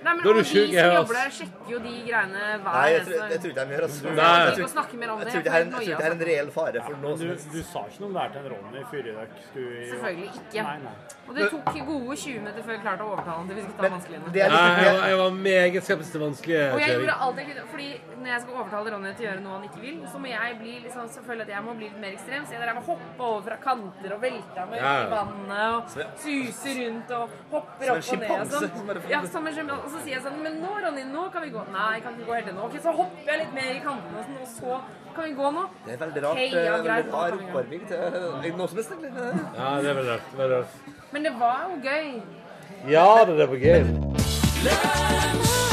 [SPEAKER 12] Nei, men
[SPEAKER 11] Da er du
[SPEAKER 12] og
[SPEAKER 11] sjuk,
[SPEAKER 12] de
[SPEAKER 11] jeg,
[SPEAKER 12] som
[SPEAKER 11] ass.
[SPEAKER 12] jobber der, sjekker jo de greiene hver
[SPEAKER 11] Nei, jeg
[SPEAKER 12] eneste
[SPEAKER 11] tror, jeg tror ikke de gjør altså.
[SPEAKER 12] Nei.
[SPEAKER 11] Jeg
[SPEAKER 12] Vi
[SPEAKER 11] tror
[SPEAKER 12] kan snakke mer om
[SPEAKER 11] jeg
[SPEAKER 12] det,
[SPEAKER 11] tror ikke det er en- jeg tror ikke det er en reell fare for noe
[SPEAKER 16] Du,
[SPEAKER 11] som helst.
[SPEAKER 16] du sa ikke noe om det her til en Ronny før dere skulle
[SPEAKER 12] Selvfølgelig ikke.
[SPEAKER 16] Nei, nei.
[SPEAKER 12] Og det tok gode 20 minutter før jeg klarte å overtale han til vi skulle ta vanskeligene.
[SPEAKER 13] Nei, jeg, var- jeg var meget skeptisk til vanskelige.
[SPEAKER 12] Og jeg
[SPEAKER 13] kjøring.
[SPEAKER 12] gjorde alt jeg kunne, fordi når jeg skal overtale Ronny til å gjøre noe han ikke vil, så må jeg bli liksom, selvfølgelig at jeg må bli litt mer ekstrem. Så jeg drev og hoppe over fra kanter og velta meg
[SPEAKER 13] Ja, ja.
[SPEAKER 12] ut i vannet og suse rundt og hopper
[SPEAKER 13] Som en sjimpanse,
[SPEAKER 12] opp og ned og sånn. Ja, som en sjimpanse. Og så sier jeg sånn Men nå, Ronny, nå kan vi gå. Nei, kan vi ikke gå helt ennå. Ok, så hopper jeg litt mer i kantene og sånn, og så kan vi gå nå.
[SPEAKER 11] Det er veldig rart.
[SPEAKER 12] Ok,
[SPEAKER 11] eh,
[SPEAKER 12] ja, greit,
[SPEAKER 11] veldig
[SPEAKER 12] nå
[SPEAKER 11] rar
[SPEAKER 12] kan vi gå.
[SPEAKER 11] oppvarming til eh, noe som helst, egentlig.
[SPEAKER 13] Ja, det er veldig rart. Veldig rart.
[SPEAKER 12] Men det var jo gøy.
[SPEAKER 13] Ja, det der var gøy.